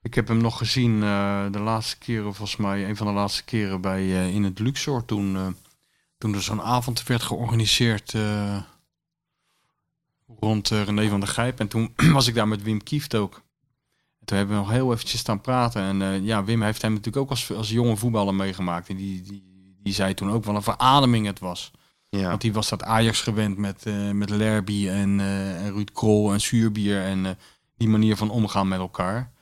S3: Ik heb hem nog gezien eh, de laatste keren, volgens mij, een van de laatste keren bij, eh, in het Luxor. Toen, eh, toen er zo'n avond werd georganiseerd eh, rond eh, René van der Gijp. En toen was ik daar met Wim Kieft ook. En toen hebben we nog heel eventjes staan praten. En eh, ja, Wim heeft hem natuurlijk ook als, als jonge voetballer meegemaakt. En die, die, die zei toen ook wel een verademing het was.
S2: Ja.
S3: Want die was dat Ajax gewend met, eh met Lerby en, eh, en Ruud Krol en Zuurbier en eh, die manier van omgaan met elkaar.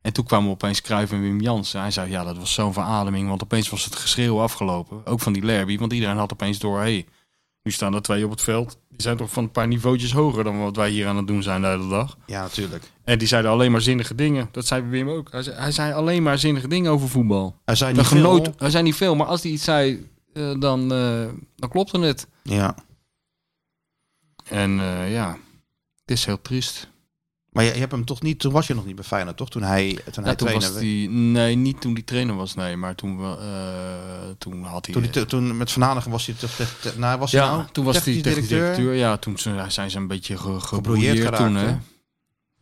S3: En toen kwamen opeens Cruijff en Wim Jansen. Hij zei, ja, dat was zo'n verademing, want opeens was het geschreeuw afgelopen. Ook van die Lerby, want iedereen had opeens door, hé, hey, nu staan er twee op het veld. Die zijn toch van een paar niveautjes hoger dan wat wij hier aan het doen zijn de hele dag.
S2: ja, natuurlijk.
S3: En die zeiden alleen maar zinnige dingen. Dat zei Wim ook. Hij zei, hij zei alleen maar zinnige dingen over voetbal.
S2: Er zijn
S3: We
S2: niet veel.
S3: genoten, er zijn niet veel, maar als hij iets zei, eh, dan, eh, dan klopte het.
S2: Ja.
S3: En eh, ja, het is heel triest.
S2: Maar je, je hebt hem toch niet, toen was je nog niet bij Feyenoord, toch? Toen hij, toen hij
S3: Nou, toen
S2: trainer
S3: was
S2: werd.
S3: die, nee, niet toen die trainer was, nee, maar toen, we- eh, toen had hij.
S2: Toen, die- toen met Van Hanegem was hij toch... te- te- nou, was hij
S3: ja,
S2: nou
S3: toen was hij
S2: technisch
S3: technisch directeur. Ja, toen ze- zijn ze een beetje ge, gebrouilleerd
S2: Gebrouilleerd geraakt,
S3: toen, hè?
S2: hè?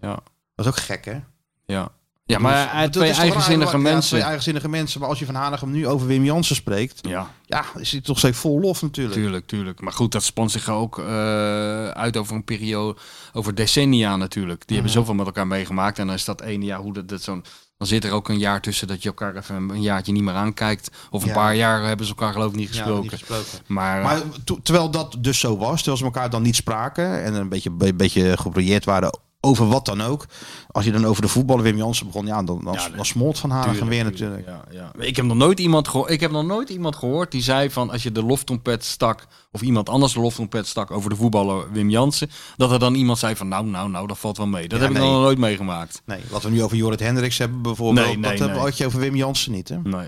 S2: Dat is ook gek, hè?
S3: Ja. Ja, maar eh,
S2: Dus Dat
S3: twee
S2: is toch raar,
S3: eigenzinnige
S2: ja,
S3: mensen.
S2: twee eigenzinnige mensen. Maar als je Van Hanegem nu over Wim Jansen spreekt...
S3: Ja,
S2: Ja, is hij toch steeds vol lof natuurlijk.
S3: tuurlijk, tuurlijk. Maar goed, dat spant zich ook eh, uit over een periode, over decennia natuurlijk. Die
S2: Mhm.
S3: hebben zoveel met elkaar meegemaakt. En dan is dat ene jaar, hoe dat, dat zo'n... Dan zit er ook een jaar tussen dat je elkaar even een jaartje niet meer aankijkt. Of een
S2: Ja.
S3: paar jaar hebben ze elkaar geloof ik
S2: Ja,
S3: niet
S2: niet
S3: gesproken.
S2: gesproken.
S3: maar,
S2: Maar to- terwijl dat dus zo was, terwijl ze elkaar dan niet spraken en een beetje, be- beetje geprojeerd waren over wat dan ook. Als je dan over de voetballer Wim Jansen begon, ja, dan, dan,
S3: Ja,
S2: dan smolt Van Hanegem
S3: Tuurlijk,
S2: weer
S3: tuurlijk,
S2: natuurlijk.
S3: Ja, ja. Ik, heb nog nooit iemand geho- ik heb nog nooit iemand gehoord die zei van als je de loftrompet stak of iemand anders de loftrompet stak over de voetballer Wim Jansen, dat er dan iemand zei van nou, nou, nou, dat valt wel mee. Dat
S2: Ja,
S3: heb ik
S2: nee.
S3: nog nooit meegemaakt.
S2: Nee, wat we nu over Jorrit Hendricks hebben bijvoorbeeld,
S3: Nee, nee,
S2: dat hebben
S3: nee.
S2: had je over Wim Jansen niet, hè?
S3: Nee.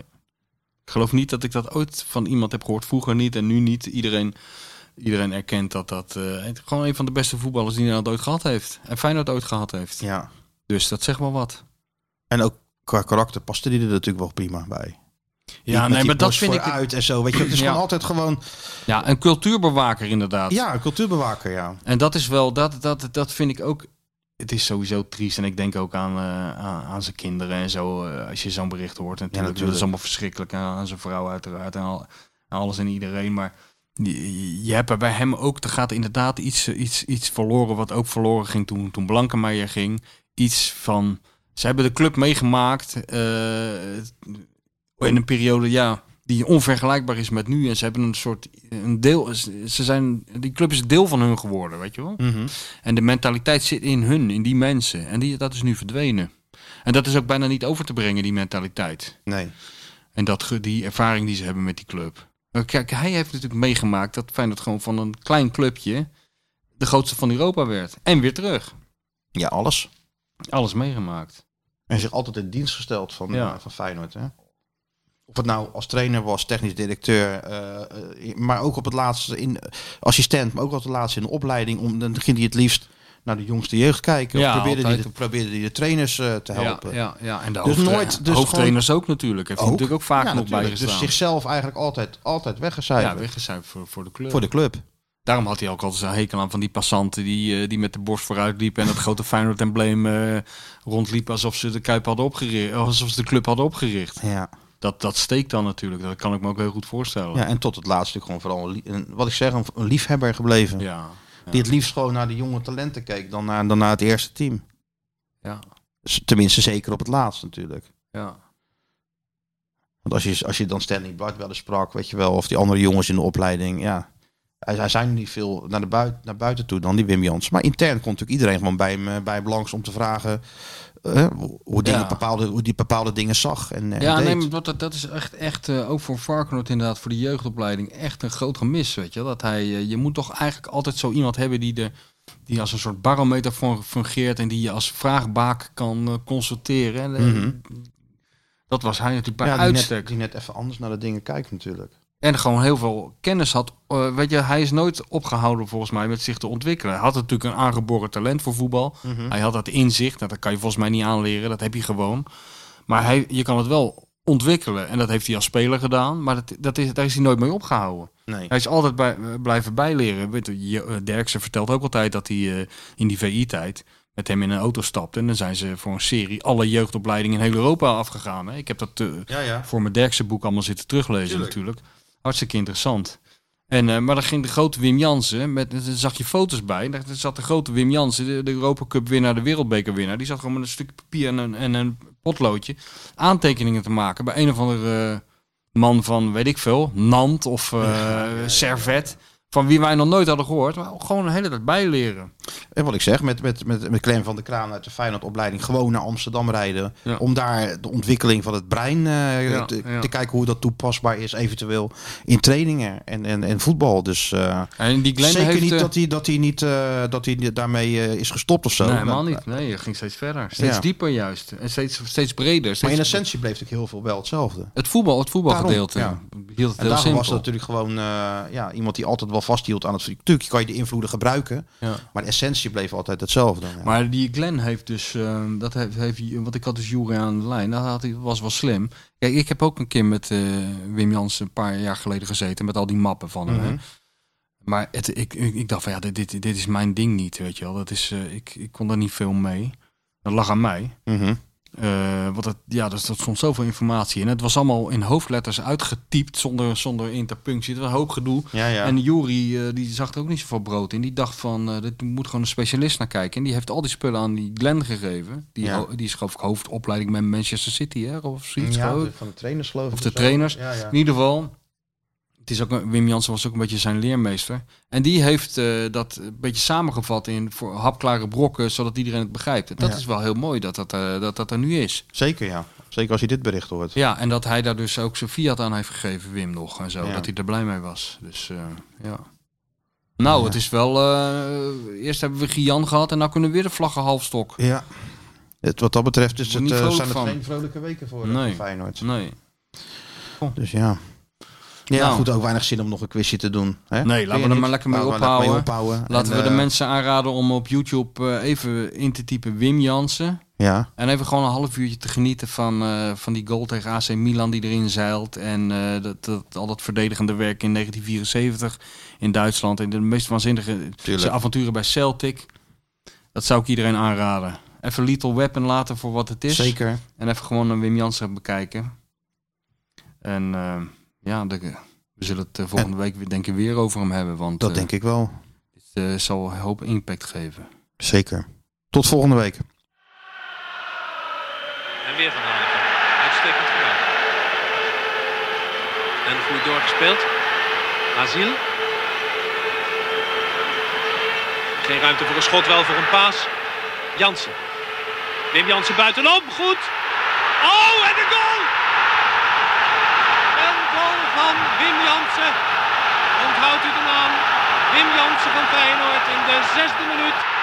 S3: Ik geloof niet dat ik dat ooit van iemand heb gehoord. Vroeger niet en nu niet. Iedereen, iedereen erkent dat dat eh, het- gewoon een van de beste voetballers die Nederland ooit gehad heeft. En Feyenoord ooit gehad heeft.
S2: Ja.
S3: Dus dat zegt wel wat.
S2: En ook qua karakter paste die er natuurlijk wel prima bij.
S3: Ja, nee, maar dat vind ik...
S2: uit en zo, weet je, het is
S3: Ja.
S2: gewoon altijd gewoon,
S3: Ja, een cultuurbewaker inderdaad.
S2: ja, een cultuurbewaker, ja.
S3: En dat is wel, dat, dat, dat vind ik ook. Het is sowieso triest. En ik denk ook aan, eh, aan, aan zijn kinderen en zo. eh, als je zo'n bericht hoort. En natuurlijk, dat is
S2: natuurlijk.
S3: allemaal verschrikkelijk. En aan zijn vrouw, uiteraard. En al, aan alles en iedereen. Maar je, je hebt er bij hem ook. Er gaat inderdaad iets, eh, iets, iets verloren. Wat ook verloren ging toen, toen Blankenmeijer ging. Iets van. Ze hebben de club meegemaakt. eh, in een periode, ja. Die onvergelijkbaar is met nu. En ze hebben een soort. Een deel, ze zijn, die club is deel van hun geworden, weet je wel.
S2: Mhm.
S3: En de mentaliteit zit in hun, in die mensen. En die, dat is nu verdwenen. En dat is ook bijna niet over te brengen, die mentaliteit.
S2: Nee.
S3: En dat, ge- die ervaring die ze hebben met die club. Maar Kijk, hij heeft natuurlijk meegemaakt dat Feyenoord gewoon van een klein clubje de grootste van Europa werd. En weer terug.
S2: Ja, alles.
S3: Alles meegemaakt.
S2: En zich altijd in dienst gesteld van,
S3: Ja.
S2: eh, van Feyenoord. Hè? Of het nou als trainer was, technisch directeur, eh, eh, maar ook op het laatste in eh, assistent, maar ook op het laatste in de opleiding. Om, dan ging hij het liefst naar de jongste jeugd kijken.
S3: Ja,
S2: of probeerde hij
S3: altijd.
S2: de, probeerde hij de trainers eh, te helpen.
S3: Ja, ja, ja. En de
S2: Dus
S3: hoofdtra-
S2: nooit- dus
S3: hoofdtrainers ook natuurlijk. Heeft hij
S2: Ook.
S3: natuurlijk ook vaak
S2: Ja,
S3: nog bij
S2: natuurlijk. Dus
S3: gestaan.
S2: zichzelf eigenlijk altijd, altijd
S3: ja,
S2: weggecijferd
S3: weggezuipt voor, voor de club.
S2: voor de club.
S3: Daarom had hij ook altijd zijn hekel aan van die passanten die, eh, die met de borst vooruit liepen en dat grote Feyenoord-embleem eh rondliepen alsof ze de Kuip hadden opgericht, eh, alsof ze de club hadden opgericht.
S2: Ja.
S3: Dat, dat steekt dan natuurlijk, dat kan ik me ook heel goed voorstellen.
S2: Ja, en tot het laatste gewoon vooral, een lie- een, wat ik zeg, een, een liefhebber gebleven.
S3: ja.
S2: Die het liefst gewoon naar de jonge talenten keek dan naar, dan naar het eerste team.
S3: Ja.
S2: S- Tenminste, zeker op het laatst natuurlijk.
S3: ja.
S2: Want als je, als je dan Stanley Blad wel eens sprak, weet je wel, of die andere jongens in de opleiding, ja. Hij, hij zijn niet veel naar, de buiten, naar buiten toe dan, die Wim Jans. Maar intern komt natuurlijk iedereen gewoon bij hem, eh, bij hem langs om te vragen eh, hoe, hoe dingen
S3: Ja.
S2: bepaalde, hoe die bepaalde dingen zag. En, en
S3: Ja,
S2: deed.
S3: nee, maar wat dat, dat is echt, echt eh, ook voor Varkenoord inderdaad, voor de jeugdopleiding, echt een groot gemis, weet je. wel. Dat hij, eh, je moet toch eigenlijk altijd zo iemand hebben die, de, die als een soort barometer fun- fungeert en die je als vraagbaak kan eh, consulteren. En, eh,
S2: Mhm.
S3: Dat was hij natuurlijk bij
S2: ja, die,
S3: uitstek.
S2: net, die net even anders naar de dingen kijkt natuurlijk.
S3: En gewoon heel veel kennis had. Eh, weet je, hij is nooit opgehouden volgens mij met zich te ontwikkelen. Hij had natuurlijk een aangeboren talent voor voetbal. Hij had dat inzicht. Nou, dat kan je volgens mij niet aanleren. Dat heb je gewoon. Maar hij, je kan het wel ontwikkelen. En dat heeft hij als speler gedaan. Maar dat, dat is, daar is hij nooit mee opgehouden.
S2: Nee.
S3: Hij is altijd bij, eh, blijven bijleren. Weet je, je- eh, Derksen vertelt ook altijd dat hij eh, in die VI-tijd met hem in een auto stapte. En dan zijn ze voor een serie alle jeugdopleidingen in heel Europa afgegaan. Hè? Ik heb dat eh,
S2: Ja, ja.
S3: voor mijn Derkse boek allemaal zitten teruglezen natuurlijk. Hartstikke interessant. En, eh, maar dan ging de grote Wim Jansen, met, daar zag je foto's bij. Daar zat de grote Wim Jansen, de, de Europa Cup winnaar, de wereldbeker winnaar. Die zat gewoon met een stukje papier en een, en een potloodje aantekeningen te maken bij een of andere eh, man van, weet ik veel, Nant of eh, Servet. Van wie wij nog nooit hadden gehoord. Maar gewoon een hele tijd bijleren.
S2: En wat ik zeg, met, met, met, met Clem van der Kraan uit de Feyenoordopleiding gewoon naar Amsterdam rijden.
S3: Ja.
S2: Om daar de ontwikkeling van het brein eh,
S3: Ja,
S2: te,
S3: ja.
S2: te kijken hoe dat toepasbaar is eventueel in trainingen en, en, en voetbal. Dus eh,
S3: En die Glenn
S2: zeker
S3: heeft...
S2: niet
S3: eh,
S2: dat hij, dat hij, niet, eh, dat hij daarmee eh, is gestopt of zo.
S3: Nee,
S2: Maar-
S3: helemaal niet. Nee, je ging steeds verder. Steeds
S2: Ja.
S3: dieper juist. En steeds, steeds breder.
S2: Maar
S3: Steeds
S2: in essentie bleef natuurlijk heel veel wel hetzelfde.
S3: Het voetbal, het voetbalgedeelte.
S2: Daarom,
S3: Hield het
S2: En
S3: heel
S2: daarom
S3: simpel.
S2: was het natuurlijk gewoon eh, ja, iemand die altijd wel vasthield aan het... Natuurlijk kan je de invloeden gebruiken,
S3: Ja.
S2: maar de essentie bleef altijd hetzelfde. Ja.
S3: Maar die Glenn heeft dus, eh, dat heeft, heeft, hij- want ik had dus Jury aan de lijn, dat had hij, was wel slim. Kijk, ik heb ook een keer met eh, Wim Jans een paar jaar geleden gezeten, met al die mappen van hem. hè.
S2: Mhm.
S3: Maar het, ik, ik, ik dacht van, ja, dit, dit, dit is mijn ding niet, weet je wel. Dat is, eh, ik, ik kon daar niet veel mee. Dat lag aan mij.
S2: Mhm.
S3: Eh, want dat, ja, dat, dat stond zoveel informatie in. Het was allemaal in hoofdletters uitgetypt, zonder, zonder interpunctie. Het was een hoop gedoe.
S2: Ja, ja.
S3: En Jury, eh, die zag er ook niet zoveel brood in. Die dacht van, eh dit moet gewoon een specialist naar kijken. En die heeft al die spullen aan die Glenn gegeven. Die,
S2: Ja.
S3: ho- die is geloof ik hoofdopleiding bij Manchester City, hè? Of zoiets.
S2: ja,
S3: geloof ik.
S2: de- van de trainers geloof ik.
S3: Of de
S2: zo.
S3: trainers.
S2: Ja, ja.
S3: In ieder geval, het is ook, een- Wim Jansen was ook een beetje zijn leermeester. En die heeft eh, dat een beetje samengevat in voor hapklare brokken, zodat iedereen het begrijpt. En dat
S2: Ja.
S3: is wel heel mooi dat dat, eh, dat dat er nu is.
S2: Zeker ja. Zeker als je dit bericht hoort.
S3: Ja, en dat hij daar dus ook zijn fiat aan heeft gegeven, Wim nog en zo.
S2: Ja.
S3: Dat hij er blij mee was. Dus eh, ja. Nou, het is wel. eh, eerst hebben we Gian gehad en nou kunnen we weer de vlaggen halfstok.
S2: Ja. Het, wat dat betreft is
S3: Word
S2: het,
S3: niet
S2: eh,
S3: vrolijk
S2: zijn het
S3: van.
S2: geen vrolijke weken voor eh,
S3: Nee.
S2: voor Feyenoord.
S3: Nee.
S2: Dus ja. Ja,
S3: Nou.
S2: goed, ook weinig zin om nog een quizje te doen. Hè?
S3: Nee, laten we er maar lekker mee
S2: Laten we lekker mee
S3: ophouden.
S2: ophouden.
S3: Laten
S2: En,
S3: we de
S2: eh,
S3: mensen aanraden om op YouTube eh, even in te typen Wim Jansen.
S2: Ja,
S3: En even gewoon een half uurtje te genieten van, eh, van die goal tegen AC Milan die erin zeilt. En eh, dat, dat, al dat verdedigende werk in 1974 in Duitsland. En de meest waanzinnige
S2: Tuurlijk.
S3: zijn avonturen bij Celtic. Dat zou ik iedereen aanraden. Even Little Weapon laten voor wat het is.
S2: zeker.
S3: En even gewoon een Wim Jansen bekijken. En eh, ja, de- we zullen het eh, volgende week weer- denk ik weer over hem hebben. Want
S2: Dat denk ik wel.
S3: het eh, zal een hoop impact geven.
S2: Zeker. Tot volgende week.
S9: En weer van Hanegem. Uitstekend gedaan. En goed doorgespeeld. Aziel. Geen ruimte voor een schot, wel voor een paas. Jansen. Wim Jansen buitenom. Goed. Oh, en de goal! goal van Wim Jansen. Onthoudt u de naam? Wim Jansen van Feyenoord in de zesde minuut.